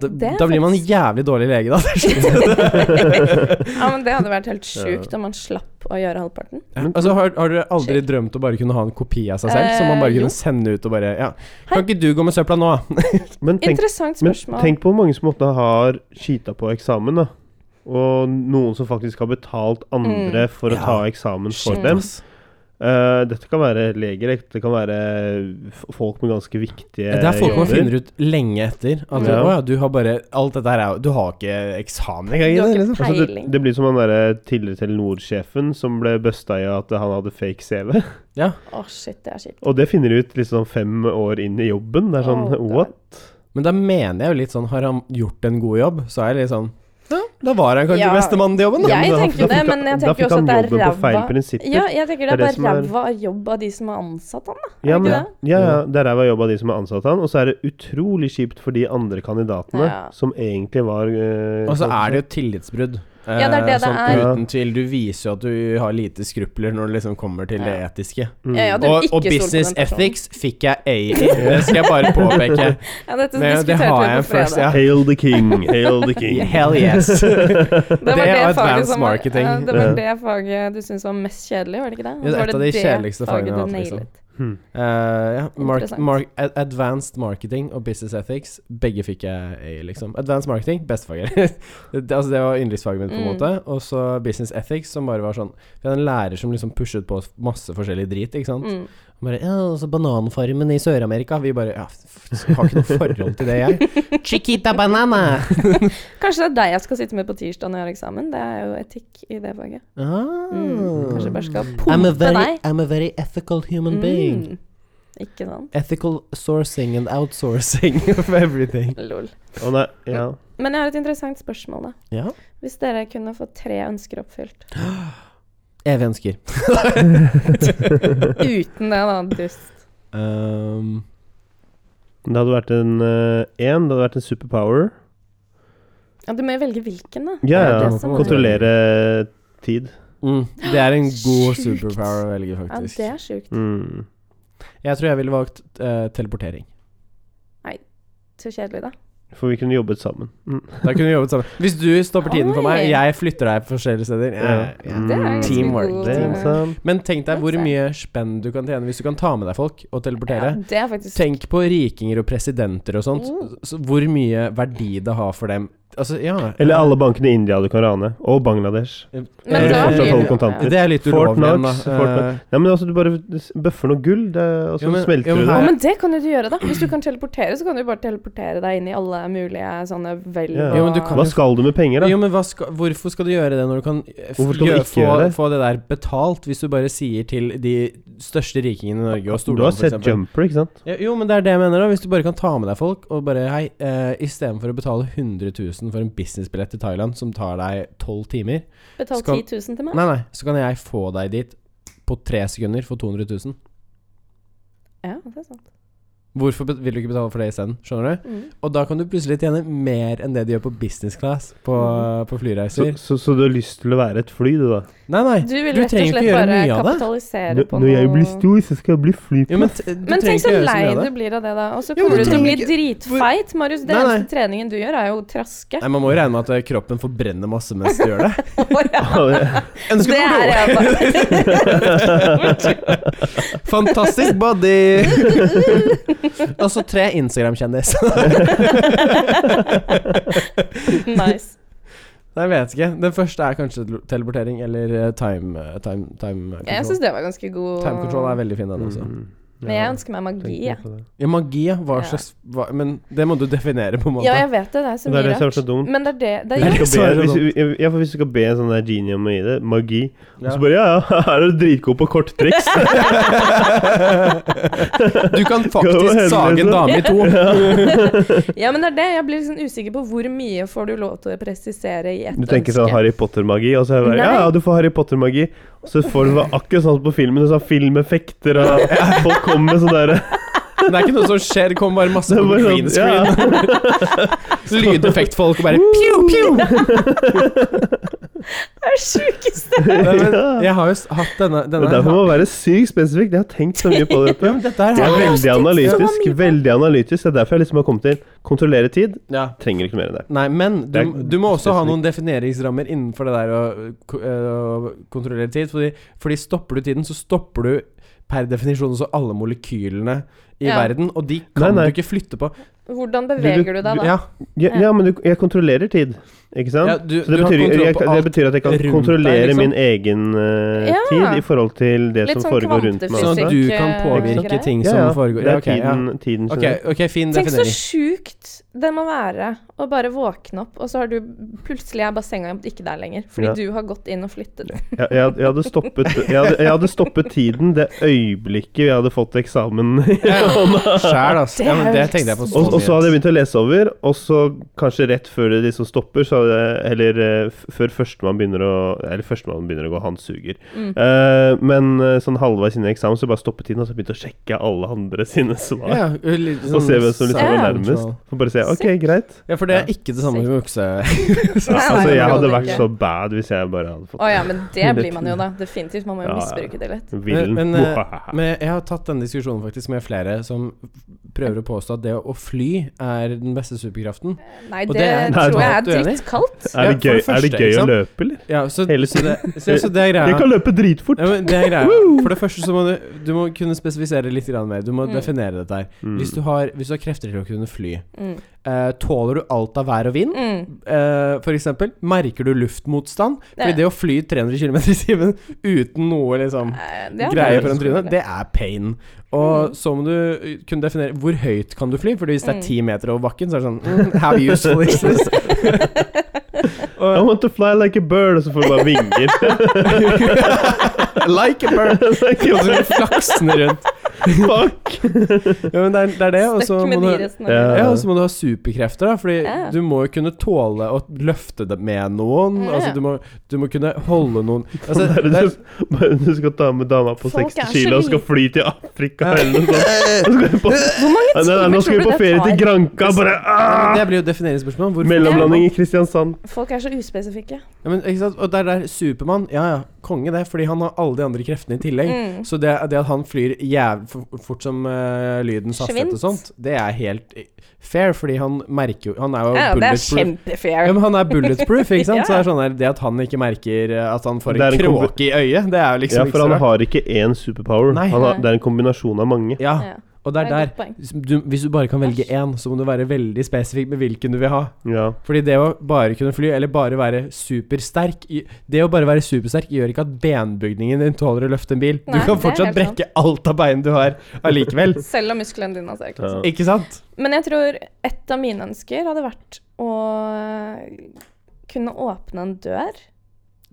S3: Da,
S2: Det er
S3: da blir man
S2: faktisk-
S3: jævlig dårlig lege, da. til slutt.
S2: ja, men det hadde vært helt sjukt om man slapp å gjøre halvparten.
S3: altså, har, har dere aldri drømt å bare kunne ha en kopi av seg selv, som man
S2: Eh,
S3: bare
S2: jo.
S3: kunne sende ut og bare Ja, kan ikke du gå med søpla nå?
S1: Men tenk,
S2: Interessant
S1: men
S2: spørsmål.
S1: tenk på hvor mange som måtte har cheata på eksamen, da. Og noen som faktisk har betalt andre for å
S3: Ja.
S1: ta eksamen for
S2: Mm. Shit,
S1: dem.
S3: ass.
S1: Eh, dette kan være leger, det kan være f- folk med ganske viktige
S3: Det er folk man
S1: jobber.
S3: finner ut lenge etter. At
S1: Eh, Ja.
S3: Å ja, du har bare Alt dette her er jo Du har ikke eksamen engang. i
S2: Du har
S3: det,
S2: ikke
S3: liksom.
S1: Altså, det,
S2: peiling.
S1: det blir som han derre tidligere Telenor-sjefen som ble busta i at han hadde fake CV.
S2: Å, shit, det er kjipt.
S1: Og det finner du ut liksom fem år inn i jobben. Det er sånn
S2: Oh, God.
S1: what?
S3: Men da mener jeg jo litt sånn Har han gjort en god jobb, så er jeg litt sånn Ja, da var han kanskje
S2: Ja.
S3: bestemann til jobben, da.
S1: Ja, men
S2: Jeg
S1: da-
S2: tenker
S1: da
S2: jo det,
S1: fikk
S2: men
S1: han-
S2: jeg
S1: da
S2: tenker jo
S1: fikk
S2: også at det
S1: han
S2: er
S1: jobben på feil
S2: ræva
S1: prinsipper.
S2: Ja, jeg tenker det
S1: Det
S2: er
S1: er det
S2: bare
S1: som er-
S2: ræva jobb av de som har ansatt han, da. Er
S1: Ja,
S2: det
S1: men,
S2: ikke det? Mm.
S1: ja, ja, det er ræva jobb av de som har ansatt han. Og så er det utrolig kjipt for de andre kandidatene
S2: Ja.
S1: som egentlig var eh,
S3: Og så er det jo tillitsbrudd.
S2: Ja, det er det det
S3: sånn,
S2: er.
S3: Uten tvil. Du viser jo at du har lite skrupler når det liksom kommer til det
S2: Ja.
S3: etiske.
S1: Mm.
S2: Ja, ja, du
S3: Og,
S2: ikke
S3: og
S2: stole på
S3: business
S2: den personen.
S3: ethics fikk jeg A i. Det skal jeg bare påpeke.
S2: Ja, dette
S3: Det- det
S2: diskuterte
S3: har
S2: vi
S3: jeg
S2: på fredag.
S3: først, ja.
S1: Hail the king, hail the king.
S3: Hell yes.
S2: Det var
S3: Det
S2: det,
S3: er advanced
S2: faget som var,
S3: marketing.
S2: Ja, det var
S1: Ja.
S2: det faget du syntes var mest kjedelig, var det ikke det? Og
S3: det er
S2: så var
S3: et av de kjedeligste fagene jeg har
S2: du
S3: hatt, liksom.
S2: nailet.
S1: Hmm.
S3: Eh, ja. Mark,
S2: Interessant.
S3: mark, ad- advanced marketing og business ethics, begge fikk jeg A, i, liksom. Advanced marketing, bestefaget. det, altså, det var yndlingsfaget mitt, på en
S2: Mm.
S3: måte. Og så business ethics, som bare var sånn Vi hadde en lærer som liksom pushet på oss masse forskjellig drit, ikke sant.
S2: Mm.
S3: Han Bare, ja, altså Bananfarmen i Sør-Amerika Vi bare ja, f- f- har ikke noe forhold til det, jeg. Chiquita banana!
S2: Kanskje det er deg jeg skal sitte med på tirsdag når jeg har eksamen. Det er jo etikk i det faget.
S3: Ah.
S2: Mm. Kanskje jeg bare skal
S3: I'm a
S2: pumpe
S3: very,
S2: deg.
S3: I'm a very ethical human being.
S2: Mm. Ikke sant?
S3: Ethical sourcing and outsourcing of everything.
S2: Lol.
S1: Å, nei, ja.
S2: Men jeg har et interessant spørsmål, da.
S3: Ja.
S2: Hvis dere kunne fått tre ønsker oppfylt
S3: Evig ønsker.
S2: uten det, da, dust
S3: Um,
S1: Det hadde vært en eh, en, det hadde vært en superpower.
S2: ja, Du må jo velge hvilken, da.
S1: Ja,
S2: Det er
S1: ja.
S2: det som er-
S1: Kontrollere tid.
S3: mm, det er en god
S2: Sjukt.
S3: superpower å velge,
S2: Ja,
S3: faktisk.
S2: det er sjukt.
S1: Mm.
S3: Jeg tror jeg ville valgt eh, teleportering.
S2: Så kjedelig, da.
S1: For vi kunne jobbet sammen. Mm.
S3: Da kunne vi jobbet sammen. Hvis du stopper tiden for meg,
S2: Oi.
S3: jeg flytter deg forskjellige steder.
S1: Ja.
S3: Eh, ja.
S2: Det er ganske
S3: Teamwork.
S2: god eh,
S1: Det,
S3: Teamwork.
S1: ikke sant?
S3: Men tenk deg hvor
S2: That's
S3: mye spenn du kan tjene hvis du kan ta med deg folk og
S2: Ja,
S3: teleportere.
S2: det er faktisk
S3: Tenk på rikinger og presidenter og sånt.
S2: Mm.
S3: Så hvor mye verdi det har for dem. Altså, ja
S1: Eller alle bankene i India du kan rane. Og Bangladesh.
S2: Men
S1: Eh,
S2: da
S1: fortsatt
S2: blir
S1: holde
S2: det-
S1: kontanter.
S3: Det er litt
S1: Fort
S3: ulovlig igjen, da.
S1: Knox, Fort Knox. Nei, men altså, du bare bøffer noe gull, det, og så
S3: Ja, men-
S1: smelter
S3: ja, men
S1: du
S2: Ja,
S1: det.
S3: her-
S2: men det kan jo du gjøre, da. Hvis du kan teleportere, så kan du bare teleportere deg inn i alle mulige sånne vel...
S1: Ja.
S2: og-
S3: Jo, men du kan-
S1: Hva skal du med penger,
S3: Eh,
S1: da?
S3: Jo, men hva skal, hvorfor skal du gjøre det når du kan eh, f-
S1: Hvorfor skal du
S3: gjø-
S1: ikke
S3: få,
S1: gjøre det?
S3: få det der betalt, hvis du bare sier til de største rikingene i Norge og
S1: Du har
S3: Stordalen, for
S1: sett
S3: eksempel?
S1: Jumper, ikke sant?
S3: Ja, Jo, men det er det jeg mener, da. Hvis du bare kan ta med deg folk og bare Hei, eh, istedenfor å betale 100 000 for en businessbillett til Thailand som tar deg tolv timer
S2: Betal
S3: Skal-
S2: 10 000 til meg.
S3: Nei, nei, så kan jeg få deg dit på tre sekunder for 200 000.
S2: Ja, det er sant.
S3: Hvorfor be- vil du ikke betale for det isteden? Skjønner du?
S2: Mm.
S3: Og da kan du plutselig tjene mer enn det de gjør på business class på, på
S1: Så,
S3: flyreiser.
S1: så, så du har lyst til å være et fly, du, da?
S3: Nei, nei.
S2: Du vil
S3: Du
S2: rett og
S3: trenger ikke
S2: slett
S3: gjøre
S2: bare
S3: mye av det.
S2: kapitalisere
S1: Når
S2: på
S1: når
S2: noe
S1: jeg blir stor, så skal jeg bli
S3: Jo,
S1: flyplass.
S3: men, t du
S2: Men
S3: trenger ikke
S2: tenk så
S3: gjøre så mye
S2: lei
S3: av
S2: du
S3: det.
S2: blir av det, da. Og så
S3: Jo, men
S2: kommer
S3: du
S2: du til å bli
S3: trenger
S2: dritfeit. Marius, den
S3: Nei, nei.
S2: eneste treningen du gjør, er jo å traske.
S3: Nei, Man må jo regne med at eh, kroppen forbrenner masse mens du gjør det.
S2: Å, ja.
S3: Ønsker
S2: Det er
S3: du
S2: jeg bare.
S3: Fantastisk body! Og så tre Instagram-kjendis.
S2: Nice.
S3: Nei, jeg vet ikke. Den første er kanskje tel- teleportering eller eh, time eh, Time, time
S2: Jeg
S3: control.
S2: syns det var ganske god
S3: Time control er veldig fin, den også.
S1: Mm.
S2: Men jeg ønsker meg magi, jeg.
S1: tenker på det.
S3: Ja, magi, ja. Hva
S2: Ja.
S3: slags hva, Men det må du definere, på en måte.
S2: Ja, jeg vet det. Det er så
S1: Det er
S2: mye
S1: det som er
S2: rart.
S1: så dumt.
S2: Men det er det, det
S3: Det
S2: er
S3: er
S1: Hvis du
S3: så er
S1: skal
S3: det
S1: be, hvis, ja, for hvis du skal be en sånn der genie om å gi det, magi Og
S3: Ja.
S1: så bare ja, ja, her er du dritgod på korttriks.
S3: Du kan
S1: Go
S3: faktisk
S1: ahead,
S3: sage en
S1: liksom.
S3: dame i to.
S2: Ja, men det er det. Jeg blir liksom usikker på hvor mye får du lov til å presisere i ett
S1: Du tenker sånn
S2: ønske.
S1: Harry Potter-magi, og så er det bare ja,
S2: Nei.
S1: ja, du får Harry Potter-magi. Og så får du det akkurat sånn som på filmen, sånn filmeffekter og folk kommer med sånn derre
S3: Det er ikke noe som skjer, det kommer bare masse
S1: Det er
S3: på
S1: bare
S3: green
S1: sånn, ja.
S3: screen. Lydeffektfolk og bare pju, pju!
S2: Det er det sjukeste!
S3: Nei, men Jeg har jo s- hatt denne,
S1: Det
S3: denne
S1: er derfor må være sykt spesifikk. Jeg har tenkt så mye på
S3: Ja,
S1: dette.
S3: men dette her
S1: Jeg
S3: har
S1: er
S3: jeg
S1: veldig
S2: så
S1: analytisk.
S2: mye på.
S1: veldig analytisk Det er derfor jeg liksom har kommet til kontrollere tid.
S3: ja.
S1: Trenger ikke mer enn det.
S3: Nei, men
S1: Det
S3: du,
S1: er
S3: du må også ha
S1: spesifikt.
S3: noen defineringsrammer innenfor det der å, ko- eh, å kontrollere tid. Fordi, fordi stopper du tiden, så stopper du per definisjon også alle molekylene i
S2: Ja.
S3: verden. Og de kan
S1: Nei, nei.
S3: du ikke flytte på.
S2: Hvordan
S1: Du-
S2: beveger du
S1: du-
S2: deg da?
S3: Ja,
S1: Ja, ja men du, jeg kontrollerer tid, ikke sant?
S3: ja du,
S1: Så det,
S3: du har
S1: betyr,
S3: kontroll
S1: jeg,
S3: på
S1: det
S3: alt.
S1: betyr at jeg kan
S3: rundt deg,
S1: kontrollere
S3: liksom.
S1: min egen eh,
S2: Ja.
S1: tid i forhold til det
S2: Litt
S1: som
S2: sånn
S1: foregår rundt meg.
S2: kvantefysikk.
S1: også.
S3: Sånn at du kan
S2: eh,
S3: påvirke
S2: greier.
S3: ting
S1: Ja,
S3: som
S1: ja.
S3: foregår.
S1: Det
S3: Ja,
S1: er
S3: ok, ja.
S1: tiden, tiden
S3: Ok,
S1: generelt.
S3: ok, fin
S2: Tenk så
S3: definering.
S2: sjukt det må være å bare våkne opp, og så har du plutselig er bassenget ikke der lenger. Fordi
S1: Ja.
S2: du har gått inn og flyttet.
S1: Jeg, jeg, jeg, hadde stoppet, jeg, hadde, jeg hadde stoppet tiden det øyeblikket jeg hadde fått eksamen.
S3: Sjæl, altså.
S2: Det
S3: Ja, men
S2: er
S3: det
S2: helt
S3: tenkte jeg på
S2: sykt.
S1: og, og så hadde jeg
S3: mye.
S1: begynt å lese over, og så kanskje rett før det liksom stopper, så hadde jeg, eller eh, f- før førstemann begynner å Eller førstemann begynner å gå, han suger.
S2: Mm.
S1: Eh, men eh, sånn halvveis inn i eksamen så bare stoppet tiden, og så begynte jeg å sjekke alle andre sine svar.
S3: Ja, sånn litt
S1: Og se hvem som liksom
S2: Ja.
S1: var nærmest. For bare å si OK, greit.
S3: Ja, for det er ikke det samme som økse.
S2: Nei, nei,
S1: Altså, jeg hadde
S2: overhodet
S1: vært
S2: ikke.
S1: så bad hvis jeg bare hadde fått
S2: Å ja, men det blir man jo da. Definitivt. Man må jo
S1: Ja, ja.
S2: misbruke det litt.
S1: villen.
S3: Men- men, eh, Men jeg har tatt denne diskusjonen faktisk med flere som prøver å påstå at det å fly er den beste superkraften.
S2: Nei,
S3: Og
S2: det,
S3: det er-
S1: Nei,
S2: tror jeg er
S3: du er enig?
S2: drittkaldt.
S1: er det
S3: ja, for
S1: gøy,
S3: det første,
S1: er det gøy
S3: ikke
S1: å
S3: sant?
S1: løpe, eller?
S3: Ja, så,
S1: Hele
S3: så, det,
S1: tiden.
S3: så, så det er
S1: Jeg
S3: greia.
S1: kan løpe dritfort!
S3: Ja, men det er greia. For det første så må du, du må kunne spesifisere litt grann mer. Du må
S2: Mm.
S3: definere dette her.
S1: Mm.
S3: Hvis du har, hvis du har krefter til å kunne fly,
S2: Mm.
S3: eh, tåler du alt av vær og vind?
S2: Mm.
S3: Eh, for eksempel, merker du luftmotstand? Fordi det å fly 300 km i timen uten noe liksom
S2: Eh, det er
S3: greie
S2: veldig
S3: foran trynet,
S2: skummelt.
S3: det er pain. Og
S2: Mm.
S3: så må du uh, kunne definere hvor høyt kan du fly, Fordi hvis det
S2: Mm.
S3: er ti meter over bakken, så er det sånn mm, How useful is this?
S1: I want to fly like a bird, og så får du bare vinger.
S3: like a bird!
S1: Like
S3: Og
S1: a
S3: så flaksende rundt.
S1: Fuck!
S3: Ja, men det er, det er det. Og så må
S2: Støkk med
S3: du
S2: de
S3: ha-
S2: resten av livet.
S3: ja, og så må du ha superkrefter, da. Fordi
S2: Ja.
S3: du må jo kunne tåle å løfte det med noen.
S2: Ja.
S3: Altså, du må, du må kunne holde noen altså,
S1: Sånn der,
S3: det er-
S1: du, bare du skal ta med dama på
S2: Folk
S1: 60
S2: er så
S1: kilo og skal
S2: lite.
S1: fly til Afrika eller noe
S3: Eh,
S1: sånt. Og så skal vi på-
S2: Hvor mange
S1: Nei, nei,
S2: timer
S1: Nå skal vi
S2: tror
S1: på
S2: du det
S1: ferie til
S2: tar?
S1: Granka, bare
S3: Men
S1: ah!
S3: Det blir jo defineringsspørsmål. Hvorfor-
S1: Mellomlanding i Kristiansand.
S2: Folk er så uspesifikke.
S3: Ja, men, ikke sant? Og det er der Supermann Ja, ja, konge det, fordi han har alle de andre kreftene i tillegg.
S2: Mm.
S3: Så det, det at han flyr jævlig for- fort som eh, lydens hastighet og
S2: Svint.
S3: sånt, det er helt eh, fair, fordi han merker jo Han er jo
S2: Ja, det er
S3: bulletproof. Ja,
S2: kjempefair.
S3: men han er bulletproof, ikke sant?
S2: Ja.
S3: Så det er sånn der, det at han ikke merker eh, at han får
S1: Det er
S3: en
S1: en kombi-
S3: kråke i øyet, det er jo
S1: Ja,
S3: liksom
S1: for han
S3: ikke så rart.
S1: har ikke én superpower.
S3: Nei.
S1: Han har, det er en kombinasjon av mange.
S3: Ja,
S2: Ja,
S3: og det er
S2: et
S3: der
S2: godt poeng.
S3: hvis du, Hvis du bare kan velge én, så må du være veldig spesifikk med hvilken du vil ha.
S1: Ja.
S3: Fordi det å bare kunne fly, eller bare være supersterk i- Det å bare være supersterk gjør ikke at benbygningen din tåler å løfte en bil. Du
S2: Nei,
S3: kan
S2: det er
S3: fortsatt
S2: helt sant.
S3: brekke alt av bein du har allikevel.
S2: Selv om musklene dine altså, er klasse.
S1: Ja.
S3: Ikke sant?
S2: Men jeg tror et av mine ønsker hadde vært å kunne åpne en dør.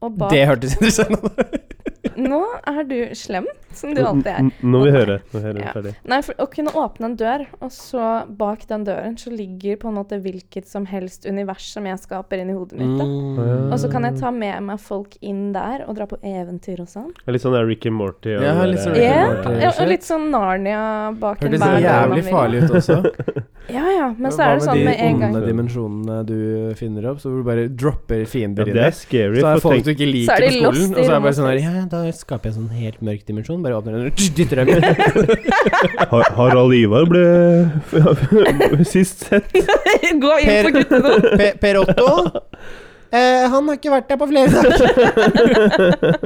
S2: Og bak
S3: Det hørtes interessant ut.
S2: Nå er du slem, som du alltid er.
S1: N- n- Nå vil vi høre. Nå hører vi
S2: Ja.
S1: ferdig.
S2: Nei, for å kunne åpne en dør, og så bak den døren så ligger på en måte hvilket som helst univers som jeg skaper inni hodet mitt. Da.
S1: Mm.
S2: Og så kan jeg ta med meg folk inn der og dra på eventyr og sånn.
S1: Det er Litt sånn der Rick and Morty. og-
S3: Ja, litt sånn Rick
S2: Ja,
S3: and Morty.
S2: ja, og litt sånn Narnia bak
S3: Hørtes
S2: enhver dør man
S3: jævlig
S2: vil.
S3: farlig ut også.
S2: Ja ja, men så er det sånn med en
S3: Hva
S2: gang.
S3: med de onde dimensjonene du finner opp, så hvor du bare dropper
S1: Ja,
S3: fiender
S1: det
S3: inn
S1: er
S3: i?
S1: scary.
S3: Så er det
S1: for tenk,
S3: folk du ikke
S2: Så
S3: liker
S2: er de
S3: på skolen,
S2: lost i
S3: og så er det bare sånn der
S2: rommet.
S3: Ja, da skaper jeg en sånn helt mørk dimensjon. Bare åpner den og dytter dem ut.
S1: Har- Harald Ivar ble sist sett.
S2: Gå inn på
S3: Per,
S2: guttene.
S3: per Otto? Eh, han har ikke vært der på flere dager.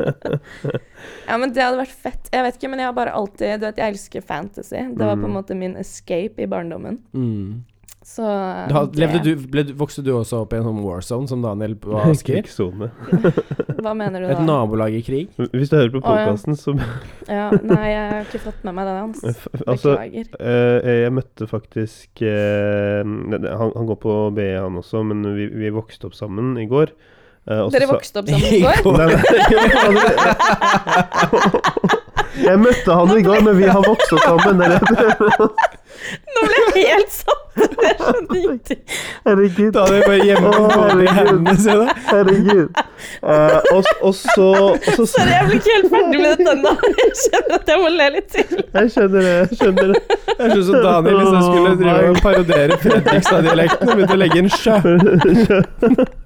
S2: Ja, men Det hadde vært fett. Jeg vet ikke, men jeg har bare alltid Du vet, jeg elsker fantasy. Det var på
S1: Mm.
S2: en måte min escape i barndommen. Så eh,
S3: Da,
S2: det-
S3: levde du, ble, du- vokste du også opp i en sånn war zone, som Daniel var Asker?
S1: Krigssone.
S2: Hva mener du
S3: Et
S2: da?
S3: nabolag i krig?
S1: Hvis du hører på
S2: Å, ja.
S1: podkasten, så
S2: Ja, nei, jeg har ikke fått med meg det hans.
S1: Altså,
S2: Beklager.
S1: Eh, jeg møtte faktisk eh, det- det- han, han går på BE, han også, men vi, vi vokste opp sammen i går. Eh,
S3: altså-
S1: og så
S2: Dere
S1: sa-
S2: vokste opp sammen i går?
S1: Nei, nei, jo, altså, Jeg møtte han i går, men vi har vokst opp sammen. eller-
S2: Nå ble jeg helt satt! Jeg skjønner ingenting.
S1: Herregud.
S3: Da hadde jeg bare hjemme på
S1: Å,
S3: båten i hendene sine.
S1: Herregud. Eh, og, s- og så, og så
S2: Sorry, jeg ble ikke helt ferdig med dette nå. Jeg skjønner at jeg må le litt til.
S1: Jeg skjønner det. Jeg skjønner det.
S3: Jeg synes at sånn Daniel hvis jeg skulle drive og parodiere Fredrikstad-dialekten og begynte å legge inn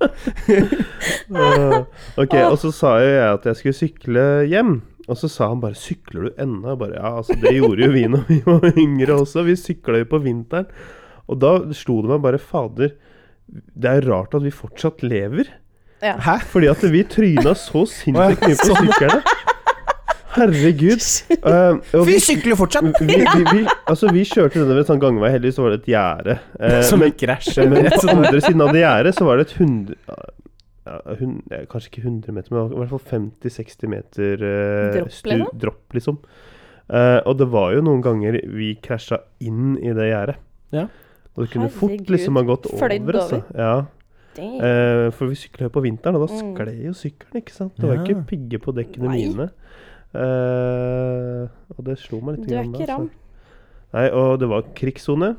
S3: sjø.
S1: Eh, ok, og så sa jo jeg at jeg skulle sykle hjem. Og så sa han bare 'Sykler du ennå?' Jeg bare, ja, altså, det gjorde jo vi når vi var yngre også. Vi sykla jo på vinteren. Og da slo det meg bare Fader, det er rart at vi fortsatt lever.
S2: Ja.
S3: Hæ?
S1: Fordi at vi tryna så sinnssykt mye på
S3: Sånn.
S1: sykkelen. Herregud. Eh, og vi,
S3: sykler fortsatt!
S1: vi, vi, vi, altså, vi kjørte nedover en sånn gangvei, heldigvis så var det et gjerde. Eh,
S3: Som
S1: men,
S3: en krasj.
S1: men på andre siden av det gjerdet så var det et 100 ja, hun- ja, Kanskje ikke 100 meter, men i hvert fall 50-60 meter eh,
S2: Dropp,
S1: stu-
S2: liksom?
S1: dropp, liksom. Eh, og det var jo noen ganger vi krasja inn i det gjerdet.
S3: Ja.
S1: Og det kunne fort
S2: Herregud,
S1: liksom ha gått over.
S2: fløyd
S1: Altså. Ja.
S2: Damn.
S1: Eh, for vi sykla jo på vinteren, og da
S2: Mm.
S1: skled jo sykkelen, ikke sant? Det var
S3: Ja.
S1: ikke pigger på dekkene
S2: Nei.
S1: mine. Eh, og det slo meg litt.
S2: Du er
S1: grann da,
S2: ikke
S1: så-
S2: ram.
S1: Nei, og det var krigssone.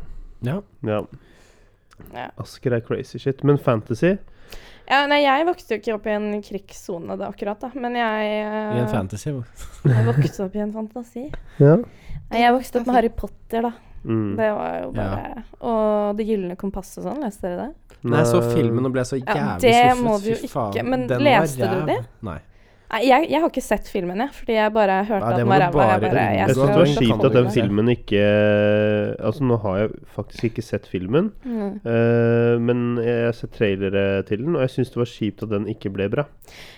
S3: Ja.
S1: Ja.
S2: Ja.
S1: Asker er crazy shit. Men fantasy
S2: Ja, nei, jeg vokste jo ikke opp i en krigssone da, akkurat, da. Men jeg, eh,
S3: I en fantasy. hvor-
S2: jeg vokste opp i en fantasi.
S1: Ja.
S2: Nei, jeg vokste opp med Harry Potter, da.
S1: Mm.
S2: Det var jo bare Og Det gylne kompass og sånn, leste dere det?
S3: Nei, jeg så filmen og ble så jævlig
S2: Ja,
S3: skuffet.
S2: det må du
S3: Fy
S2: ikke-
S3: faen,
S2: men
S3: den var
S2: leste du
S3: ræv.
S2: det?
S3: Nei.
S2: Nei, jeg, jeg har ikke sett filmen, jeg. Fordi jeg bare hørte
S3: Ja,
S2: at
S3: det
S2: den
S3: må
S2: var
S3: du
S2: ræva.
S3: bare
S2: Jeg bare
S3: unngå.
S2: jeg
S1: Jeg syns det
S2: skal
S1: var
S3: skal-
S1: kjipt at den
S3: Kan du
S1: filmen ikke Altså, nå har jeg faktisk ikke sett filmen,
S2: Mm.
S1: eh, men jeg har sett trailere til den, og jeg syns det var kjipt at den ikke ble bra.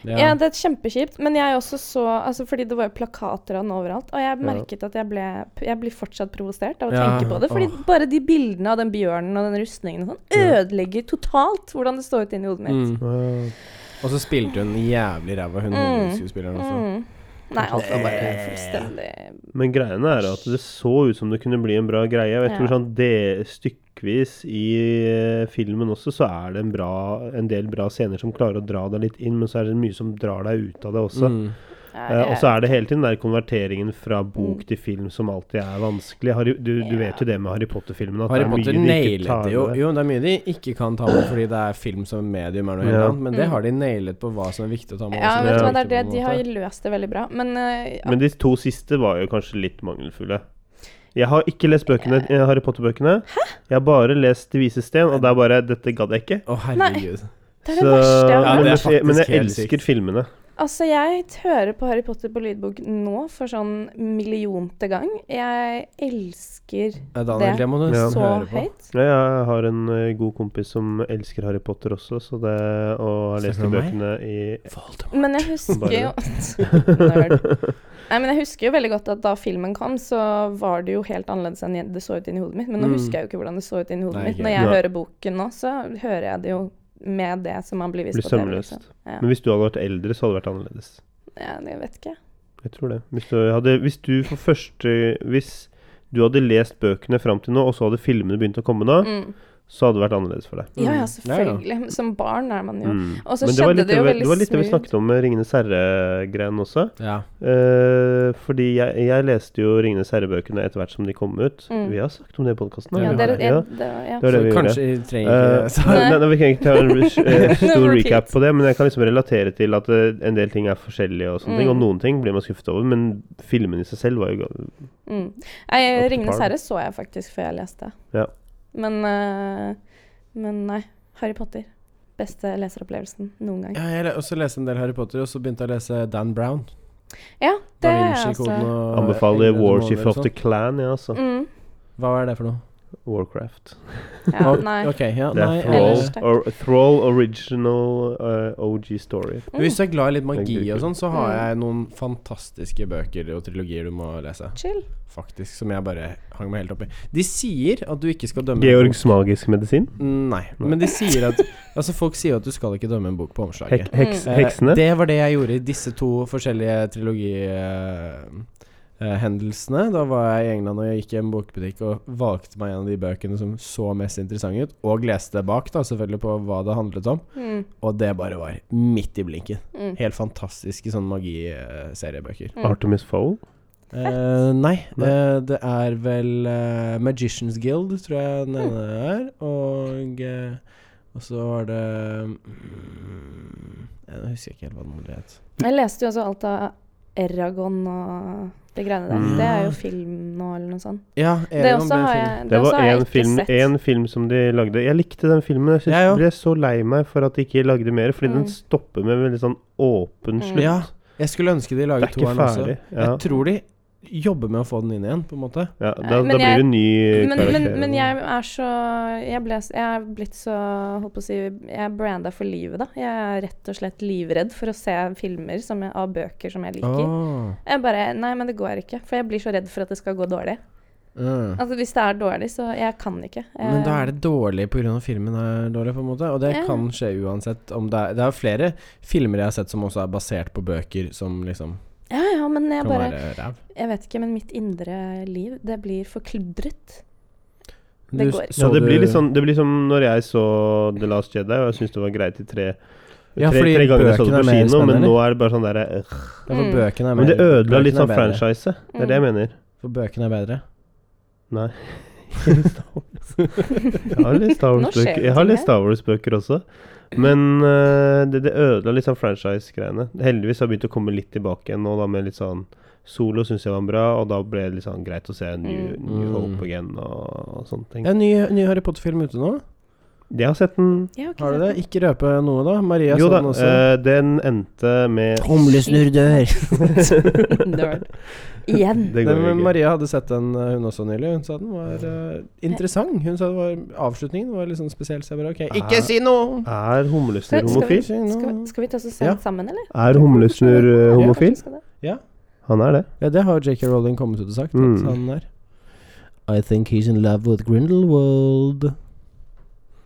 S3: Ja.
S2: Ja, det er kjempekjipt. Men jeg også så altså, Fordi det var jo plakater av den overalt. Og jeg merket at jeg ble Jeg blir fortsatt provosert av å
S3: Ja,
S2: tenke på det. Fordi
S3: åh.
S2: bare de bildene av den bjørnen og den rustningen og sånn ødelegger totalt hvordan det står ut inni hodet mitt.
S3: Mm. Og så spilte hun jævlig ræva, hun hovedskuespilleren også.
S2: Mm. Nei, alt var bare fullstendig
S1: Men greiene er at det så ut som det kunne bli en bra greie. Og jeg tror
S2: Ja.
S1: sånn det stykkevis i eh, filmen også, så er det en, bra, en del bra scener som klarer å dra deg litt inn, men så er det mye som drar deg ut av det også.
S3: Mm.
S2: Nei,
S1: Eh, og
S2: jeg-
S1: så er det hele tiden den der konverteringen fra bok til film som alltid er vanskelig. Harry, du, du vet jo det med Harry Potter-filmene. at
S3: Harry
S1: det er mye
S3: Potter
S1: de ikke
S3: nailet
S1: tar
S3: det jo.
S1: med.
S3: Jo, det er mye de ikke kan ta med fordi det er film som medium, er noe helt
S1: Ja.
S3: annet, men det har de nailet på hva som er viktig å ta med. og
S2: Mm. ja,
S3: som
S2: vet du hva, det
S3: ikke
S2: er det.
S3: på en
S2: De
S3: måte.
S2: har jo løst det veldig bra. Men eh, ja,
S1: Men de to siste var jo kanskje litt mangelfulle. Jeg har ikke lest bøkene, eh, Harry Potter-bøkene. Jeg har bare lest De vise sten, og det er bare Dette gadd jeg ikke.
S3: Å, herregud.
S2: det er det verste jeg
S1: men-
S2: har
S3: Ja, det er
S1: men, jeg,
S3: faktisk
S1: men jeg
S3: helt
S1: elsker
S3: sykt.
S1: filmene.
S2: Altså, jeg hører på Harry Potter på lydbok nå for sånn millionte gang. Jeg elsker
S3: Eh, Daniel, det må du
S1: Ja.
S2: så
S3: høre på.
S2: høyt.
S1: Ja, jeg har en eh, god kompis som elsker Harry Potter også, så det, og har lest de
S3: Snakker du om
S1: bøkene i
S2: Men jeg husker jo
S1: Bare
S2: Nerd. Nei, men jeg husker jo veldig godt at da filmen kom, så var det jo helt annerledes enn det så ut inni hodet mitt. Men nå
S3: Mm.
S2: husker jeg jo ikke hvordan det så ut inni hodet
S3: Nei,
S2: mitt.
S3: ikke
S2: Når
S1: jeg.
S2: jeg
S1: Ja.
S2: hører boken nå, så hører jeg det jo med det som man blir vist
S1: Blir
S2: på TV. liksom.
S1: sømløst.
S2: Ja.
S1: Men hvis du hadde vært eldre, så hadde det vært annerledes.
S2: Ja, det vet ikke. jeg.
S1: Jeg tror det. Hvis du, hadde, hvis du for første Hvis du hadde lest bøkene fram til nå, og så hadde filmene begynt å komme da,
S2: Mm.
S1: så hadde det vært annerledes for deg.
S2: Ja,
S3: Mm. Ja,
S2: ja,
S3: ja.
S2: selvfølgelig. Som barn er man jo
S1: Mm.
S2: Og så
S1: Men det var
S2: skjedde
S1: litt
S2: det jo
S1: vi-
S2: veldig
S1: det var litt det vi
S2: smooth.
S1: snakket om med Ringenes herre-greien også.
S3: Ja.
S1: Eh, fordi jeg, jeg leste jo Ringenes herre-bøkene etter hvert som de kom ut.
S2: Mm.
S1: Vi har sagt om det i podkasten.
S3: Ja,
S2: Ja,
S3: det
S2: dere,
S1: ja.
S2: ja, det, ja.
S1: Det var
S3: Så
S1: det vi gjorde.
S3: kanskje vi trenger
S1: Eh,
S3: ikke så,
S1: nei, nei, vi kan ikke ta en res- eh,
S2: No
S1: stor
S2: repeat.
S1: recap på det, men jeg kan liksom relatere til at eh, en del ting er forskjellige, og sånne ting, og
S2: Mm.
S1: noen ting blir man skuffet over, men filmen i seg selv var jo ga-
S2: Mm.
S1: Up to
S2: Nei, 'Ringenes
S1: par.
S2: herre' så jeg faktisk før jeg leste.
S1: Ja.
S2: Men, eh, men nei. Harry Potter. Beste leseropplevelsen noen gang.
S3: ja, jeg le- også leste en del Harry Potter, og så begynte jeg å lese Dan Brown.
S2: Ja, det
S3: Da
S2: er jeg
S3: Vinci-koden
S2: altså.
S3: og
S1: Anbefaler
S3: Engler og
S1: Warship
S3: Måner og
S1: of the
S3: sånn.
S1: Clan, ja, altså.
S2: Mm.
S3: Hva er det for noe?
S1: Warcraft.
S2: Ja, nei.
S3: Ok, ja,
S1: Det
S3: nei,
S1: er Thrall,
S2: ellers takk.
S1: or, Thrall Original eh, OG Story.
S2: Mm,
S3: Men Hvis du er glad i litt magi
S1: Det er
S3: og
S1: kult.
S3: sånn, så har jeg noen fantastiske bøker og trilogier du må lese.
S2: Chill.
S3: Faktisk, som jeg bare hang meg helt opp i. De sier at du ikke skal dømme
S1: Georgs magiske medisin.
S3: Nei, men de sier at Altså, folk sier at du skal ikke dømme en bok på
S1: Hek,
S3: omslaget.
S1: heks,
S3: Eh,
S1: heksene.
S3: Det var det jeg gjorde i disse to forskjellige trilogihendelsene. Da var jeg i England og jeg gikk i en bokbutikk og valgte meg en av de bøkene som så mest interessante ut, og leste bak, da, selvfølgelig, på hva det handlet om.
S2: Mm.
S3: Og det bare var midt i blinken.
S2: Mm.
S3: Helt fantastiske sånn magiseriebøker.
S1: Artemis Fowl.
S3: Eh, nei,
S1: Nei.
S3: eh, det er vel eh, Magicians Guild, tror jeg den ene er. Og, eh, og så var det mm, Jeg husker ikke helt hva den andre het.
S2: Jeg leste jo også alt av Eragon og de greiene der.
S1: Mm.
S2: Det er jo film nå, eller noe sånt.
S3: Ja,
S2: Det
S3: Eragon
S2: også
S3: ble film.
S2: har jeg, altså, det
S1: Det
S2: også
S1: var
S2: har jeg
S1: én
S2: ikke
S1: film,
S2: sett.
S1: en film som de lagde. Jeg likte den filmen. Jeg, synes,
S3: Jeg òg.
S1: ble så lei meg for at de ikke lagde mer, fordi
S2: Mm.
S1: den stopper med veldig sånn åpen
S2: Mm.
S1: slutt.
S3: Ja, jeg skulle ønske de
S1: Det
S3: laget
S1: er ikke
S3: toeren også.
S1: ferdig. Ja,
S3: Jeg tror de jobber med å få den inn igjen, på en måte.
S1: ja, da,
S2: Men
S1: da blir
S2: jeg-
S1: det ny
S2: Men,
S1: karakter.
S2: men, men jeg er så Jeg, ble, s- jeg er blitt så holdt på å si, Jeg er branda for livet, da. Jeg er rett og slett livredd for å se filmer som jeg, av bøker som jeg liker.
S3: Åh,
S2: Jeg bare Nei, men det går ikke. For jeg blir så redd for at det skal gå dårlig.
S3: mm.
S2: Altså Hvis det er dårlig, så Jeg kan ikke.
S3: Men da er det dårlig pga. filmen er dårlig, på en måte. Og det
S2: Eh. Ja.
S3: kan skje uansett om det er Det er flere filmer jeg har sett som også er basert på bøker som liksom
S2: Ja, ja, men jeg
S3: kan
S2: bare
S3: være ræv.
S2: Jeg vet ikke, men mitt indre liv, det blir forkludret.
S3: Du
S2: går.
S3: s-
S1: ja,
S3: så
S1: det
S3: du-
S1: blir litt sånn Det blir som når jeg så The Last Jedi, og jeg syntes det var greit i tre,
S3: Ja,
S1: tre,
S3: fordi
S1: tre ganger jeg så det på
S3: bøkene er mer
S1: kino, men
S3: spennende.
S1: nå er det bare sånn derre øh.
S3: Ja, for
S2: Mm.
S3: bøkene er
S1: Men det
S3: mer-
S1: ødela litt
S3: bøkene er
S1: sånn
S3: bedre.
S1: franchise. Det er det jeg mener.
S3: For bøkene er bedre.
S1: Nei. jeg har litt Star
S2: Nå skjer
S1: Wars-bøker
S2: det
S1: Jeg har
S2: ting
S1: litt
S2: her.
S1: Star Wars-bøker også. Men eh, det, det ødela litt sånn franchise-greiene. Heldigvis har jeg begynt å komme litt tilbake igjen nå, da med litt sånn Solo syns jeg var bra, og da ble det litt sånn greit å se New, New
S3: Mm.
S1: Hope again og, og sånne ting.
S3: Ja, ny, ny Harry Potter-film ute nå.
S1: Jeg har sett den.
S2: Jeg ikke
S3: Har du
S2: sett
S3: det?
S2: den.
S3: Ikke røpe noe, da. Maria
S1: Jo
S3: så
S1: da,
S3: den også.
S1: eh, den endte med
S3: Humlesnurrdør.
S2: Nerd. Igjen.
S1: Det
S3: Nei,
S1: går jo ikke.
S3: men Maria hadde sett den eh, hun også nylig. Hun sa den var eh, interessant. Hun sa det var avslutningen var litt sånn spesiell. Så jeg bare OK,
S1: Ah.
S3: ikke si noe!
S1: Er humlesnurr
S2: Skal- skal
S1: homofil?
S3: Si
S2: Skal vi,
S3: noe.
S2: skal vi ta oss og se
S3: Ja.
S2: den sammen, eller?
S1: Er humlesnurr eh, homofil?
S2: Skal det?
S1: Han er det.
S3: Ja, det har J.K. Rowling kommet ut og sagt.
S1: Mm.
S3: At han er I think he's in love with Grindelwald.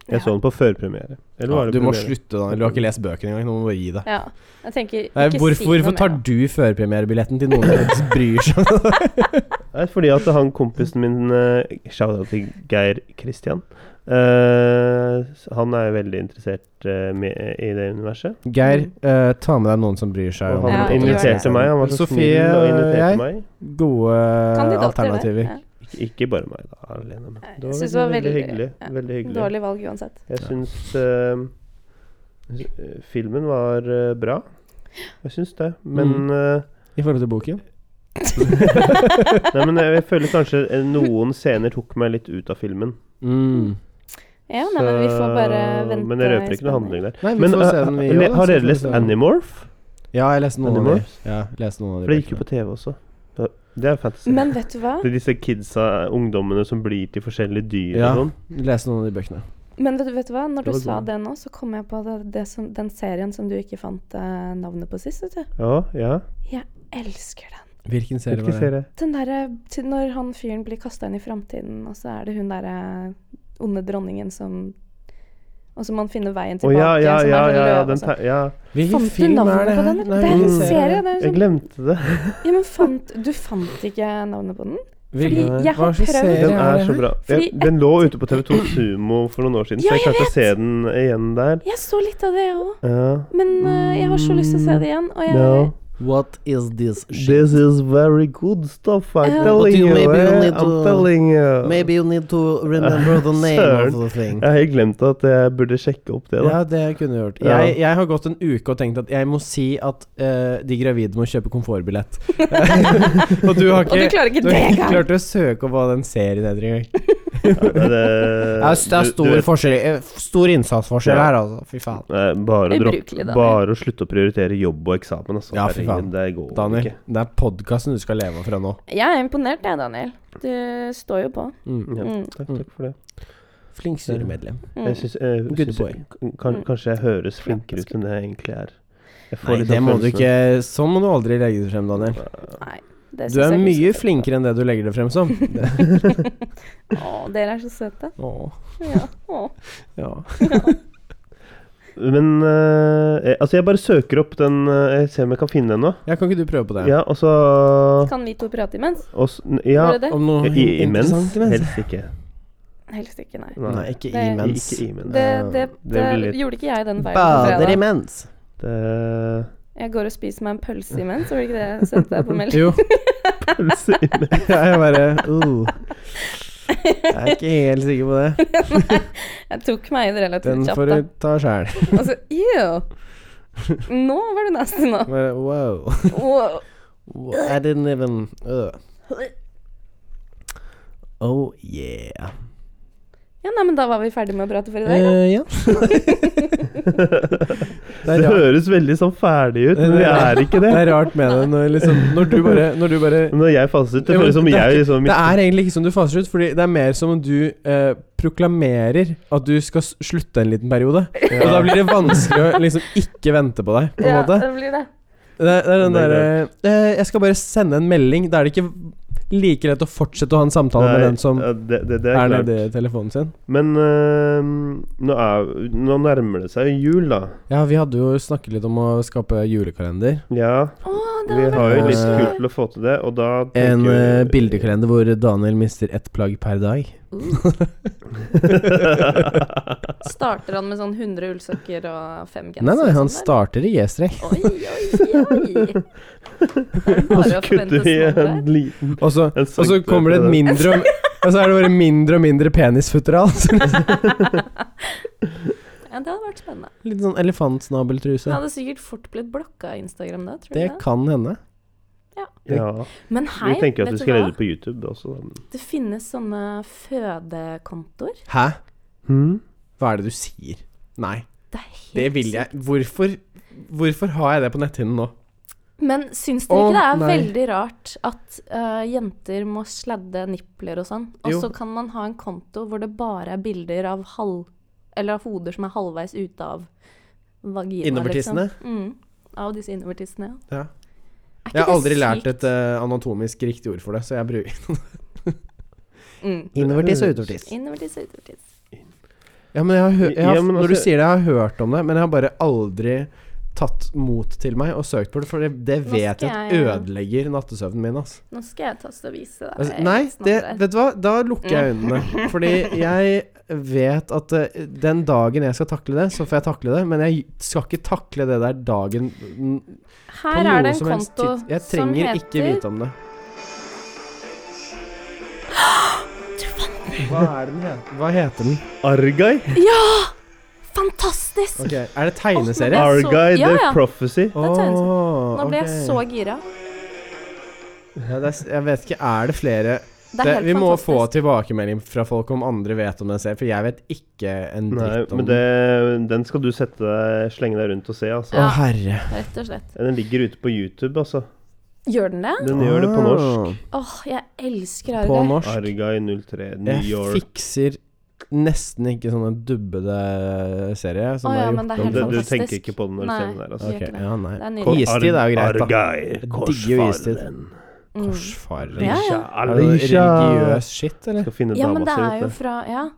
S1: Jeg så den på førpremiere. Eller var det
S3: du må
S1: premiere?
S3: slutte, da. Du har ikke lest bøkene engang. Nå må du bare gi deg.
S2: Ja. Jeg tenker
S3: Nei,
S2: ikke
S3: hvorfor,
S2: si noe
S3: hvorfor
S2: mer
S3: tar
S2: nå.
S3: du førpremierebilletten til noen som bryr seg?
S1: Nei, fordi at han kompisen min uh, Shout-out til Geir Kristian. Eh, han er veldig interessert eh, med, i det universet.
S3: Geir,
S2: Mm.
S3: eh, ta med deg noen som bryr seg.
S1: Og
S3: om
S1: han
S2: Ja,
S3: Harry Potter.
S2: gjør det.
S1: inviterte meg. Han var så
S3: Sofie
S1: snill og
S3: og
S1: inviterte
S3: jeg,
S1: meg.
S3: gode eh,
S2: Kandidater,
S3: alternativer.
S2: det.
S1: Ik ikke bare meg, da, alene, men
S2: Nei,
S1: det var
S2: jeg
S1: veldig,
S2: synes det var
S1: veldig
S2: veldig-
S1: hyggelig.
S2: ja,
S1: Veldig
S2: Ja.
S1: hyggelig.
S2: Dårlig valg uansett.
S1: Jeg
S3: Ja.
S1: syns eh, s- eh, filmen var eh, bra. Jeg syns det. Men eh,
S3: I forhold til boken.
S1: Nei, men jeg, jeg føler kanskje eh, noen scener tok meg litt ut av filmen.
S3: Mm.
S2: Ja, nei, men vi får bare
S1: Så-
S2: vente.
S1: Men jeg røper
S2: i
S1: ikke noe
S2: spenning.
S1: handling der.
S3: Nei, vi
S1: Men
S3: får se
S1: eh,
S3: den vi
S1: eh,
S3: gjør, da,
S1: har
S3: så
S1: dere
S3: får vi
S1: lest
S3: se.
S1: Animorph?
S3: Ja, jeg leste noen av de.
S1: Animorphs?
S3: Ja, jeg leste noen av de
S1: For det gikk jo
S3: bøkene.
S1: på TV også. Ja, Det er fantasy.
S2: Men vet du hva?
S1: det er disse kidsa, ungdommene som blir til forskjellige dyr
S3: Ja.
S1: og sånn.
S3: Leste noen av de bøkene.
S2: Men vet, du- vet du hva? Når du
S1: Det var
S2: sa
S1: god.
S2: det nå, så kom jeg på det, det som, den serien som du ikke fant eh, navnet på sist. Vet du.
S1: Ja, ja.
S2: Jeg elsker den.
S3: Hvilken serie
S1: Hvilken
S3: var det?
S1: serie?
S2: Den derre til- Når han fyren blir kasta inn i framtiden, og så er det hun derre onde dronningen som Og så man finner veien
S1: Å
S2: tilbake.
S1: ja, ja,
S2: som er
S1: ja,
S2: sånn
S1: ja,
S2: løv og
S1: den
S2: sånn.
S1: ta ja.
S3: Hvilken
S2: Fant du
S3: film er
S2: navnet
S3: det her?
S2: på den?
S3: Nei,
S2: Det er en
S3: hvilken
S2: serie. Det er
S1: Jeg
S2: sånn,
S1: glemte det.
S2: ja, men fant, du fant ikke navnet på den?
S3: Hvilken-
S1: Fordi
S2: jeg har
S3: Hva slags
S2: prøvd-
S3: serie
S1: Den
S3: er
S1: er
S3: det
S1: så
S3: her?
S1: bra.
S2: Fordi-
S1: Jeg, den lå ute på TV2 Sumo for noen år siden,
S2: Ja,
S1: så jeg
S2: jeg
S1: klarte å se den igjen der.
S2: Jeg så litt av det, jeg òg.
S1: Ja.
S2: Men eh, jeg har så lyst til å se det igjen. Og jeg,
S1: No.
S3: What is this shit?
S1: This is very good stuff, I'm
S2: Yeah.
S1: telling
S3: But you-
S1: you.
S3: maybe you
S1: eh?
S3: need
S1: I'm
S3: to-
S1: telling you.
S3: Maybe you need to remember the name of the thing.
S1: Jeg har helt glemt at jeg burde sjekke opp det, da.
S3: Ja, det kunne du gjort.
S1: Ja.
S3: Jeg, jeg har gått en uke og tenkt at jeg må si at eh, de gravide må kjøpe komfortbillett. og du har
S2: og du
S3: ikke,
S2: klarer ikke
S3: du har
S2: det
S3: ikke
S2: engang!
S3: klart å søke opp hva den serien heter engang.
S1: Ja, det,
S3: Det er, det er stor forskjell eh, Stor innsatsforskjell
S1: Ja.
S3: her, altså. Fy faen.
S1: Nei, Eh, bare, å droppe,
S2: Ubrukelig, da.
S1: bare å slutte å prioritere jobb og eksamen, altså.
S3: Ja, fy Fy faen.
S1: det går
S3: Daniel,
S1: ikke.
S3: det er podkasten du skal leve fra nå.
S2: Jeg er imponert, jeg, Daniel. Du står jo på.
S1: Ja,
S2: Mm.
S1: takk, takk for det.
S3: Flink styremedlem.
S2: Mm.
S1: Jeg syns, eh,
S3: Good
S1: syns
S3: boy.
S1: jeg- kan, kanskje jeg høres flinkere ut enn det jeg egentlig er. Jeg får
S3: Nei,
S1: litt
S3: det
S1: sånn
S3: må du
S1: følelsen-
S3: ikke Sånn må du aldri legge det frem, Daniel.
S2: Nei, det
S3: Du
S2: synes
S3: er
S2: jeg ikke
S3: mye flinkere enn det du legger det frem som.
S2: så- Å, dere er så søte.
S3: Åh,
S2: Ja. Å.
S3: ja.
S1: Men eh, jeg, altså, jeg bare søker opp den eh, Jeg ser om jeg kan finne den nå.
S3: ja. Kan ikke du prøve på det?
S1: Ja, og så
S2: Kan vi to prate imens?
S1: og s- Ja,
S2: Gjør dere det?
S3: Om noe
S1: i, imens?
S3: interessant imens?
S1: Helst ikke.
S2: Helst ikke, nei.
S1: Nei,
S3: Nei, ikke
S2: Nei.
S3: imens.
S1: Ikke imens.
S2: Det, det,
S1: det
S2: det,
S1: blir litt-
S2: gjorde ikke jeg den veien på
S3: Bader
S2: fredag.
S3: imens.
S1: Det
S2: Jeg går og spiser meg en pølse imens, var det ikke det jeg sendte deg på melding?
S3: Jo.
S1: Pølse imens.
S3: Jeg bare uh. Jeg er ikke helt sikker på det.
S2: Jeg tok meg inn
S3: Den
S2: relativt
S3: får
S2: kjapt,
S3: du
S2: da.
S3: ta sjæl.
S2: Og så Altså, ew! Nå var du nasty nå.
S3: Wow.
S2: Wow.
S3: I didn't even uh. Oh yeah.
S2: Ja, nei, men da var vi ferdig med å prate for i dag. da.
S3: Eh, ja. det,
S1: Det
S3: er rart.
S1: høres veldig sånn ferdig ut, men
S3: Det
S1: det
S3: er-
S1: er ikke
S3: det
S1: det.
S3: er rart med det når, liksom, når du bare, når du bare
S1: Når jeg faser ut, det
S3: Jo, men
S1: føles som
S3: det er
S1: jeg
S3: ikke-
S1: liksom
S3: Det er egentlig ikke som du faser ut, Fordi det er mer som om du eh, proklamerer at du skal s- slutte en liten periode. Og da blir det vanskelig å liksom ikke vente på deg, på en
S2: Ja,
S3: måte.
S2: det blir det.
S3: Det, er- det er den
S1: Det er
S3: derre eh, Jeg skal bare sende en melding. Da er det ikke like lett å fortsette å ha en samtale med
S1: Nei,
S3: den som
S1: ja, det, det, det er,
S3: er
S1: klart.
S3: nede i telefonen sin.
S1: Men eh, nå, er, nå nærmer det seg jo jul, da.
S3: Ja, vi hadde jo snakket litt om å skape julekalender.
S1: Ja,
S2: Å, det
S1: vi
S2: var
S1: har jo
S2: veldig
S1: litt
S3: Eh,
S1: kult til å få til det, og da
S3: En
S1: tenker-
S3: eh, bildekalender hvor Daniel mister ett plagg per dag.
S2: Uh. Starter han med sånn 100 ullsokker og fem gensere?
S3: Nei, nei,
S2: og
S3: han
S2: sånn
S3: starter i G-strek.
S2: der? Oi, oi, oi. Da er det
S1: Og
S2: bare
S1: så
S2: å forvente
S1: kutter vi en
S2: smått
S1: liten
S3: Og så
S1: En
S3: og så
S1: sankt-
S3: kommer det et mindre og, og så er det bare mindre og mindre penisfutteral.
S2: der. Ja, det hadde vært spennende.
S3: Litt sånn
S2: Det
S3: elefantsnabeltruse.
S2: hadde sikkert fort blitt blokka av Instagram da, tror du
S3: Det
S2: det?
S3: kan hende.
S1: Ja.
S2: Men
S1: Vi
S2: hei,
S1: tenker
S2: vet
S1: at vi
S2: du
S1: skal
S2: hva?
S1: legge det på YouTube også. sånn. Da.
S2: Det finnes sånne fødekontoer.
S3: Hæ?
S1: Hmm?
S3: Hva er det du sier? Nei,
S2: Det er helt
S3: det vil jeg Hvorfor Hvorfor har jeg det på netthinnen nå?
S2: Men syns dere ikke
S3: Å,
S2: det er
S3: nei.
S2: veldig rart at øh, jenter må sladde nipler og sånn, og
S3: Jo.
S2: så kan man ha en konto hvor det bare er bilder av halv... Eller av hoder som er halvveis ute av vagina,
S3: Innovertissene?
S2: liksom. Mm. Av disse innovertissene, ja.
S3: Ja.
S2: Er
S3: Jeg
S2: ikke
S3: har
S2: det
S3: aldri lært
S2: sykt?
S3: et eh, anatomisk riktig ord for det, så jeg bruker
S2: Mm.
S1: Innovertiss og
S3: utovertiss.
S2: Innovertiss og utovertiss.
S3: Ja, men jeg har hø jeg har,
S1: Ja, men
S3: Når du
S1: altså-
S3: sier det, jeg har hørt om det, men jeg har bare aldri tatt mot til meg og søkt på det, for det, det
S2: Nå
S3: vet jeg
S2: skal
S3: at
S2: jeg-
S3: ødelegger nattesøvnen min, ass.
S2: Nå skal jeg taste og vise deg.
S3: Altså, nei,
S2: resten av
S3: det,
S2: der.
S3: vet du hva? Da lukker jeg
S2: Mm.
S3: øynene. Fordi jeg vet at eh, den dagen jeg skal takle det, så får jeg takle det. Men jeg skal ikke takle det der dagen mm, på
S2: Her
S3: noe
S2: er det en
S3: som helst
S2: konto
S3: tids- Jeg
S2: som
S3: trenger
S2: heter
S3: ikke vite om det. Hva er den heter? Hva heter den?
S1: Argai?
S2: Fantastisk!
S3: Ok, Er det
S2: Jeg
S3: tegneserie?
S2: Alt så-
S1: Argai
S2: Ja,
S1: The
S2: ja.
S1: Prophecy.
S2: er tegneserie.
S3: Åh,
S2: Nå ble jeg
S3: ok.
S2: så gira.
S3: ja, det er, s- Jeg vet ikke, er det flere
S2: Det er
S3: det,
S2: helt
S3: Vi må
S2: fantastisk.
S3: få tilbakemelding fra folk om andre vet om den serien, for jeg vet ikke en
S1: Nei,
S3: dritt om
S1: men det, den skal du sette deg, slenge deg rundt og se, altså.
S3: Å,
S2: Ja.
S3: herre.
S2: Rett og slett.
S1: Den ligger ute på YouTube, altså.
S2: Gjør den det?
S3: Ah.
S1: Den gjør det på norsk.
S2: Åh, jeg elsker
S3: På
S2: Argar.
S3: norsk.
S1: Argai 03, New
S3: Jeg
S1: York.
S3: fikser nesten ikke sånne dubbede serier. Som
S2: Å ja,
S3: er
S2: men det
S1: Du,
S2: er helt
S3: gjort om
S1: du
S2: fantastisk.
S1: tenker ikke på den når du ser den der, altså.
S2: gjør
S3: til-
S2: ikke
S3: Ok,
S2: det.
S3: ja,
S2: Det
S3: nei.
S2: er
S1: Kor-
S2: nydelig.
S3: Istid er jo greit, da.
S1: Argai,
S3: digger jo istid.
S1: korsfareren.
S2: Mm.
S3: Korsfareren.
S2: Ja, ja.
S1: Kjære
S3: Er det
S1: Alicia.
S3: religiøs shit, eller?
S1: Skal finne
S2: Ja,
S1: dama
S2: men det
S1: si,
S2: er
S1: vet
S2: jo
S1: du.
S2: fra Ja.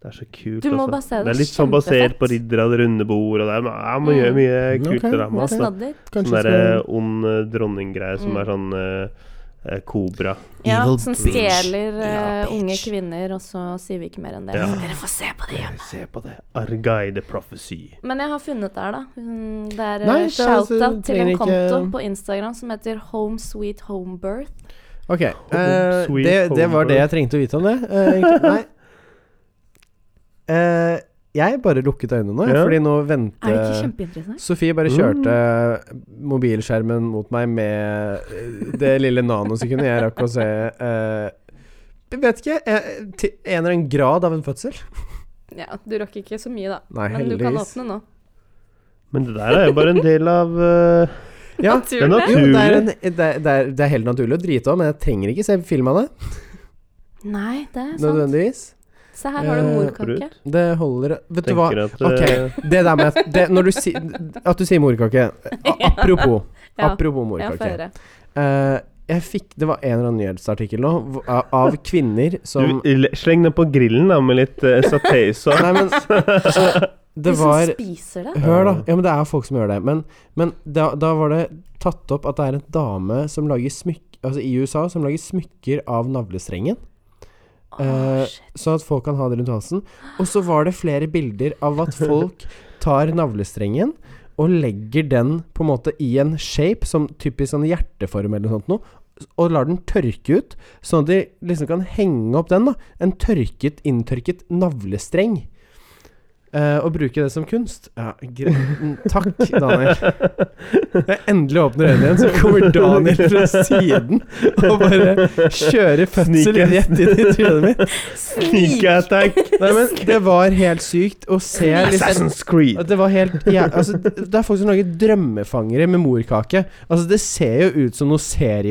S1: Det er så kult,
S2: Du må
S1: altså.
S2: bare se det,
S1: det er litt sånn basert
S2: kjempefett. Mm.
S1: på Ridder av det runde bord, og det er ma- ja, man gjør mye kult
S3: Ok,
S1: til dem.
S2: Med
S1: Altså.
S2: snadder.
S1: Sånn derre
S3: Kanskje skal
S1: ond eh, dronninggreie som
S2: Mm.
S1: er sånn eh, eh, Kobra.
S2: Ja,
S3: Evil
S2: som
S3: bitch.
S2: stjeler eh,
S3: Ja, bitch.
S2: unge kvinner, og så sier vi ikke mer enn det.
S1: Ja.
S2: Så dere får se på det.
S1: Dere, Se på det. Argai the Prophecy.
S2: Men jeg har funnet der, da. Mm, Det
S3: Nei,
S2: er eh,
S3: det er altså-
S2: shout-out til en
S3: trenger ikke-
S2: konto på Instagram som heter Home Sweet Home Birth.
S3: Ok, eh,
S1: sweet
S3: det, det var
S1: home
S3: det jeg trengte å vite om det. eh, egentlig. nei. Eh, jeg bare lukket øynene nå,
S1: Ja.
S3: fordi nå
S2: Er det ikke
S3: venter
S2: kjempeinteressant?
S3: Sofie
S1: Mm.
S3: bare kjørte mobilskjermen mot meg med eh, det lille nanosekundet jeg rakk å se eh, jeg Vet ikke. eh, til en eller annen grad av en fødsel.
S2: Ja, du rakk ikke så mye, da.
S3: Nei,
S2: Men du kan
S3: heldigvis.
S2: åpne nå.
S1: Men det der er jo bare en del av eh,
S3: Ja,
S1: Det er
S2: Naturlig.
S3: jo, det er,
S1: naturlig.
S3: en, det, er, det er- det er helt naturlig å drite om, men jeg trenger ikke se filmene
S2: Nei, det er sant.
S3: nødvendigvis.
S2: Se her
S3: Eh,
S2: har du morkake.
S1: Absolutt.
S3: Det holder Vet du hva?
S1: Tenker at
S3: Ok,
S1: eh,
S3: det der med at- det, Når du si, at du sier morkake a- Apropos,
S2: Ja,
S3: apropos
S2: ja,
S3: morkake.
S2: få høre.
S3: Eh, jeg fikk, det var en eller annen nyhetsartikkel nå hvor- av, av kvinner som
S1: du, le- Sleng den på grillen da med litt uh, satésaus.
S3: Nei, men så,
S2: De
S3: Det
S2: som
S3: var
S2: spiser det.
S3: Hør, da. Ja, men det er folk som gjør det. Men, men da, da var det tatt opp at det er en dame som lager smyk, altså i USA som lager smykker av navlestrengen.
S2: Åh,
S3: Eh,
S2: shit.
S3: sånn at folk kan ha det rundt halsen. Og så var det flere bilder av at folk tar navlestrengen og legger den på en måte i en shape, som typisk sånn hjerteform eller noe sånt noe, og lar den tørke ut, sånn at de liksom kan henge opp den, da. En tørket, inntørket navlestreng. Eh, og bruke det som kunst. Ja, gre mm, Takk, Daniel. Når jeg endelig åpner øynene igjen, så kommer Daniel fra siden og bare kjører fødsel
S1: Sneak
S3: rett inn i trynet mitt. eh,
S1: Sneak attack.
S3: Nei, men det var helt sykt å se liksom
S1: Assassin's Creed.
S3: det var helt ja, altså, Det er folk som lager drømmefangere med morkake. Altså, det ser jo ut som noe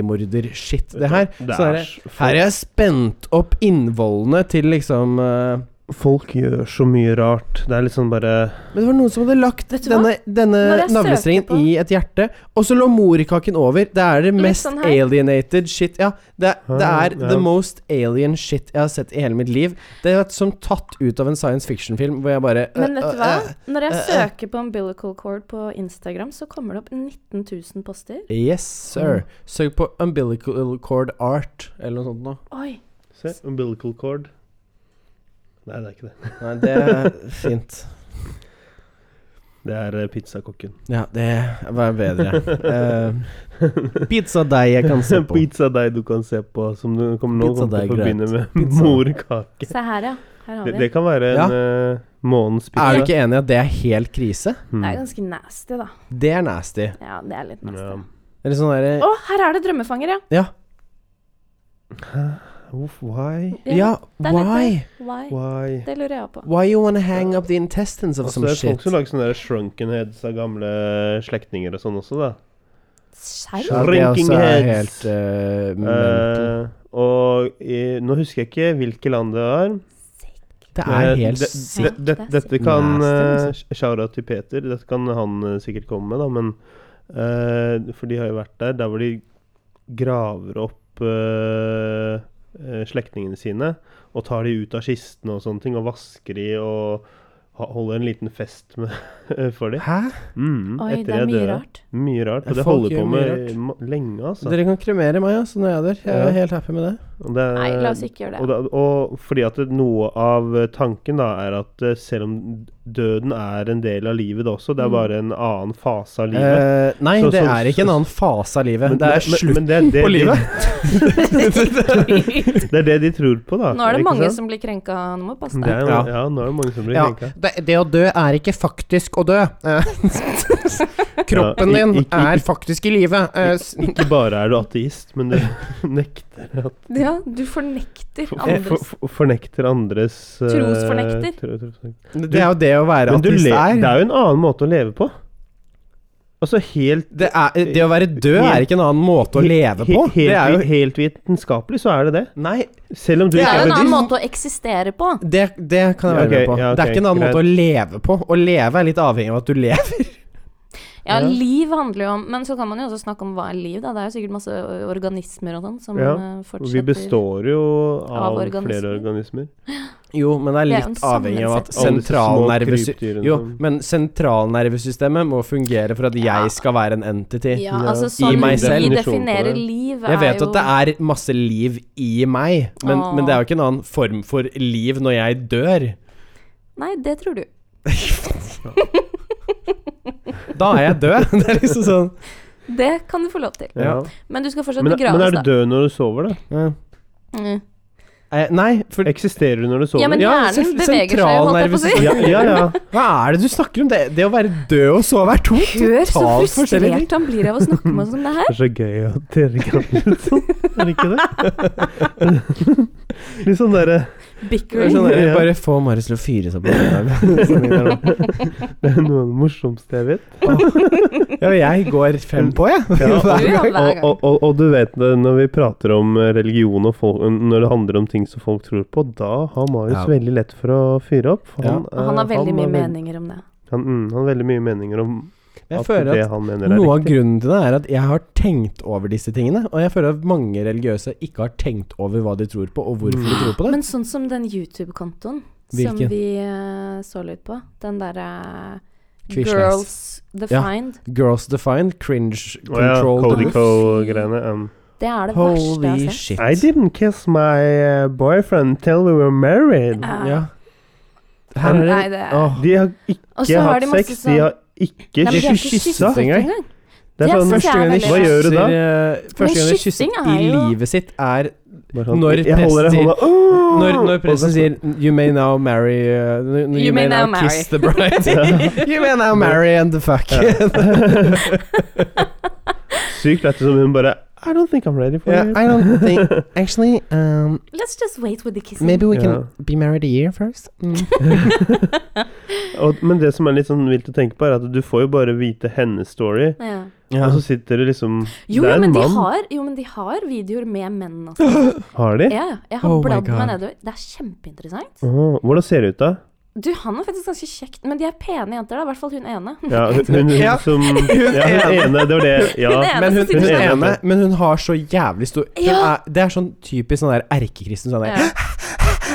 S3: seriemorder-shit, det her.
S1: Det
S3: Så
S1: er
S3: er det,
S1: s-
S3: her er jeg spent opp innvollene til liksom eh,
S1: Folk gjør så mye rart. Det er litt sånn bare
S3: Men det var noen som hadde lagt
S2: Vet du
S3: denne, denne
S2: Når jeg søker
S3: navlestrengen
S2: på-
S3: i et hjerte, og så lå morkaken over. Det er det
S2: Litt
S3: mest
S2: sånn her.
S3: alienated shit Ja, det, er- det er
S1: Ja.
S3: the most alien shit jeg har sett i hele mitt liv. Det er som tatt ut av en science fiction-film, hvor jeg bare
S2: Men vet
S3: øh,
S2: du hva?
S3: øh,
S2: Når jeg
S3: eh, eh.
S2: søker på umbilical cord på Instagram, så kommer det opp 19 000 poster.
S3: Yes, sir.
S1: Mm.
S3: Søk på umbilical cord art, eller noe sånt noe.
S2: Oi.
S1: Se, umbilical cord. Nei, det er ikke det.
S3: Nei, det er fint.
S1: Det er eh, pizzakokken.
S3: Ja, det var bedre. Eh, Pizzadeig jeg kan se på.
S1: Pizzadeig du kan se på, som du kommer nå kommer
S3: Pizzadeig,
S1: til å forbinde med
S3: Pizza.
S1: morkake.
S2: Se her, ja. Her har
S1: Det,
S2: vi
S1: det
S2: den.
S1: kan være en eh, månedens pizza.
S3: Er du ikke enig i at det er helt krise?
S1: Mm.
S2: Det er ganske nasty, da.
S3: Det er nasty.
S2: Ja, det er litt nasty.
S1: Ja.
S2: Å,
S3: Eller sånn derre
S2: her er det drømmefanger, ja.
S3: Ja.
S1: Uff, why?
S3: Ja,
S2: det er litt
S3: why?
S2: det. Why?
S1: Why?
S2: Det lurer jeg på.
S3: Why you wanna hang up the intestines of
S1: Altså,
S3: some
S1: det er folk
S3: shit?
S1: som lager sånne der shrunken heads av gamle slektninger og sånn også, da.
S2: Skjerm?
S3: Ja, det
S1: Shrinking
S3: altså er
S1: heads.
S3: helt eh, mental.
S1: Eh, og i, nå husker jeg ikke hvilket land det var.
S3: Det er
S1: Eh,
S3: helt
S1: det-
S3: sykt.
S1: det- det-
S2: Det er
S1: Dette
S3: sykt.
S1: kan
S3: Nasty,
S1: eh, Shout-out til Peter. Dette kan han eh, sikkert komme med, da, men eh, For de har jo vært der. Der hvor de graver opp eh, eh, slektningene sine og tar de ut av kistene og sånne ting, og vasker de og ha- holder en liten fest med, for de.
S3: Hæ?
S1: Mm,
S2: Oi,
S1: etter
S2: det
S1: de
S2: er mye
S1: døde.
S2: rart.
S1: Mye rart.
S3: Ja,
S1: Og det
S3: folk
S1: holder
S3: gjør
S1: på
S3: mye
S1: med ma- lenge, altså.
S3: Dere kan kremere meg, altså, når jeg er der. Jeg er
S1: Ja.
S3: helt happy med det.
S1: Og det er-
S2: Nei, la oss ikke gjøre
S1: Og,
S2: det.
S1: da, og fordi at det- noe av eh, tanken da er at eh, selv om døden er en del av livet det også, det er
S2: Mm.
S1: bare en annen fase av livet.
S3: Eh, nei,
S1: Så-
S3: det
S1: så-
S3: er ikke en annen fase av livet. det er slutt
S1: men det er det
S3: på
S1: de-
S3: livet.
S2: Nå
S1: Det er det de tror på, da.
S2: er det
S1: ikke
S2: mange
S1: sant?
S2: som blir krenka. Nå må du passe
S1: det er, jo-
S2: deg.
S3: Ja.
S1: ja. nå er det mange som blir
S3: Ja,
S1: krenka.
S3: det, det å dø er ikke faktisk å dø. Eh, Kroppen
S1: Ja, i-
S3: din
S1: ikke- ikke-
S3: er faktisk i live. Eh, s-
S1: Ikke bare er du ateist, men du nekter at
S2: Ja, du fornekter
S1: for, for,
S2: andres
S1: for, Fornekter andres eh,
S2: Trosfornekter.
S1: tro- tro-
S3: Det er jo det å være
S1: Men du
S3: ateist
S1: le, det
S3: er.
S1: er jo en annen måte å leve på. Altså helt
S3: Det, er. det å være død er ikke en annen måte å leve
S1: He-
S3: på.
S1: Helt,
S3: Det er jo
S1: vi- helt vitenskapelig så er det det.
S3: Nei,
S1: Selv om du
S3: Det
S2: Det
S1: ikke er
S2: er jo en annen
S1: buddhist.
S2: måte å eksistere på.
S3: det, det kan jeg
S1: Ja,
S3: være med
S1: ok,
S3: på.
S1: ja,
S3: Det er
S1: ok,
S3: ikke en annen
S1: greit.
S3: måte å leve på. Å leve er litt avhengig av at du lever.
S2: Ja,
S1: Ja.
S2: liv handler jo om Men så kan man jo også snakke om hva er liv, da. Det er jo sikkert masse ø, organismer og sånn som
S1: Ja,
S2: eh,
S1: Og
S2: fortsetter
S1: Vi består jo av,
S2: Av organismer.
S1: flere organismer.
S3: Jo, men det er
S2: Det er jo en
S3: litt avhengig av at
S1: Alle disse små krypdyrene
S3: sentralnervesystemet Jo,
S1: som-
S3: men sentralnervesystemet må fungere for at
S2: Ja.
S3: jeg skal være en entity.
S2: Ja,
S1: Ja.
S2: altså
S1: I
S2: sånn
S3: meg
S2: vi
S3: selv.
S1: Definisjonen på
S2: definerer
S1: det.
S2: liv,
S3: Jeg vet
S2: jo
S3: at det er masse liv i meg, men,
S2: Åh.
S3: men det er jo ikke en annen form for liv når jeg dør.
S2: Nei, det tror du.
S3: Da er jeg død. Det er liksom sånn
S2: Det kan du få lov til.
S1: Ja.
S2: Men du skal fortsatt
S1: Men, men
S2: begraves,
S1: er du
S2: da.
S1: død når du sover, da?
S3: ja.
S2: Mm.
S3: Eh, Nei, for
S1: Eksisterer du når du sover?
S2: Ja, men
S3: Ja,
S2: hjernen
S3: sen-
S2: beveger seg, holdt jeg på å si.
S3: sentralnervesystemet.
S1: ja, ja, ja.
S3: Hva er det du snakker om? Det, det å være død og sove er to
S2: Hør så
S3: totalt forskjellige ting.
S2: frustrert han blir av å snakke med oss om det her.
S1: Det er så gøy at dere kan litt sånn, er det ikke det? Litt sånn derre
S3: Det er
S2: Bickering.
S3: sånn der,
S1: Ja.
S3: Bare få Marius til å fyre seg på det.
S1: Sånn Det er noe av det morsomste jeg vet.
S3: Ja, jeg går fem på, jeg.
S1: Ja,
S2: Du, ja,
S1: og,
S2: hver
S1: og,
S2: gang.
S1: og, og, og du vet det, når vi prater om eh, religion og folk, når det handler om ting som folk tror på, da har Marius
S3: Ja.
S1: veldig lett for å fyre opp. For
S3: Ja.
S1: han,
S2: Og han har
S1: eh,
S2: veldig mye
S1: veld-
S2: meninger om det.
S1: Han, mm, han har veldig mye meninger om
S3: Jeg
S1: at
S3: føler
S1: det
S3: at
S1: han mener er
S3: noe av
S1: riktig.
S3: grunnen til det er at jeg har tenkt over disse tingene. Og jeg føler at mange religiøse ikke har tenkt over hva de tror på, og hvorfor de tror på det.
S2: Men sånn som den YouTube-kontoen som
S3: Hvilken?
S2: vi eh, så litt på, den derre
S3: Quizless.
S2: Girls Defined,
S3: Girls defined, cringe
S1: Å ja,
S3: controlled
S2: Cody.
S1: Codico-greiene. Um.
S2: det er det verste jeg
S3: Holy
S2: har sett.
S3: shit.
S1: I didn't kiss my uh, boyfriend till we were married.
S2: Ja.
S3: Ja.
S1: Her er det-
S2: Nei, det er...
S3: Åh,
S1: De har ikke
S2: Og så har
S1: hatt
S2: de masse
S1: sex, de
S2: sånn
S1: har ikke
S2: Nei, men de har ikke
S1: kyssa.
S2: kysset
S3: engang.
S2: engang.
S1: Det er
S2: Det
S1: sånn
S2: synes jeg er
S3: de
S2: veldig
S1: Hva gjør du da?
S3: kysser, eh, Første gang de
S2: kyssing
S3: kysset
S2: er
S3: i
S2: jo-
S3: livet sitt, er
S1: Bare sånn,
S3: Når
S1: jeg holder
S3: prester-
S1: deg i hånda «Åh!»
S3: Når, når presten
S1: Og så-
S3: sier 'You may now marry uh, n- n-
S2: You may now marry.
S3: kiss the bride'. you may now marry and the fuck.
S1: Sykt lett som hun bare I don't think I'm ready for
S3: Yeah,
S1: it.
S3: I don't think Actually, um,
S2: Let's just wait with the kissing.
S3: maybe we can
S1: Ja.
S3: be married a year first. Mm.
S1: Og, men det som er litt sånn vilt å tenke på, er at du får jo bare vite hennes story,
S2: ja.
S1: og så sitter det liksom Det
S2: jo, jo,
S1: er en
S2: men de
S1: mann.
S2: har, jo, men de har videoer med menn. Altså.
S1: Har de?
S2: Ja, ja. jeg har
S3: Oh my
S2: bladd meg
S3: God.
S2: nedover. Det er kjempeinteressant.
S1: Åh, hvordan ser det ut, da?
S2: Du, Han er faktisk ganske kjekt, men de er pene jenter, da. I hvert fall hun ene.
S1: Ja, hun, hun, hun
S3: Ja.
S1: som Ja, hun ene, det var det. Ja.
S2: Hun ene
S3: Men hun,
S2: som sitter
S3: hun
S1: og
S2: sånn.
S1: er-
S3: ene, men hun har så jævlig stor hun
S2: Ja.
S3: er, Det er sånn typisk sånn der erkekristen. Sånn, der,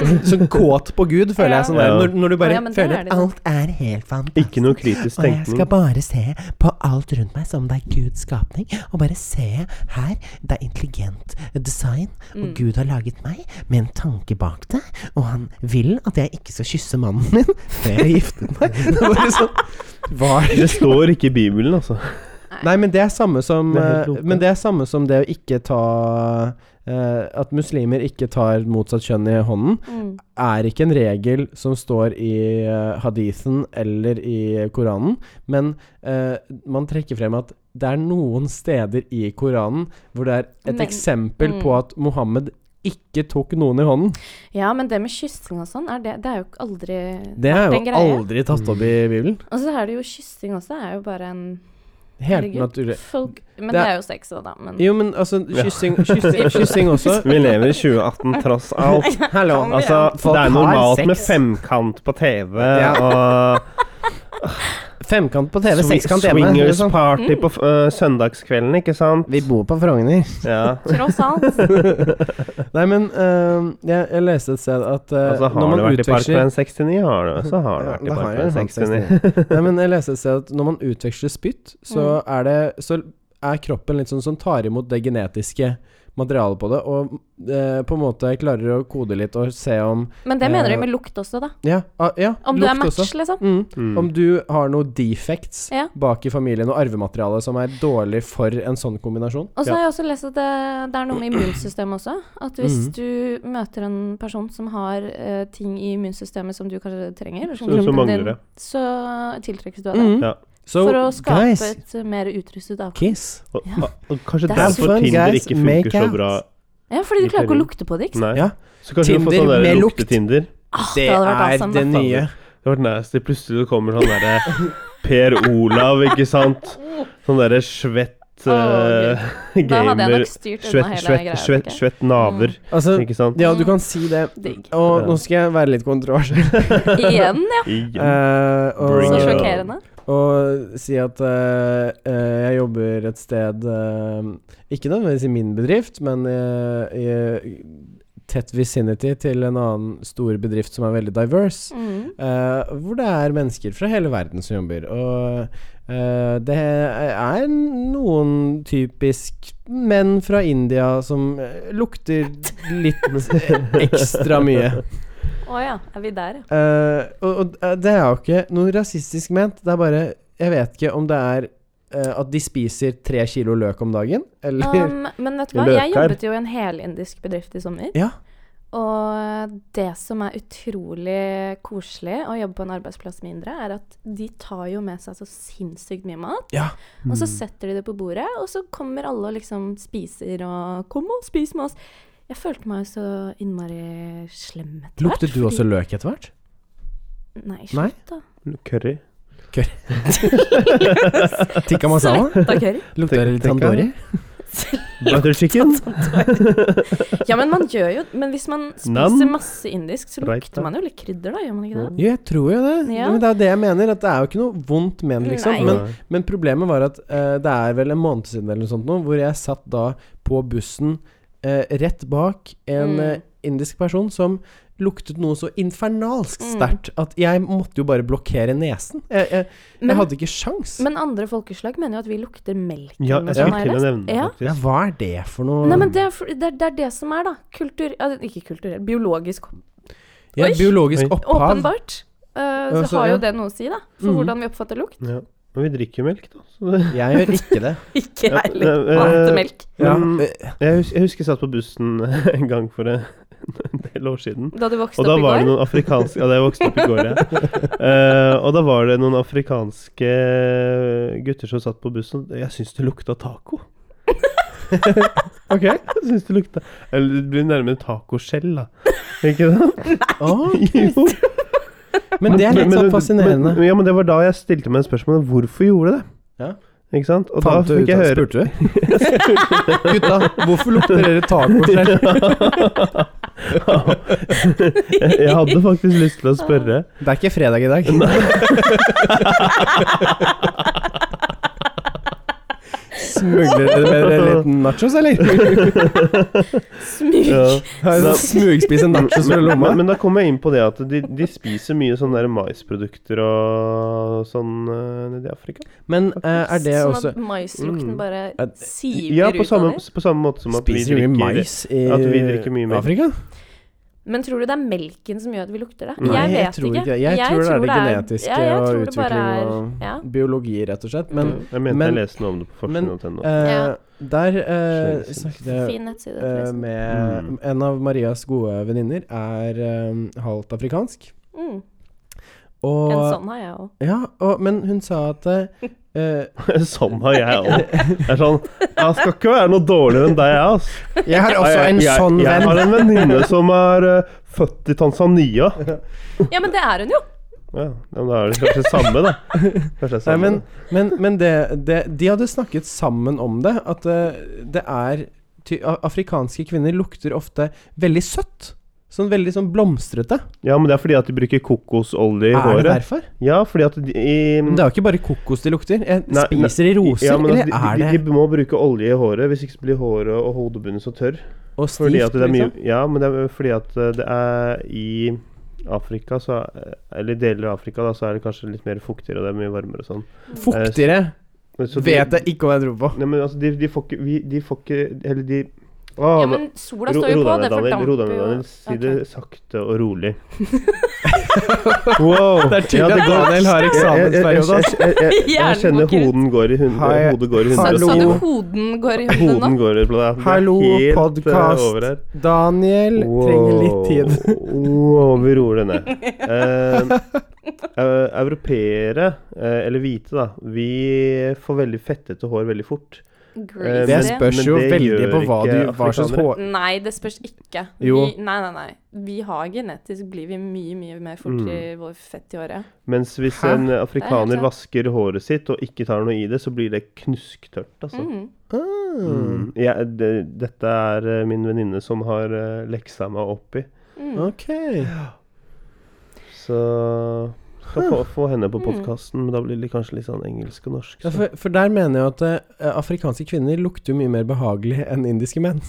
S2: Ja.
S3: sånn kåt på Gud, føler
S2: Ja.
S3: jeg. Sånn der,
S1: Ja.
S3: når, når du bare
S2: Ja, men det
S3: føler
S2: er liksom-
S3: at
S2: det.
S3: alt er helt fantastisk.
S1: Ikke noe kritisk
S3: Og jeg skal
S1: tenkning.
S3: bare se på alt rundt meg som det er Guds skapning, og bare se her, det er intelligent design, og
S1: Mm.
S3: Gud har laget meg med en tanke bak det, og han vil at jeg ikke skal kysse mannen min før jeg gifter meg. Det var bare sånn Hva er det?
S1: Det står ikke i Bibelen, altså.
S3: Nei, men det er samme som
S1: Det er helt
S3: eh,
S1: lope.
S3: Men det er samme som det å ikke ta eh, At muslimer ikke tar motsatt kjønn i hånden,
S2: Mm.
S3: er ikke en regel som står i eh, hadithen eller i Koranen, men eh, man trekker frem at det er noen steder i Koranen hvor det er et
S2: Men-
S3: eksempel
S2: mm.
S3: på at Mohammed ikke tok noen i hånden.
S2: Ja, men det med kyssing og sånn, er det, det er jo aldri
S3: Det er
S2: vært
S3: jo
S2: en greie.
S3: aldri tatt opp
S1: Mm.
S3: i Bibelen.
S2: Og så er det jo kyssing også, er jo bare en
S3: Helt
S2: Herregud.
S3: naturlig.
S2: folk Men
S3: Det
S2: det
S3: er-
S2: er, jo sex òg, da. Men
S3: Jo, men altså,
S1: Ja.
S3: kyssing, kyssing, kyssing også
S1: Vi lever i 2018 tross alt.
S3: Hallo.
S1: Altså,
S3: Folk
S1: det er
S3: har
S1: normalt
S3: sex.
S1: med femkant på TV
S3: Ja.
S1: og
S3: Femkant på TV,
S1: swi-
S3: sekskant hjemme.
S1: swingers
S3: liksom.
S1: party på eh, søndagskvelden, ikke sant?
S3: Vi bor på Frogner.
S1: Ja.
S2: tross alt.
S3: Nei, men eh, jeg, jeg leste et sted at eh,
S1: Altså, har
S3: når
S1: du
S3: man
S1: vært i park
S3: utveksler
S1: med en 69, har du, så har du
S3: Ja,
S1: vært i
S3: da har
S1: park med
S3: jeg
S1: en
S3: hatt
S1: 69.
S3: 69. Nei, men jeg leste et sted at når man utveksler spytt, så
S2: Mm.
S3: er det Så er kroppen litt sånn som tar imot det genetiske materialet på det, og eh, på en måte klarer å kode litt og se om
S2: Men det mener
S3: Ja.
S2: du med lukt også, da.
S3: Ja, ah, ja
S2: Om du er
S3: lukt
S2: match,
S3: også.
S2: liksom.
S3: Mm.
S1: Mm.
S3: Om du har noen defects
S2: Ja.
S3: bak i familien og arvemateriale som er dårlig for en sånn kombinasjon.
S2: Og så
S1: Ja.
S2: har jeg også lest at det, det er noe med immunsystemet også. At hvis
S3: Mhm.
S2: du møter en person som har eh, ting i immunsystemet som du kanskje trenger, eller som
S1: Så- så
S2: kroppen
S1: mangler
S2: din-
S1: det.
S2: Så tiltrekkes du av det.
S3: Mm.
S1: Ja.
S3: So,
S2: For å skape
S3: guys,
S2: et eh, mer utrustet avkom.
S3: kiss.
S1: Og,
S2: Ja.
S1: og kanskje
S2: That's
S1: derfor
S3: fun,
S1: Tinder
S3: guys.
S1: ikke funker
S3: Make
S1: så
S3: out.
S1: bra.
S2: Ja, fordi du klarer ikke å lukte på det, ikke
S1: Nei.
S2: sant?
S3: Ja.
S1: Så kanskje du får
S3: Tinder
S1: sånn der
S3: med lukt.
S1: luktetinder.
S2: Ah,
S3: Det
S2: hadde vært
S3: er
S2: awesome, da.
S3: det nye.
S1: Det var nasty. Plutselig kommer sånn derre Per Olav, ikke sant? Sånn derre svett
S2: Å,
S1: eh,
S2: Da hadde
S1: gamer.
S2: jeg nok styrt unna
S1: Svett,
S2: hele
S1: svett,
S2: greia.
S1: svett,
S2: tenker jeg.
S1: svett naver,
S3: Altså,
S1: ikke sant?
S3: ja, du kan si det.
S2: Digg.
S3: Og
S1: Ja.
S3: nå skal jeg være litt kontroversiell.
S2: Igjen, ja.
S1: Igjen.
S3: Eh, og,
S1: Bring
S2: Så
S1: it on.
S2: sjokkerende.
S3: og si at eh, eh, jeg jobber et sted eh, Ikke nødvendigvis i min bedrift, men eh, i tett vicinity til en annen stor bedrift som er veldig diverse.
S2: Mm.
S3: eh, hvor det er mennesker fra hele verden som jobber. Og eh, det er noen typisk menn fra India som eh, lukter litt ekstra mye.
S2: Å ja, er vi der, ja.
S3: Eh, og, og eh, det er jo ikke noe rasistisk ment. Det er bare Jeg vet ikke om det er eh, at de spiser tre kilo løk om dagen, eller
S2: Um, men vet du hva, jeg
S1: Løker.
S2: jobbet jo i en helindisk bedrift i sommer.
S3: Ja.
S2: Og det som er utrolig koselig å jobbe på en arbeidsplass med indre, er at de tar jo med seg så sinnssykt mye mat.
S3: Ja.
S2: Og
S1: Mm.
S2: så setter de det på bordet, og så kommer alle og liksom spiser og 'Kom og spis med oss'. Jeg følte meg så innmari slem etter hvert.
S3: Luktet du også løk etter hvert?
S2: fordi- Nei,
S3: Nei?
S2: slutt da.
S1: Curry.
S3: Tikka masala?
S2: Svetta curry.
S3: Lukta det litt
S1: Tikka.
S3: tandori?
S1: Butter chicken.
S2: Ja, men man gjør jo Men hvis man spiser
S1: Nam.
S2: masse indisk, så
S1: Raita.
S2: lukter man jo litt krydder, da, gjør man ikke det?
S3: Jo, jeg tror jo det.
S2: Ja.
S3: Men det er jo det jeg mener. At det er jo ikke noe vondt men, liksom.
S2: Nei.
S3: Men, men problemet var at eh, det er vel en måned siden eller noe sånt nå, hvor jeg satt da på bussen eh, rett bak en
S2: Mm.
S3: eh, indisk person som luktet noe så infernalsk
S2: Mm.
S3: sterkt at jeg måtte jo bare blokkere nesen. Jeg, jeg, jeg
S2: Men-
S3: hadde ikke sjans.
S2: Men andre folkeslag mener jo at vi lukter melk.
S1: Ja,
S2: eller noe
S1: jeg skulle
S2: sånt,
S1: til å
S2: Eirik.
S1: nevne det,
S2: Ja.
S3: ja,
S1: faktisk.
S3: hva er det for noe?
S2: Nei, men det er, for- det, er, det er det som er, da. Kultur... ja, Ikke kulturell, biologisk
S3: ja,
S2: Oi.
S3: biologisk
S1: Oi.
S3: opphav.
S2: Åpenbart. eh,
S3: Ja,
S2: så,
S3: så-
S2: har
S3: ja.
S2: jo det noe å si, da. For
S3: Mhm.
S2: hvordan vi oppfatter lukt.
S1: Ja. Men vi drikker jo melk, da. Så det.
S3: Jeg gjør ikke det.
S2: Ikke
S1: Ja,
S2: jeg heller.
S1: eh,
S2: Hva heter melk?
S1: Ja.
S3: Men, eh,
S1: Jeg, hus jeg husker jeg satt på bussen en gang for eh, en del år siden.
S2: Da du vokste
S1: Og da
S2: opp i
S1: var det
S2: går?
S1: noen afrikanske Ja, det vokste opp i går, ja. Eh, og da var det noen afrikanske eh, gutter som satt på bussen. Jeg syns det lukta taco. OK? Jeg syns det lukta Eller det blir nærmere tacoskjell, da. Ikke sant?
S3: å,
S1: Jo.
S3: men det er litt sånn fascinerende.
S1: Men, ja, men det var da jeg stilte meg spørsmålet hvorfor gjorde det.
S3: Ja.
S1: Ikke sant? Og
S3: Fant
S1: da
S3: du
S1: fikk
S3: ut
S1: jeg
S3: av
S1: høre
S3: Spurte du? Gutta, hvorfor lukter dere taco selv?
S1: jeg, jeg hadde faktisk lyst til å spørre.
S3: Det er ikke fredag i dag. Smugler dere med dere litt nachos, eller?
S2: Smug.
S1: Ja.
S3: Har du smugspist en nachos fra
S1: Men, men,
S3: lomma?
S1: men da kom jeg inn på det at de, de spiser mye sånne der maisprodukter og sånn eh, nede i Afrika.
S3: Men eh, er det
S2: sånn
S3: også
S2: at maislukten
S1: Mm.
S2: bare
S3: At-
S2: siver
S1: Ja, på
S2: ut
S1: samme,
S2: av det.
S1: på samme måte som at vi
S3: Spiser vi
S1: drikker
S3: mais i
S1: at vi drikker mye melk.
S3: Afrika?
S2: Men tror du det er melken som gjør at vi lukter det?
S1: Nei,
S2: jeg vet
S3: tror ikke det. Jeg, tror det er det genetiske
S2: ja, jeg tror
S3: og
S2: det bare
S3: utvikling
S2: er-
S3: og
S2: ja.
S3: biologi, rett og slett. Men
S2: Mm.
S1: Jeg mente
S3: Men-
S1: jeg leste noe om det på
S3: men,
S1: forskning.no.
S3: eh,
S2: Ja.
S3: der eh,
S1: Skjønnelse.
S3: snakket jeg
S2: Fin nettside.
S3: eh,
S2: forresten.
S3: med
S1: Mm.
S3: En av Marias gode venninner er eh, halvt afrikansk.
S2: Mm.
S3: Og,
S2: En sånn har jeg òg.
S3: Ja, og, men hun sa at eh,
S1: sånn har jeg òg. Jeg er sånn Jeg skal ikke være noe dårligere enn deg, ass.
S3: Jeg har også
S1: jeg,
S3: en
S1: jeg,
S3: sånn
S1: jeg
S3: venn.
S1: har en venninne som er eh, født i Tanzania. Ja,
S2: Ja, men det er hun jo!
S1: ja, men da er det kanskje samme, da. Kanskje det er
S3: Nei,
S1: samme.
S3: men men, men det, det, de hadde snakket sammen om det, at eh, det er ty a- Afrikanske kvinner lukter ofte veldig søtt. Sånn veldig sånn blomstrete.
S1: Ja, men det er fordi at de bruker kokosolje i
S3: Er det
S1: håret.
S3: derfor?
S1: Ja, fordi at de i,
S3: Men det er jo ikke bare kokos de lukter. Jeg
S1: Nei, nei,
S3: spiser de roser,
S1: Ja, men altså,
S3: eller er
S1: de,
S3: det
S1: de, de må bruke olje i håret, hvis ikke så blir håret og hodebunnen så tørr.
S3: Og
S1: Fordi
S3: stivt,
S1: at det er mye,
S3: liksom?
S1: ja, men det er fordi at eh, det er i Afrika, så, eh, eller i deler av Afrika, da, så er det kanskje litt mer fuktigere og det er mye varmere og sånn.
S3: Fuktigere
S1: Men Eh, så de-
S3: vet jeg ikke hva jeg tror på.
S1: Nei, men altså, de, de får ikke vi, De får ikke Eller de Å,
S2: Ja,
S1: men
S2: men sola står jo på, det fordamper jo.
S1: Daniel, si det
S2: Ok.
S1: sakte og rolig. wow.
S3: Det er tydelig at Daniel har eksamensperiode. altså.
S1: Jeg, jeg, jeg, jeg, jeg kjenner
S2: Hjernen
S1: hoden går i hund-
S3: Hei.
S1: hodet går i
S2: Sa, sa
S1: 100
S2: du
S3: Hallo.
S2: hoden går i hunden
S1: Hoden
S2: nå?
S1: går i det er
S3: Hallo,
S1: helt, eh,
S3: podcast.
S1: over her.
S3: Daniel trenger litt tid.
S1: wow, vi roer det ned. Eh, eh, europeere, eh, eller hvite, da, vi får veldig fettete hår veldig fort.
S2: Greasy.
S3: Eh, Det
S1: Men-
S3: spørs
S1: men
S3: jo
S1: det
S3: veldig
S1: gjør
S3: på hva, du,
S1: ikke
S3: hva slags
S1: afrikanere.
S3: hår
S2: Nei, det spørs ikke.
S3: Jo.
S2: Vi, nei, nei, nei. Vi har genetisk Blir vi mye, mye mer fort
S3: Mm.
S2: i vår fett i håret.
S1: Mens hvis
S3: Hæ?
S1: en
S2: Det er
S1: afrikaner
S2: helt
S1: vasker håret sitt og ikke tar noe i det, så blir det knusktørt, altså.
S2: Mhm.
S1: Mm. Ja, det, dette er eh, min venninne som har eh, leksa meg opp i.
S2: Mhm.
S3: Ok.
S1: Så skal få, få henne
S2: Mm.
S1: på podkasten, men da blir det kanskje litt sånn engelsk og norsk.
S3: Ja,
S1: Så.
S3: for, for der mener jeg at eh, afrikanske kvinner lukter jo mye mer behagelig enn indiske menn.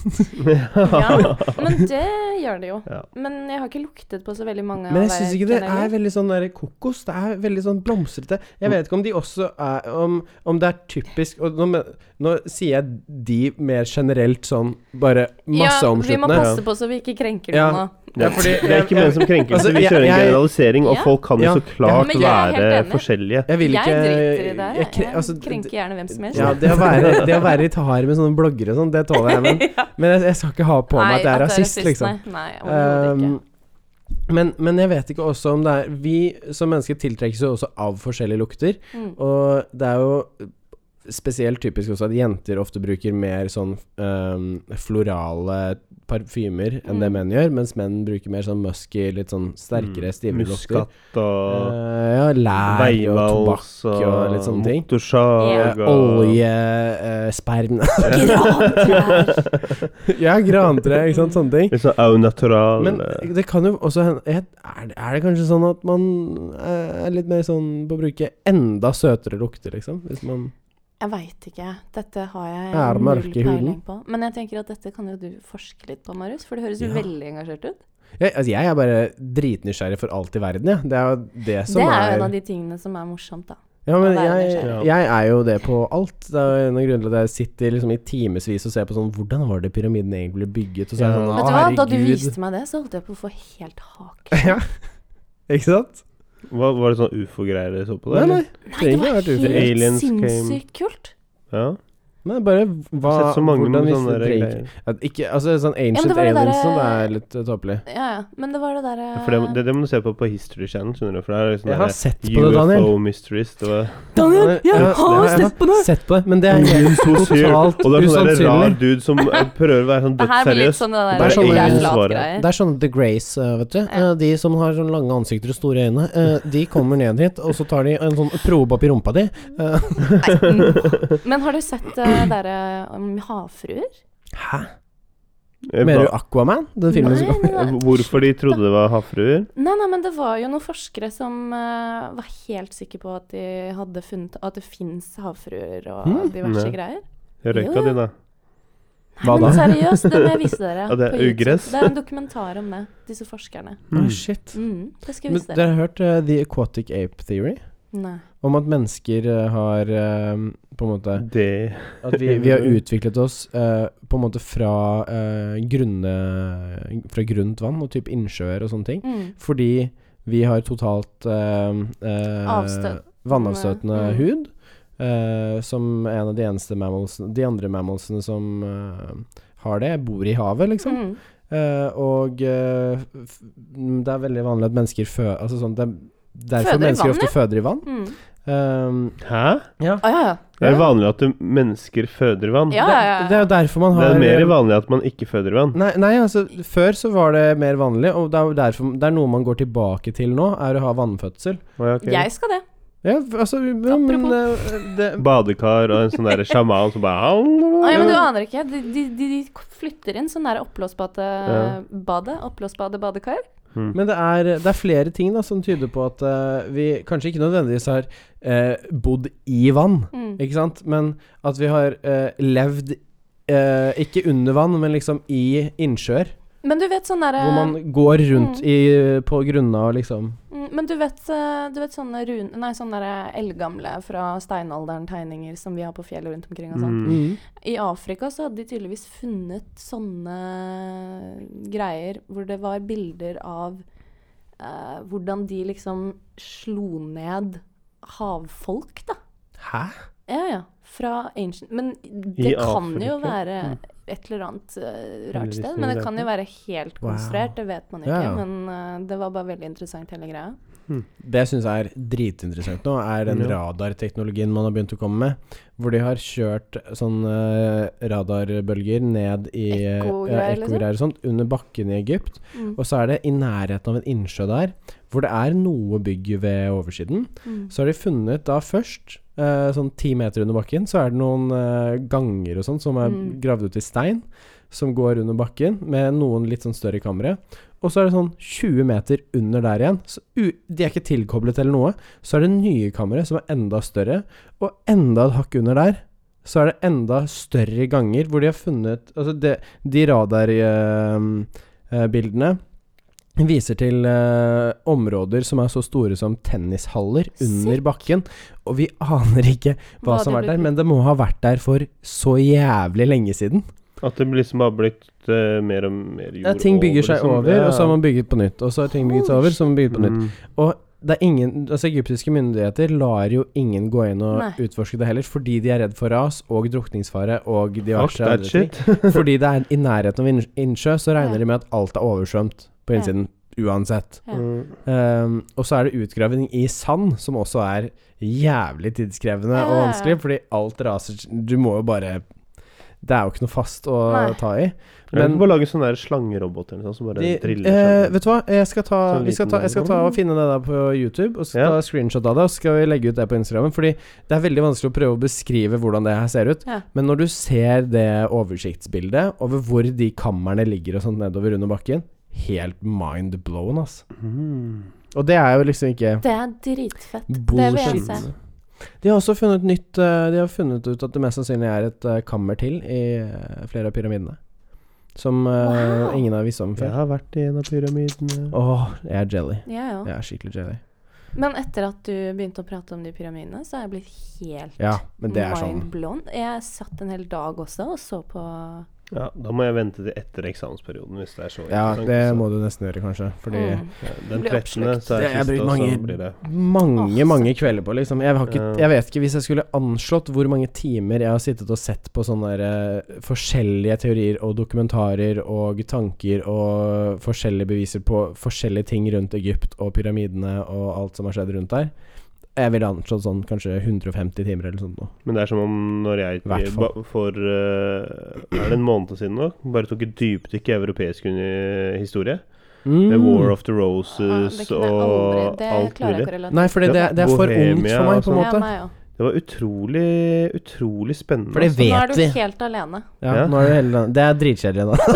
S2: Ja, men det gjør det jo.
S1: Ja.
S2: Men jeg har ikke luktet på så veldig mange.
S3: Men
S2: av
S3: jeg syns
S2: hver
S3: ikke det
S2: generell.
S3: er veldig sånn der kokos. Det er veldig sånn blomstrete. Jeg vet ikke om de også er Om, om det er typisk og nå, men- nå sier jeg de mer generelt sånn bare
S2: Ja, vi må
S3: masseomsluttende.
S2: passe på så vi ikke krenker
S3: Ja.
S2: noen nå.
S1: Ja,
S3: fordi-
S1: det er ikke ment som krenkelse.
S3: Altså,
S1: vi
S3: jeg-
S1: kjører en
S3: jeg-
S1: generalisering, og
S2: Ja.
S1: folk kan jo
S3: Ja.
S1: så klart
S2: Men jeg er helt
S1: være
S2: enig.
S1: forskjellige.
S3: Jeg vil ikke
S2: jeg driter i det. her,
S3: jeg kre-
S2: Jeg,
S3: altså,
S2: krenker gjerne hvem som helst.
S3: Ja, det å være, det å være litt hard med sånne bloggere og sånn, det tåler jeg, men, men jeg, jeg skal ikke ha på meg at jeg er rasist, liksom.
S2: Nei, nei overhodet ikke.
S3: Um, men, men jeg vet ikke også om det er Vi som mennesker tiltrekkes jo også av forskjellige lukter.
S2: Mm.
S3: Og det er jo spesielt typisk også at jenter ofte bruker mer sånn øhm, florale parfymer enn det
S2: Mm.
S3: menn gjør, mens menn bruker mer sånn musky, litt sånn sterkere, stivere lukter.
S1: Muskat Mm. og
S3: Eh, ja, lær og tobakk
S1: Veivals
S3: og litt sånne ting.
S1: Motorsag
S3: Eh, Olje, eh, sperm
S2: Grantrær!
S3: Ja, grantre, ikke sant, sånne ting.
S1: Litt sånn au natural.
S3: Men
S1: eh,
S3: det kan jo også hende er, det- er det kanskje sånn at man eh, er litt mer sånn på å bruke enda søtere lukter, liksom? Hvis man
S2: Jeg veit ikke. Dette har jeg
S3: Er det
S2: null
S3: mørke i huden?
S2: peiling på. Men jeg tenker at dette kan jo du forske litt på, Marius. For det høres jo
S3: Ja.
S2: veldig engasjert ut.
S3: jeg, altså, jeg er bare dritnysgjerrig for alt i verden, jeg. Det er jo det som
S2: det er jo
S3: er,
S2: en av de tingene som er morsomt, da.
S3: Ja, men
S2: å være
S3: jeg,
S1: nysgjerrig.
S3: jeg er jo det på alt. Det er jo en av grunnene til at jeg sitter liksom i timevis og ser på sånn Hvordan var det pyramiden egentlig ble bygget? Og så er jeg
S1: Ja.
S3: sånn Å,
S2: Vet du hva, da du
S3: herregud.
S2: viste meg det, så holdt jeg på å få helt hake.
S3: ja. Ikke sant?
S1: hva, var det sånn ufo-greier dere så på
S3: Nei,
S1: der?
S3: nei.
S2: Nei, det
S3: Trenger
S2: var
S3: ikke vært ufo.
S2: helt
S1: Aliens came.
S2: sinnssykt kult.
S1: Ja.
S3: Nei, bare hva
S1: Jeg har sett så mange
S3: Hvordan
S1: med
S3: visste
S1: sånne
S3: dere
S1: der
S3: ikke-
S1: greier.
S3: At Ikke, altså sånn
S2: men det
S3: Ancient
S2: var det
S3: Aliens
S2: derre-
S3: som er litt eh, tåpelig.
S2: Ja, ja. Men det var det derre
S1: For det, det, det må du se på på History Channel, skjønner du. For det er sånn
S3: Jeg har
S1: derre
S3: sett på det, Daniel.
S1: UFO Mysteries. Det var
S3: Daniel, jeg Ja, har det- sett
S2: på
S3: Sett på det, men det er helt
S1: Who's here?
S3: totalt
S1: Og det er sånn der rar
S3: usannsynlig.
S1: dude som eh, prøver å være sånn
S2: Det her blir litt
S1: dødsseriøs.
S2: sånn det
S3: Det
S2: der
S3: er sånn
S2: jeg er
S3: aliens
S2: flat
S1: svarer.
S2: greier.
S3: Det er sånn The Grace, eh, vet du.
S2: Ja.
S3: Eh, De som har sånn lange ansikter og store øyne. eh, De kommer ned hit, og så tar de en sånn probe opp i rumpa di. Eh,
S2: Nei. Men har du sett det derre om havfruer?
S3: Hæ?
S1: Eh,
S3: Mener du
S1: hva- eh,
S3: Aquaman? Den filmen altså. som
S2: Nei, nei, nei.
S1: Hvorfor de trodde det var havfruer?
S2: Nei, nei, men det var jo noen forskere som eh, var helt sikre på at de hadde funnet at det fins havfruer og
S3: Mm.
S2: diverse
S1: Nei.
S2: greier.
S1: Jeg
S2: Jo,
S1: røyka
S2: ja.
S1: de, da.
S2: Nei,
S3: Hva
S2: men
S3: da?
S2: seriøst, det må jeg vise dere.
S1: Ja, det er
S2: på YouTube.
S1: ugress.
S2: Det er en dokumentar om det, disse forskerne.
S3: Å, Ah, shit.
S2: Mm, det skal jeg
S3: Men
S2: vise
S3: dere har
S2: dere.
S3: hørt eh, The Aquatic Ape Theory?
S2: Nei.
S3: Om at mennesker eh, har eh, på en måte
S1: Det
S3: At vi, vi har utviklet oss eh, på en måte fra eh, grunne Fra grunt vann og typ innsjøer og sånne ting.
S2: Mm.
S3: Fordi vi har totalt eh, eh,
S2: Avstøt-
S3: Vannavstøtende
S2: Mm.
S3: hud. eh, som en av de eneste mammalsene De andre mammalsene som eh, har det, bor i havet, liksom.
S2: Mm.
S3: Eh, og eh, f m, det er veldig vanlig at mennesker fø... Altså sånn det er Derfor
S2: Føder i
S3: mennesker
S2: vann,
S3: ofte føder i vann.
S2: Mm.
S3: Um,
S1: Hæ?
S2: Å, ja, ja.
S1: Det er vanlig at du- mennesker føder vann.
S2: Ja,
S3: det,
S2: ja, ja.
S3: det er jo derfor man
S1: Det
S3: har eh,
S1: er mer vanlig at man ikke føder vann.
S3: Nei, nei, altså før så var det mer vanlig, og det er, jo derfor, det er noe man går tilbake til nå, er å ha vannfødsel.
S1: Å, ja, ok.
S2: Jeg skal det.
S3: Ja, f- altså ja, men
S2: Apropos.
S3: eh, det,
S1: Badekar og en sånn derre sjaman som bare
S2: Å, Ah, ja, men du
S1: ja,
S2: aner ikke. De, de, de de flytter inn sånn der oppblåsbadebadet. Oppblåsbade-badekar.
S3: Men det er, det er flere ting da som tyder på at eh, vi kanskje ikke nødvendigvis har eh, bodd i vann,
S2: Mm.
S3: ikke sant? Men at vi har eh, levd eh, ikke under vann, men liksom i innsjøer.
S2: Men du vet sånn derre
S3: Hvor man går rundt i, på grunna og liksom
S2: Mm, Men du vet, eh, du vet sånne, run nei, sånne der eh, eldgamle fra steinalderen-tegninger som vi har på fjellet rundt omkring og sånn.
S1: Mm.
S2: I Afrika så hadde de tydeligvis funnet sånne eh, greier hvor det var bilder av eh, hvordan de liksom slo ned havfolk, da.
S3: Hæ?
S2: Ja, ja. Fra ancient Men det
S1: I
S2: kan jo
S1: Afrika?
S2: være et eller annet eh, rart sted.
S1: Undervisning
S2: Men
S1: i
S2: det kan jo være helt
S3: Wow.
S2: konstruert, det vet man ikke.
S3: Ja, ja.
S2: Men eh, det var bare veldig interessant, hele greia.
S3: Det jeg syns er dritinteressant nå, er den
S1: Ja.
S3: radarteknologien man har begynt å komme med. Hvor de har kjørt sånne eh, radarbølger ned i eh, ja,
S2: Ekkogreier, liksom?
S3: ekkogreier og sånt under bakken i Egypt.
S2: Mm.
S3: Og så er det i nærheten av en innsjø der, hvor det er noe bygg ved oversiden.
S2: Mm.
S3: Så har de funnet da først, eh, sånn ti meter under bakken, så er det noen eh, ganger og sånn som er
S2: Mm.
S3: gravd ut i stein, som går under bakken, med noen litt sånn større kamre. Og så er det sånn 20 meter under der igjen. Så u de er ikke tilkoblet eller noe. Så er det nye kamre som er enda større, og enda et hakk under der. Så er det enda større ganger hvor de har funnet Altså, det, de radarbildene viser til eh, områder som er så store som tennishaller under
S2: Sick.
S3: bakken. Og vi aner ikke hva,
S2: Hva
S3: som
S2: det
S3: har vært
S2: ble
S3: der, men det må ha vært der for så jævlig lenge siden.
S1: At det liksom har blitt eh, mer og mer jord
S3: Mm. Ja, ting bygger seg
S1: liksom.
S3: over,
S1: Ja.
S3: og så har man bygget på nytt. Og så har ting bygget seg over, så har man bygget på nytt.
S1: Mm.
S3: Og det er ingen, altså egyptiske myndigheter lar jo ingen gå inn og
S2: Nei.
S3: utforske det heller, fordi de er redd for ras og drukningsfare og
S1: Fuck
S3: diverse
S1: that
S3: andre ting.
S1: shit.
S3: Fordi det er i nærheten av innsjø, så regner
S2: Ja.
S3: de med at alt er oversvømt på
S2: Ja.
S3: innsiden. uansett.
S2: Ja.
S1: Mm.
S3: Ehm, og så er det utgraving i sand, som også er jævlig tidskrevende og
S2: Ja.
S3: vanskelig, fordi alt raser Du må jo bare Det er jo ikke noe fast å
S2: Nei.
S3: ta i.
S1: Men
S3: Men-
S1: bare lage sånn der slangerobot eller noe sånt som bare
S3: De,
S1: driller
S3: eh,
S1: seg.
S3: vet du hva, jeg skal ta,
S1: Sånn
S3: vi skal
S1: liten
S3: ta, jeg skal ta og finne det der på YouTube, og så
S1: Ja.
S3: ta screenshot av det, og så skal vi legge ut det på Instagram. Fordi det er veldig vanskelig å prøve å beskrive hvordan det her ser ut.
S2: Ja.
S3: Men når du ser det oversiktsbildet over hvor de kammerne ligger og sånt nedover under bakken, helt mind blown, ass.
S1: Mm.
S3: Og det er jo liksom ikke
S2: Det er dritfett. Det vil jeg
S3: bullshit.
S2: se.
S3: De har også funnet nytt eh, De har funnet ut at det mest sannsynlig er et eh, kammer til i eh, flere av pyramidene. Som eh,
S2: Wow.
S3: ingen har visst om
S1: Jeg
S3: før.
S1: har vært i en av pyramidene.
S3: Åh, jeg er jelly.
S2: Ja, ja.
S3: Jeg er skikkelig jelly.
S2: Men etter at du begynte å prate om de pyramidene, så har jeg blitt helt
S3: Ja, men det er sånn
S2: mind blown. Jeg satt en hel dag også og så på
S1: Ja, da må jeg vente til etter eksamensperioden hvis det er så
S3: Ja,
S1: interessant,
S3: det
S1: så-
S3: må du nesten gjøre, kanskje. Fordi
S2: Mm.
S1: Ja, Den
S2: Blir
S1: 13. så er
S3: Det- jeg har
S1: siste,
S3: brukt
S1: og så
S3: mange-
S1: blir det
S3: mange, mange kvelder på, liksom. Jeg, har ikke,
S1: Ja.
S3: jeg vet ikke hvis jeg skulle anslått hvor mange timer jeg har sittet og sett på sånne der, eh, forskjellige teorier og dokumentarer og tanker og forskjellige beviser på forskjellige ting rundt Egypt og pyramidene og alt som har skjedd rundt der. Jeg ville anslått sånn kanskje 150 timer eller sånt noe.
S1: Men det er som om når jeg
S3: Hvert fall.
S1: ba- for eh, Er det en måned siden nå? Bare tok et dypdykk i europeisk uni- historie. Med War of the
S2: Ah,
S1: Roses
S2: Mm. det kunne jeg aldri
S1: og
S2: Det
S1: alt
S2: klarer jeg
S1: mulig.
S2: ikke å relatere
S3: Mm. Nei, fordi det, det er for ungt
S1: Bohemia
S3: for meg,
S1: og
S3: på en
S1: sånn.
S2: Ja,
S3: måte.
S2: meg òg.
S1: Det var utrolig, utrolig spennende.
S3: For det
S1: altså.
S2: Nå er
S3: vet vi.
S2: du helt alene.
S3: Ja,
S1: Ja.
S3: nå er det hele Det er dritkjedelig nå.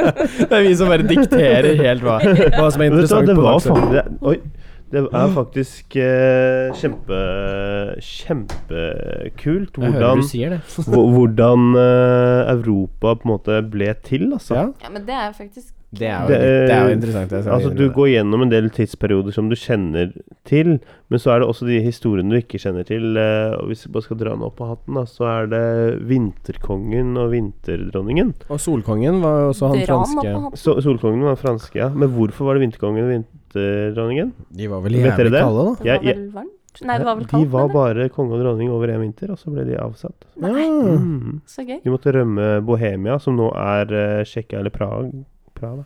S3: det er vi som bare dikterer helt hva, hva som er
S1: Men vet du hva,
S3: interessant.
S1: det
S3: på Mm.
S1: var
S3: dagsordenen.
S1: faktisk det, Oi. Det er faktisk eh, kjempe kjempekult
S3: Jeg hører
S1: hvordan,
S3: du sier det.
S1: hvor- hvordan eh, Europa på en måte ble til, altså.
S3: Ja,
S2: Ja, men det er faktisk
S3: det er jo,
S1: Det er-
S3: det er jo interessant. Jeg skal
S1: Altså,
S3: innrømme
S1: du
S3: det.
S1: går gjennom en del tidsperioder som du kjenner til, men så er det også de historiene du ikke kjenner til. eh, Og hvis vi bare skal dra den opp av hatten, da, så er det Vinterkongen og Vinterdronningen.
S3: Og Solkongen var jo også han
S2: drama
S3: franske
S2: på hånden.
S1: Så, Solkongen var franske, ja. Men hvorfor var det Vinterkongen og Vinterdronningen?
S3: De var vel
S1: Vet dere
S3: jævlig
S1: det?
S3: kalde, da.
S2: Det
S1: Jeg-
S2: var vel varmt? Nei, det var vel
S1: de
S2: kaldt?
S1: var
S2: men det-
S1: bare konge og dronning over en vinter, og så ble de avsatt.
S2: Nei,
S3: Ja.
S1: Mm.
S2: så gøy.
S1: De måtte rømme Bohemia, som nå er eh, Tsjekkia eller Prag. Praha,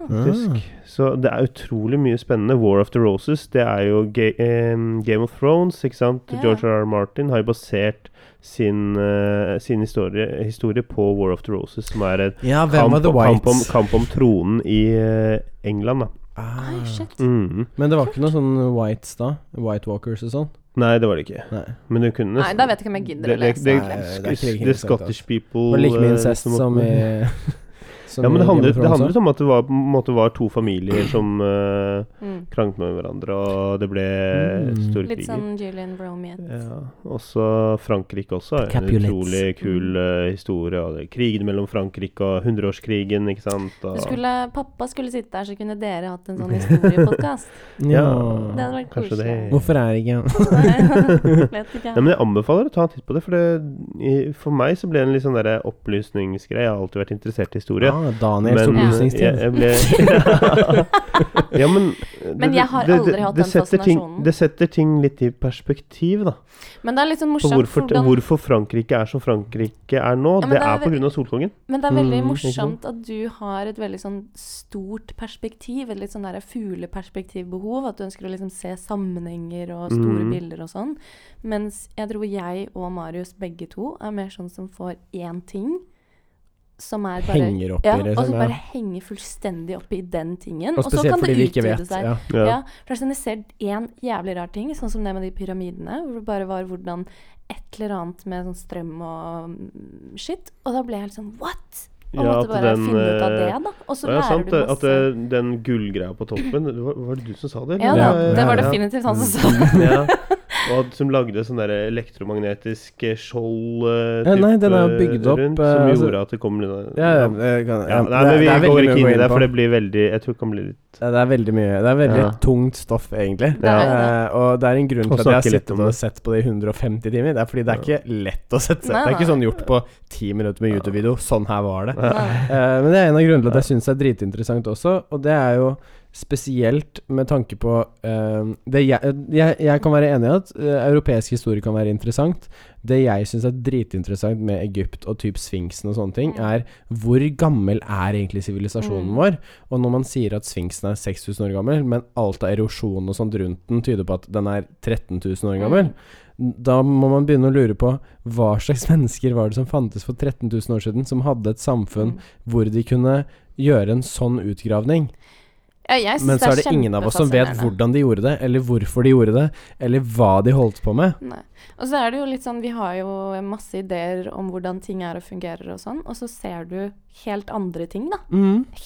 S2: Mm.
S1: faktisk.
S3: Ah.
S1: Så det er utrolig mye spennende. War of the Roses, det er jo ga em, Game of Thrones, ikke sant.
S2: Ja.
S1: George R. R. Martin har jo basert sin, eh, sin historie, historie på War of the Roses, som er et
S3: Ja, hvem
S1: kamp,
S3: var The
S1: kamp, om,
S3: Whites?
S1: kamp om tronen i eh, England, da.
S3: Ah.
S2: Ai, shit.
S1: Mm.
S3: Men det var ikke noe sånn Whites da? White Walkers og sånn?
S1: Nei, det var det ikke.
S3: Nei.
S1: Men du kunne
S2: Nei, da vet jeg ikke om jeg gidder
S1: det,
S2: å lese.
S1: det, det,
S3: Nei, det er ikke like
S1: det
S3: interessant,
S1: Scottish people
S3: Det var like mye
S1: eh,
S3: incest
S1: som-
S3: som i som
S1: Ja, men
S3: i
S1: det
S3: Game
S1: handlet,
S3: of
S1: det
S3: Thrones
S1: handlet om at det var, på en måte var to familier som eh,
S2: Mm.
S1: kranglet med hverandre, og det ble
S3: Mm.
S1: store
S2: Litt
S1: kriger.
S2: sånn Julian Romeo.
S1: Ja, også Frankrike også er en
S3: Capulets.
S1: utrolig kul eh, historie. Og det er krigen mellom Frankrike og hundreårskrigen, ikke sant.
S2: Du
S1: Og,
S2: skulle, pappa skulle sitte der, så kunne dere hatt en sånn historiepodkast.
S3: også.
S1: ja,
S2: Det hadde vært
S1: kanskje
S2: koselig.
S1: det.
S3: Mm. Hvorfor er jeg ikke
S2: Nei, Vet ikke.
S1: Nei, men jeg anbefaler å ta en titt på det, for det, i, for meg så ble det en litt sånn der opplysningsgreie. Jeg har alltid vært interessert i historie.
S3: ah, Daniels
S1: Men,
S3: opplysningstid.
S1: jeg, jeg ble Ja, men
S2: Men jeg har aldri hatt den
S1: setter ting,
S2: fascinasjonen.
S1: Det setter ting litt i perspektiv, da.
S2: Men det er litt sånn
S1: På
S2: morsomt
S1: hvorfor,
S2: hvordan
S1: hvorfor Frankrike er som Frankrike er nå.
S2: Ja, men
S1: det,
S2: det er
S1: er på
S2: ve-
S1: grunn av solkongen.
S2: Men det er veldig
S3: Mm,
S1: ikke sant?
S2: morsomt at du har et veldig sånn stort perspektiv, et litt sånn der fugleperspektivbehov, at du ønsker å liksom se sammenhenger og store
S1: Mm.
S2: bilder og sånn. Mens jeg tror jeg og Marius begge to er mer sånn som får én ting som er bare
S3: Henger opp i
S2: ja,
S3: det,
S2: Og
S3: liksom,
S2: så
S3: ja.
S2: bare henger fullstendig oppi den tingen.
S3: Og spesielt fordi vi ikke vet. Ja.
S2: Ja.
S1: Ja.
S2: for det er sånn jeg ser én jævlig rar ting, sånn som det med de pyramidene, hvor det bare var hvordan et eller annet med sånn strøm og mm, shit. Og da ble jeg helt sånn what?! Og
S1: Ja, at
S2: måtte bare
S1: den,
S2: finne ut av det,
S1: eh,
S2: da. Og så
S1: Ja, det er
S2: lærer
S1: sant
S2: du
S1: det,
S2: masse.
S1: at det, den gullgreia på toppen det var, var det du som sa det?
S2: ja,
S1: eller?
S2: da,
S3: Ja,
S2: det
S3: ja,
S2: var
S3: ja.
S2: definitivt han som sa det.
S1: ja. Og at, som lagde sånn der elektromagnetisk eh, skjold eh,
S3: Ja, nei,
S1: typ,
S3: den er
S1: eh,
S3: bygd opp,
S1: rundt,
S3: eh,
S1: Som
S3: altså-
S1: gjorde at det kom litt
S3: Ja, ja, det kan-
S1: Ja,
S3: ja,
S1: nei, men vi
S3: det
S1: går
S3: er veldig mye å
S1: ikke
S3: gå
S1: inn i det,
S3: på.
S1: for det blir veldig Jeg tror det kan bli litt
S3: Ja, Det er veldig mye Det er veldig
S1: Ja.
S3: tungt stoff, egentlig.
S2: Det er jo det.
S3: Eh, og det er en grunn
S1: Og
S3: til at jeg har
S1: snakke litt
S3: sittet
S1: om
S3: og
S1: det.
S3: sett på det i 150 timer. Det er fordi det er ikke lett å sette seg
S2: Nei,
S3: Det er ikke
S2: nei.
S3: sånn gjort på ti minutter med YouTube-video. Sånn her var det.
S1: Ja.
S3: Eh, men det er en av grunnene til at jeg syns det er dritinteressant også, og det er jo Spesielt med tanke på eh, det jeg, jeg, jeg kan være enig i at eh, europeisk historie kan være interessant. Det jeg syns er dritinteressant med Egypt og typ sfinksen og sånne ting, er hvor gammel er egentlig sivilisasjonen
S2: Mm.
S3: vår? Og når man sier at sfinksen er 6000 år gammel, men alt av erosjon og sånt rundt den tyder på at den er 13 000 år gammel, da må man begynne å lure på hva slags mennesker var det som fantes for 13 000 år siden, som hadde et samfunn hvor de kunne gjøre en sånn utgravning.
S2: Ja, jeg synes
S3: Men så er det ingen av oss som vet
S2: kjempefascinerende.
S3: hvordan de gjorde det, eller hvorfor de gjorde det, eller hva de holdt på med.
S2: Nei. Og så er det jo litt sånn, vi har jo masse ideer om hvordan ting er og fungerer og sånn, og så ser du helt andre ting, da.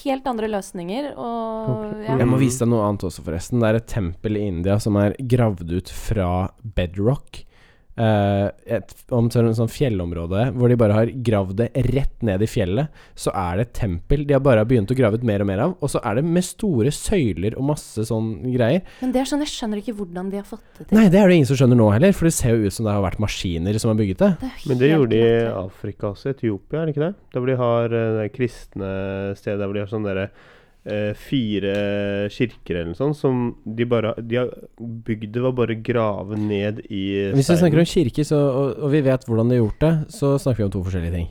S2: Helt andre løsninger, og ja.
S3: Jeg
S1: Mm.
S3: må vise deg noe annet også, forresten. Det er et tempel i India som er gravd ut fra bedrock. Eh, et, om til en sånn fjellområde hvor de bare har gravd det rett ned i fjellet, så er det et tempel de har bare begynt å grave ut mer og mer av. Og så er det med store søyler og masse sånn greier.
S2: Men det er sånn, jeg skjønner ikke hvordan de har fått det til.
S3: Nei, det er det ingen som skjønner nå heller, for det ser jo ut som det har vært maskiner som har bygget det.
S2: Det er jo
S1: Men det
S2: helt
S1: gjorde de i
S2: latterlig.
S1: Afrika også, Etiopia, er det ikke det? Der hvor de har eh, det kristne stedet der hvor de har sånne derre eh, fire kirker eller noe sånt som de bare De har bygd det ved å bare grave ned i
S3: Hvis vi snakker om kirke, så, og, og vi vet hvordan de har gjort det, så snakker vi om to forskjellige ting.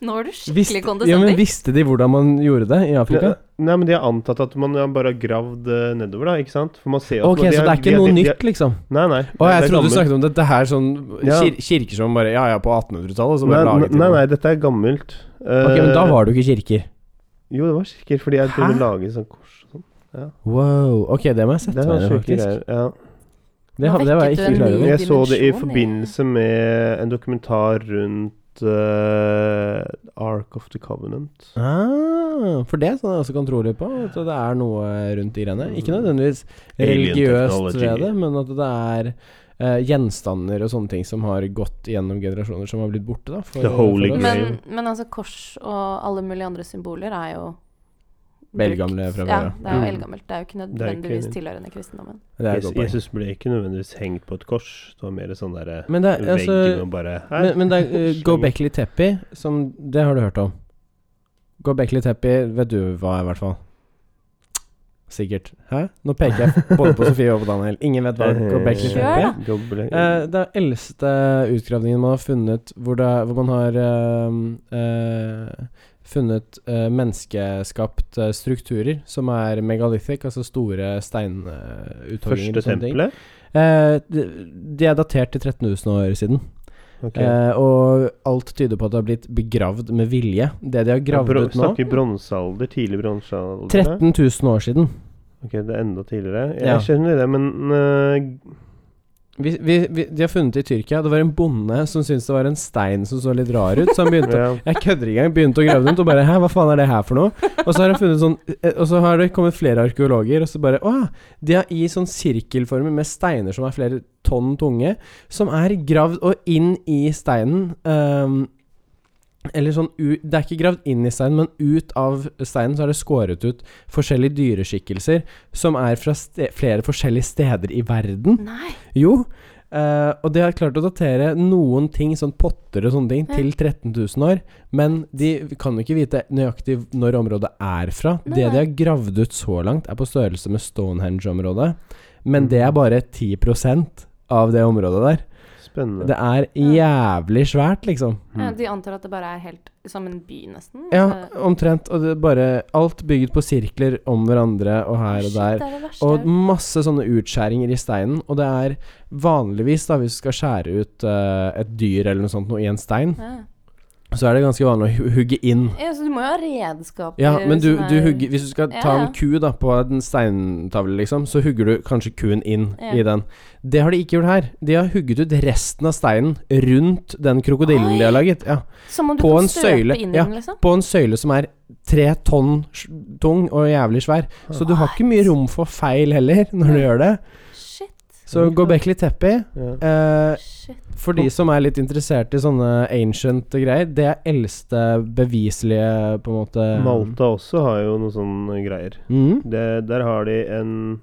S2: Nå er du
S3: Visste-
S2: skikkelig
S3: ja, men
S2: kondescending.
S3: visste de hvordan man gjorde det i Afrika?
S1: Nei, men de har antatt at man har bare har gravd eh, nedover, da, ikke sant? For man ser at
S3: Ok,
S1: man, de
S3: så det
S1: har-
S3: er
S1: de
S3: ikke
S1: har-
S3: noe
S1: de har-
S3: nytt, liksom?
S1: Nei, nei.
S3: Å, jeg
S1: det er
S3: trodde du
S1: gammelt.
S3: snakket om dette her sånn
S1: Ja.
S3: kir kirker som bare Ja, ja, på 1800-tallet, så sånn bare
S1: Nei,
S3: laget de
S1: nei,
S3: det.
S1: nei, dette er gammelt.
S3: Ok, men da
S1: Eh,
S3: var det jo ikke kirker.
S1: Jo, det var kirker, fordi jeg
S3: Hæ?
S1: driver og lager sånn kors og sånn.
S3: Wow. Ok, det må
S1: Det
S3: jeg sette
S1: var
S3: meg ned,
S1: sjuke
S3: faktisk.
S1: greier. Ja.
S3: Det,
S2: Nå
S3: hadde- det var jeg
S2: vekket
S3: ikke
S2: du en
S3: klar
S2: ny-
S3: over.
S1: Jeg så det i
S2: dimensjon,
S1: forbindelse med en dokumentar rundt eh, Ark of the Covenant.
S3: Ah, for det er sånn jeg også kan tro litt på, at det er noe eh, rundt de greiene. Ikke nødvendigvis
S1: Alien
S3: religiøst
S1: technology.
S3: ved det, men at det er eh, gjenstander og sånne ting som har gått gjennom generasjoner, som har blitt borte, da. for-
S1: The Holy
S3: for oss.
S1: Grail.
S2: Men, men altså, kors og alle mulige andre symboler er jo
S3: Velgamle fra
S2: Ja,
S3: før, ja.
S2: det er jo
S1: Mm.
S2: eldgammelt. Det er jo
S1: Det
S2: ikke
S1: er ikke-
S2: nødvendigvis tilhørende kristendommen.
S3: Det er et
S1: Jesus,
S3: godt poeng.
S1: Jesus ble ikke nødvendigvis hengt på et kors. Det var mer sånn derre
S3: Men det er altså
S1: veggen og bare her.
S3: Men, men det er eh, Gobekli Tepi, som Det har du hørt om. Gobekli Tepi vet du hva er, i hvert fall. Sikkert. Hæ? Nå peker jeg både på Sofie og på Daniel. Ingen vet hva Gobekli Tepi er.
S2: Kjør, da.
S1: Gobekli-
S3: Eh, det er eldste utgravningen man har funnet hvor, det, er- hvor man har eh, eh, funnet eh, menneskeskapte strukturer som er megalithic, altså store steinuthoggninger.
S1: Første tempelet?
S3: Eh, de, de er datert til 13 000 år siden.
S1: Ok.
S3: Eh, og alt tyder på at det har blitt begravd med vilje. Det de har gravd
S1: Bro-
S3: ut nå
S1: Snakker bronsealder, tidlig bronsealder?
S3: 13 000 år siden.
S1: Ok, det er enda tidligere. Jeg
S3: Ja.
S1: skjønner det, men eh,
S3: Vi, vi, vi, de har funnet det i Tyrkia. Det var en bonde som syntes det var en stein som så litt rar ut, så han begynte å
S1: ja.
S3: jeg kødder ikke engang. Begynte å grave rundt og bare Hæ, hva faen er det her for noe? Og så har, han funnet sånn, eh, og så har det kommet flere arkeologer, og så bare Å, de er i sånn sirkelformer med steiner som er flere tonn tunge, som er gravd og inn i steinen ehm, Eller sånn u, Det er ikke gravd inn i steinen, men ut av steinen så er det skåret ut forskjellige dyreskikkelser som er fra ste flere forskjellige steder i verden.
S1: Mm.
S2: Nei!
S3: Jo, eh, og de har klart å datere noen ting, sånn potter og sånne ting,
S2: Ja.
S3: til 13 000 år. Men de kan jo ikke vite nøyaktig når området er fra.
S2: Nei,
S3: Det
S2: nei.
S3: de har gravd ut så langt, er på størrelse med Stonehenge-området. Men det er bare 10 av det området der.
S1: Spennende.
S3: Det er jævlig svært, liksom.
S1: Mm.
S2: Ja, de antar at det bare er helt som en by, nesten.
S3: Ja,
S2: Altså,
S3: omtrent. Og det er bare alt bygget på sirkler om hverandre og her og
S2: shit,
S3: der.
S2: Det er det verste.
S3: Og masse sånne utskjæringer i steinen. Og det er vanligvis, da, hvis du skal skjære ut eh, et dyr eller noe sånt noe i en stein,
S2: ja.
S3: så er det ganske vanlig å hu- hugge inn.
S2: ja, så du må jo ha redskaper
S3: Ja, men du,
S2: som
S3: du
S2: er- sånn
S3: hugger Hvis du skal
S2: Ja,
S3: ta
S2: ja.
S3: en ku da på en steintavle, liksom, så hugger du kanskje kuen inn
S2: Ja.
S3: i den. Det har de ikke gjort her. De har hugget ut resten av steinen rundt den krokodillen de har laget. Ja.
S2: Som om du
S3: på
S2: kan
S3: en
S2: støpe
S3: søyle,
S2: inn
S3: ja.
S2: den, liksom.
S3: På en søyle som er tre tonn s- tung og jævlig svær. Så du har ikke mye rom for feil heller, når du gjør det.
S2: Shit,
S3: Så Gobekli Teppi
S1: Ja.
S3: eh,
S2: shit.
S3: For de som er litt interessert i sånne ancient greier, det er eldste beviselige på en måte
S1: Malta også har jo noen sånne greier.
S3: Mm.
S1: Det, der har de en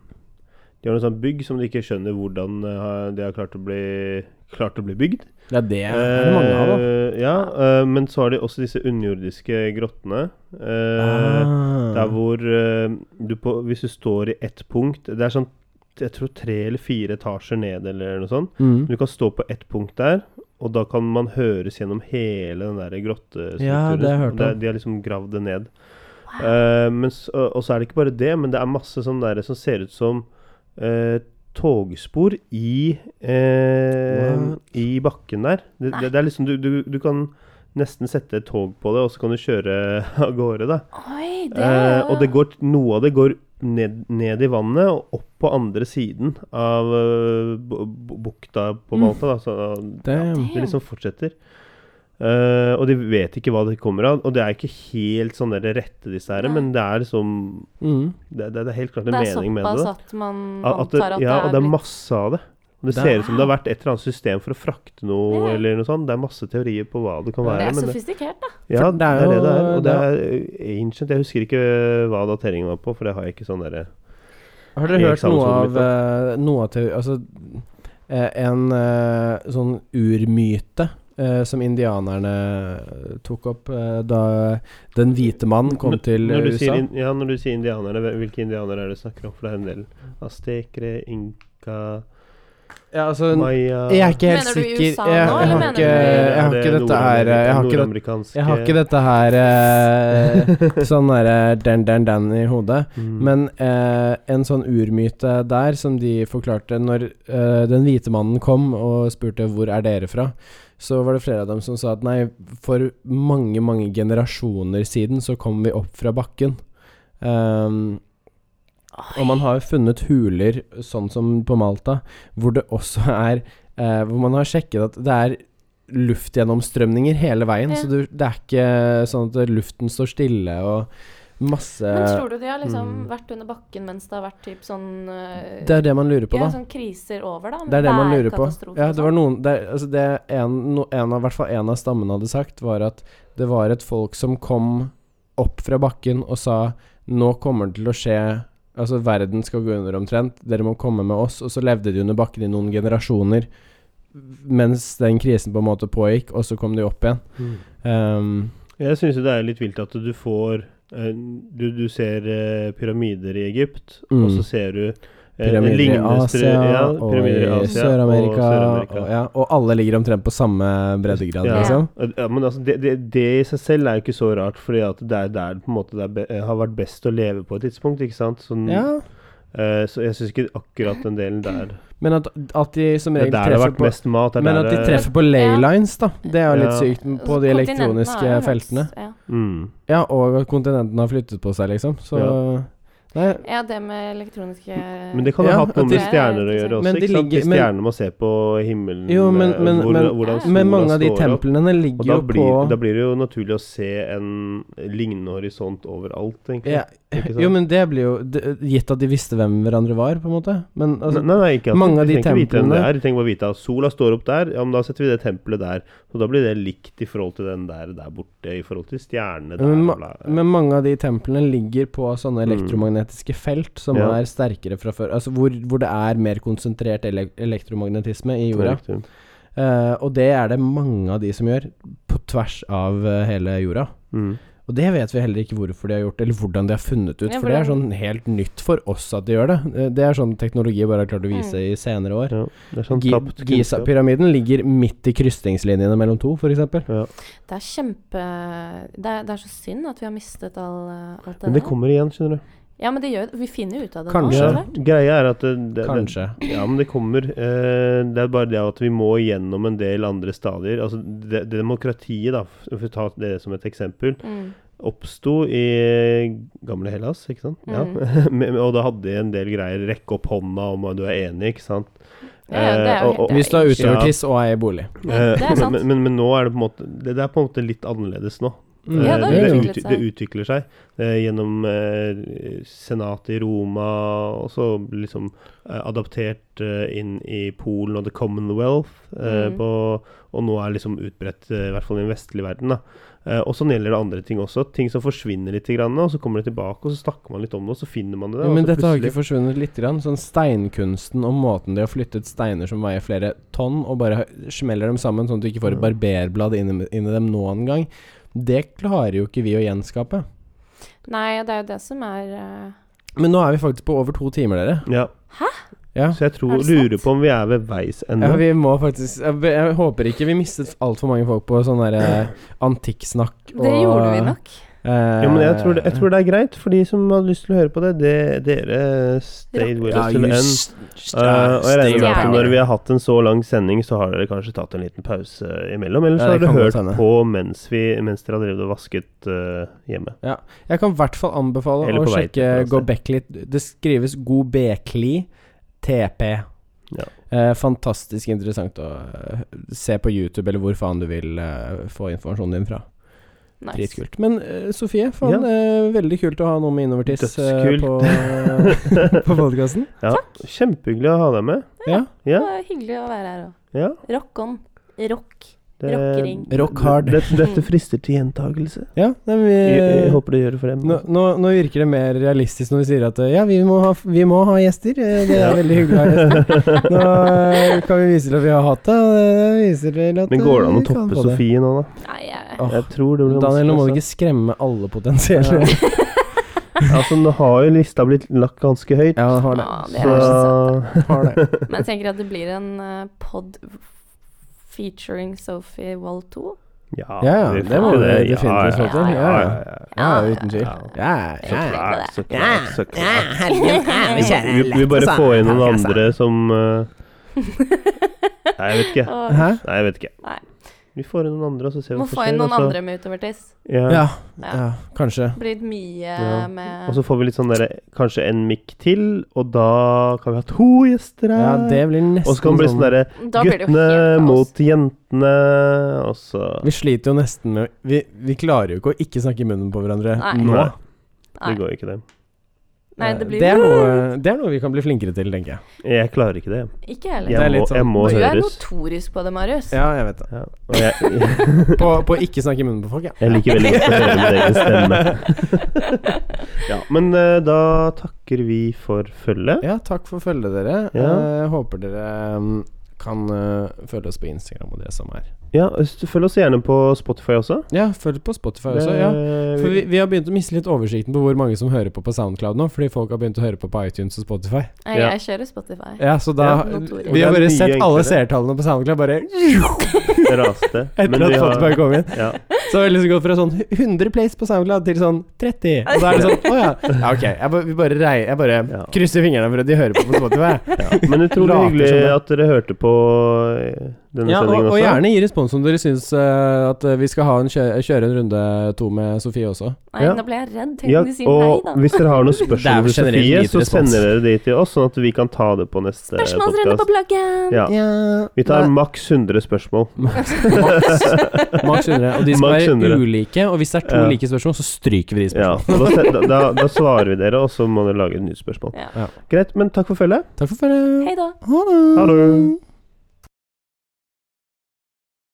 S1: De har noe sånt bygg som de ikke skjønner hvordan eh, har- de har klart å bli, klart å bli bygd.
S3: Ja, det er det
S1: Eh,
S3: mange av, da.
S1: ja, eh, men så har de også disse underjordiske grottene. eh,
S3: Ah.
S1: Der hvor eh, du på Hvis du står i ett punkt Det er sånn jeg tror tre eller fire etasjer ned eller noe sånt.
S3: mm.
S1: Du kan stå på ett punkt der, og da kan man høres gjennom hele den der grottestrukturen.
S3: Ja, det har jeg hørt
S1: Og det er-
S3: om.
S1: De har liksom gravd det ned. Eh, men s- og og så er det ikke bare det, men det er masse sånn der som ser ut som eh, togspor i eh,
S4: What?
S1: I bakken der. Det, det, det er liksom du, du, du kan nesten sette et tog på det, og så kan du kjøre av gårde, da.
S2: Oi, det er
S1: Eh, og det går, noe av det går ned, ned i vannet og opp på andre siden av eh, bu- bu- bukta
S2: Mm.
S1: på Malta. Da, så,
S3: Damn.
S1: det liksom fortsetter. Eh, og de vet ikke hva det kommer av. Og det er ikke helt sånn der rette, disse her, men det er liksom
S3: Mm.
S1: Det, det, det er helt klart
S2: Det
S1: en
S2: er
S1: mening med
S2: såpass
S1: det. da.
S2: at man
S1: At- at det
S2: antar at
S1: ja, og det er
S2: litt-
S1: masse av det. Og det
S3: Det
S1: ser ut som det har vært et eller annet system for å frakte noe,
S2: Ja.
S1: eller noe sånt. Det er masse teorier på hva det kan
S2: Det
S1: være.
S2: er
S1: men det-
S2: sofistikert, da.
S1: ja,
S3: For
S1: det er det det er. Og
S3: det
S1: det
S3: er-
S1: er eh, ancient. Jeg husker ikke hva dateringen var på, for det har jeg ikke sånn derre
S3: Har
S1: I
S3: dere hørt noe
S1: eksamenshodet mitt,
S3: av eh, noe av teori... Altså eh, en eh, sånn urmyte eh, som indianerne tok opp eh, da den hvite mann kom
S1: Men
S3: til eh,
S1: når du
S3: USA?
S1: Sier, in- ja, når du sier indianere, hvem- hvilke indianere er det du snakker om? For det er en del aztekere, inka,
S3: ja, altså,
S1: maya
S3: jeg er ikke helt
S2: Mener du i
S3: sikker.
S2: USA
S3: jeg,
S2: nå,
S3: jeg,
S2: eller
S3: har
S2: mener
S3: ikke,
S2: du-
S3: jeg har
S1: Er
S3: ikke
S1: det
S3: dette her eh, Jeg har ikke dette
S1: nordamerikanske-
S3: jeg har ikke dette her eh, sånn derre den-den-den i hodet.
S1: Mm.
S3: Men eh, en sånn urmyte der som de forklarte Når eh, den hvite mannen kom og spurte hvor er dere fra, så var det flere av dem som sa at nei, for mange, mange generasjoner siden så kom vi opp fra bakken. Ehm, og man har jo funnet huler, sånn som på Malta, hvor det også er eh, Hvor man har sjekket at det er luftgjennomstrømninger hele veien,
S2: Ja.
S3: så du, det er ikke sånn at luften står stille og masse
S2: Men tror du de har liksom
S1: Mm.
S2: vært under bakken mens det har vært typ sånn eh,
S3: Det er det man lurer på,
S2: ja,
S3: da.
S2: sånn kriser over, da?
S3: Det er det man lurer på.
S2: værkatastrofer
S3: Ja,
S2: og
S3: det var noen det, er- altså det en, no, en av, I hvert fall en av stammene hadde sagt, var at det var et folk som kom opp fra bakken og sa Nå kommer det til å skje Altså, verden skal gå under omtrent. Dere må komme med oss. Og så levde de under bakken i noen generasjoner mens den krisen på en måte pågikk, og så kom de opp igjen.
S1: Mm.
S3: Ehm,
S1: Jeg syns jo det er litt vilt at du får eh, Du, du ser eh, pyramider i Egypt, og
S3: Mm.
S1: så ser du eh,
S3: pyramider i
S1: lignende stru-
S3: Asia
S1: ja,
S3: og
S1: pyramider i
S3: i
S1: Asia og
S3: Sør-Amerika.
S1: Sør-Amerika.
S3: Og, ja, og alle ligger omtrent på samme breddegrad,
S1: Ja.
S3: liksom.
S1: Ja, men altså, det, det, det i seg selv er jo ikke så rart, fordi at det er der på en måte det er be, eh, har vært best å leve på et tidspunkt. ikke sant? Sånn,
S3: Ja.
S1: eh, så jeg syns ikke akkurat den delen der
S3: Men at, at de som
S1: Det er der
S3: regel
S1: det har
S3: treffer
S1: vært
S3: på
S1: mest mat. det er
S3: Men
S1: der
S3: at de
S1: det-
S3: treffer på laylines, da. Det er jo litt
S1: Ja.
S3: sykt
S2: sånn.
S3: på
S2: Så
S3: de
S2: kontinentene
S3: elektroniske
S2: har jo vært-
S3: feltene.
S2: Ja.
S1: mm.
S3: Ja, og at kontinentene har flyttet på seg, liksom. Så Nei,
S2: ja, det med elektroniske
S1: Men det kan ha
S3: Ja,
S1: hatt noe
S3: at
S1: med
S2: de-
S1: stjerner å gjøre også.
S3: Men de
S1: ikke sant? De
S3: ligger- men-
S1: stjernene man ser på himmelen
S3: Jo, men-
S1: eh,
S3: men-
S1: hvor-
S3: men-
S1: hvordan sola
S3: men mange av de
S1: står opp.
S3: templene
S1: Og da
S3: ligger jo på
S1: blir, da blir det jo naturlig å se en lignende horisont overalt, egentlig.
S3: ja,
S1: Ikke sant?
S3: Jo, men det blir jo det- Gitt at de visste hvem hverandre var, på en måte. Men altså
S1: nei, nei, ikke at
S3: mange
S1: vi
S3: av de
S1: trenger ikke vite hvem
S3: templene-
S1: det er. Vi trenger bare vite at sola står opp der, ja, men da setter vi det tempelet der. Så da blir det likt i forhold til den der der borte, i forhold til stjernene der.
S3: men,
S1: og
S3: ma
S1: bla- Mm.
S3: men mange av de templene ligger på sånne elektromagnetiske felt som
S1: Ja.
S3: er sterkere fra før. Altså hvor, hvor det er mer konsentrert ele elektromagnetisme i jorda.
S1: Riktig.
S3: Eh, og det er det mange av de som gjør, på tvers av eh, hele jorda.
S1: Mm.
S3: Og det vet vi heller ikke hvorfor de har gjort, eller hvordan de har funnet ut.
S2: Ja,
S3: for det er
S2: hvordan-
S3: sånn helt nytt for oss at de gjør det. Eh, Det er sånn teknologi bare har klart å vise
S2: Mm.
S3: i senere år.
S1: Ja, det er sånn
S3: Gi-
S1: tapt kunnskap.
S3: Giza-pyramiden ligger midt i krysningslinjene mellom to, f.eks.
S1: Ja.
S2: Det er kjempe det er, det er så synd at vi har mistet all, eh, alt det
S1: Men det
S2: der.
S1: kommer igjen, skjønner du.
S2: Ja, men det gjør, vi finner jo ut av det
S3: Kanskje.
S2: nå.
S1: Ja,
S2: etter hvert.
S1: greia er at det, det, det,
S3: Kanskje.
S1: Ja, men det kommer. Eh, det er bare det at vi må gjennom en del andre stadier. Altså, det, det demokratiet, da, for å ta det som et eksempel,
S2: Mm.
S1: oppsto i gamle Hellas, ikke sant? Ja.
S2: Mm.
S1: Men- men- og da hadde de en del greier. Rekke opp hånda om du er enig, ikke sant?
S2: Ja, ja, det er
S1: Eh,
S2: jo
S1: og- og- eh,
S2: helt-
S3: Hvis du er
S1: Ja.
S3: utovertiss og eier bolig.
S2: det er sant.
S1: Men, men, men nå er det på en måte det, det er på en måte litt annerledes nå.
S2: Mm. Ja,
S1: Eh,
S2: det
S1: det,
S2: har utviklet
S1: ut,
S2: seg.
S1: det utvikler seg eh, gjennom eh, senatet i Roma, og så liksom eh, adaptert eh, inn i Polen og The Commonwealth, eh,
S2: Mm.
S1: på, og nå er liksom utbredt, eh, i hvert fall i den vestlige verden. da. Eh, og sånn gjelder det andre ting også. Ting som forsvinner litt, grann, og så kommer det tilbake, og så snakker man litt om det, og så finner man det.
S3: Ja,
S1: og
S3: men
S1: så
S3: dette har ikke
S1: plutselig-
S3: forsvunnet litt. Grann. Sånn steinkunsten og måten de har flyttet steiner som veier flere tonn, og bare smeller dem sammen sånn at du ikke får et
S1: Ja.
S3: barberblad inn i inn i dem noen gang, det klarer jo ikke vi å gjenskape.
S2: Nei, det er jo det som er eh,
S3: Men nå er vi faktisk på over to timer, dere.
S1: ja.
S3: Ja.
S1: Så jeg tror,
S2: Er det sant?
S1: lurer på om vi er ved veis ende.
S3: Ja, vi må faktisk Jeg, be- jeg håper ikke vi mistet altfor mange folk på sånn derre antikksnakk
S2: Det gjorde vi nok.
S3: eh,
S1: Ja, men jeg tror, det, jeg tror det er greit, for de som hadde lyst til å høre på det, det dere stayed with us
S4: Ja,
S1: to the
S4: you
S1: end.
S4: s- s-
S1: Eh, og jeg regner med at
S2: Stjerner.
S1: når vi har hatt en så lang sending, så har dere kanskje tatt en liten pause imellom. Eller så
S3: Ja,
S1: har
S3: det
S1: dere
S3: kan godt
S1: hørt
S3: hende.
S1: på mens, vi, mens dere har drevet og vasket eh, hjemme.
S3: Jeg kan i hvert fall anbefale
S1: Eller
S3: å
S1: på vei til
S3: sjekke
S1: plass, ja.
S3: Gobekli. Det skrives Gobekli TP.
S1: Ja.
S3: Eh, fantastisk interessant å eh, se på YouTube, eller hvor faen du vil eh, få informasjonen din fra.
S2: Nice.
S3: Dritkult. Men eh, Sofie, faen, eh, veldig kult å ha noe med innovertiss eh,
S1: Dødskult.
S3: på, på podkasten.
S1: Ja, Kjempehyggelig å ha deg med.
S3: Ja.
S2: Det
S1: Ja,
S2: var hyggelig å være her òg.
S1: ja.
S2: Rock on. Rock.
S1: det-
S2: Rockering.
S3: Rock hard.
S1: Dette, dette frister til gjentagelse.
S3: ja nei, men vi,
S1: Jeg, jeg håper det gjør det for dem.
S3: Nå, nå, nå virker det mer realistisk når vi sier at eh, ja, vi må ha, vi må ha gjester. eh, Det er veldig hyggelig å ha gjester. Nå eh, kan vi vise til at vi har hatt det. Og det viser til at
S1: Men går det an å
S3: eh, vi kan
S1: toppe
S3: få det.
S1: Sofie nå, da?
S2: Nei, jeg
S3: Åh,
S1: Jeg tror det blir
S3: Daniel, nå må du
S1: altså.
S3: ikke skremme alle potensielle.
S1: Altså, nå har jo lista blitt lagt ganske høyt,
S3: Ja, han har det.
S2: Ja, det er
S1: Ah, så
S3: Har det.
S2: Men jeg tenker at det blir en eh, pod featuring Sophie Wall 2.
S1: Ja,
S3: Ja, ja,
S1: vi
S3: det
S1: får
S3: må
S1: til
S3: vi
S1: Ja,
S3: definitivt få
S1: Ja,
S3: til. Ja,
S1: ja,
S3: ja.
S1: ja.
S3: ja, uten tvil. Ja,
S1: Så
S3: ja.
S1: klart, så
S5: Ja,
S1: klart, så
S5: ja,
S1: klart.
S5: herregud, kjære
S1: Vi, vi bare
S5: Lett,
S1: får inn noen
S5: altså.
S1: andre som eh, Nei, jeg vet ikke.
S2: Og
S3: Hæ?
S1: Nei, jeg vet ikke.
S2: Nei.
S1: Vi får inn noen andre, og så ser vi hva
S2: må
S1: som
S2: få inn
S1: skjer,
S2: noen
S1: og så-
S2: andre med utovertiss.
S1: Ja.
S3: Ja, ja, kanskje.
S2: Det blir mye
S1: Ja. Og
S2: med
S1: så får vi litt sånn derre Kanskje en mikk til, og da kan vi ha to gjester
S3: Ja,
S1: her.
S3: det blir nesten
S1: og så kan det bli sånn derre
S2: Da blir det jo
S1: guttene
S2: helt
S1: mot
S2: kaos.
S1: jentene, og så
S3: Vi sliter jo nesten med å- vi, vi klarer jo ikke å ikke snakke i munnen på hverandre
S2: Nei.
S3: nå.
S1: Nei,
S2: Nei.
S1: det går ikke, det.
S2: Nei,
S3: Eh,
S2: det blir
S3: er noe, det er noe vi kan bli flinkere til, tenker jeg.
S1: Jeg klarer ikke det.
S2: Ikke heller.
S3: Det er
S1: Jeg må,
S3: litt sånn-
S1: jeg må
S2: Du er
S1: høres.
S2: notorisk på det, Marius.
S3: Ja, jeg vet det.
S1: Ja, og jeg,
S3: På, på å ikke snakke i munnen på folk, ja.
S1: Jeg liker veldig godt å høre min egen stemme. ja, men eh, da takker vi for følget.
S3: Ja, takk for følget, dere.
S1: Ja.
S3: Eh, håper dere mm, kan eh, følge oss på Instagram og det som er.
S1: Ja, øst- følg oss gjerne på Spotify også.
S3: Ja, følg på Spotify også, ja. For vi, vi har begynt å miste litt oversikten på hvor mange som hører på på Soundcloud nå, fordi folk har begynt å høre på på iTunes og Spotify.
S2: Nei,
S1: Ja.
S2: Jeg kjører Spotify.
S3: Ja, så da
S1: Ja,
S2: notorisk.
S3: Vi
S1: Det er
S3: har bare
S1: mye
S3: sett alle
S1: enklere.
S3: seertallene på Soundcloud bare
S1: Det raste. vi
S3: etter at
S1: har-
S3: Spotify kom inn.
S1: ja,
S3: Så har vi liksom gått fra sånn 100 plays på SoundCloud til sånn 30. Og da er det sånn Å ja. ja ok, jeg bare, vi bare, rei, jeg bare
S1: Ja.
S3: krysser fingrene for at de hører på på Spotify.
S1: ja. Men utrolig
S3: Later
S1: hyggelig
S3: som det.
S1: at dere hørte på eh, denne
S3: Ja, og,
S1: sendingen også.
S3: og gjerne gi respons om dere syns eh, at eh, vi skal ha en kjø kjøre en runde to med Sofie også.
S2: Nei,
S1: Ja.
S2: nå ble jeg redd. Tenkte
S1: Ja,
S2: de sier nei,
S1: og
S2: da.
S1: hvis dere har noen
S3: Det er
S1: spørsmål
S3: vel
S1: til
S3: generelt
S1: Sofie,
S3: lite
S1: så
S3: respons.
S1: sender dere de til oss, sånn at vi kan ta det på neste
S2: Spørsmålsrunde på
S1: eh, podcast.
S2: bloggen!
S1: Ja. Vi tar
S3: Nei,
S1: maks 100 spørsmål.
S3: Maks 100. Og de skal
S1: Maks
S3: være
S1: 100.
S3: ulike, og hvis det er to
S1: Ja.
S3: like spørsmål, så stryker vi de
S1: Ja,
S3: spørsmålene.
S1: og da, se- da, da, da svarer vi dere, og så må dere lage et nytt spørsmål.
S2: Ja.
S1: Greit, men takk for følget.
S3: Takk for følget.
S2: Hei da.
S3: Ha det.
S1: Ha det.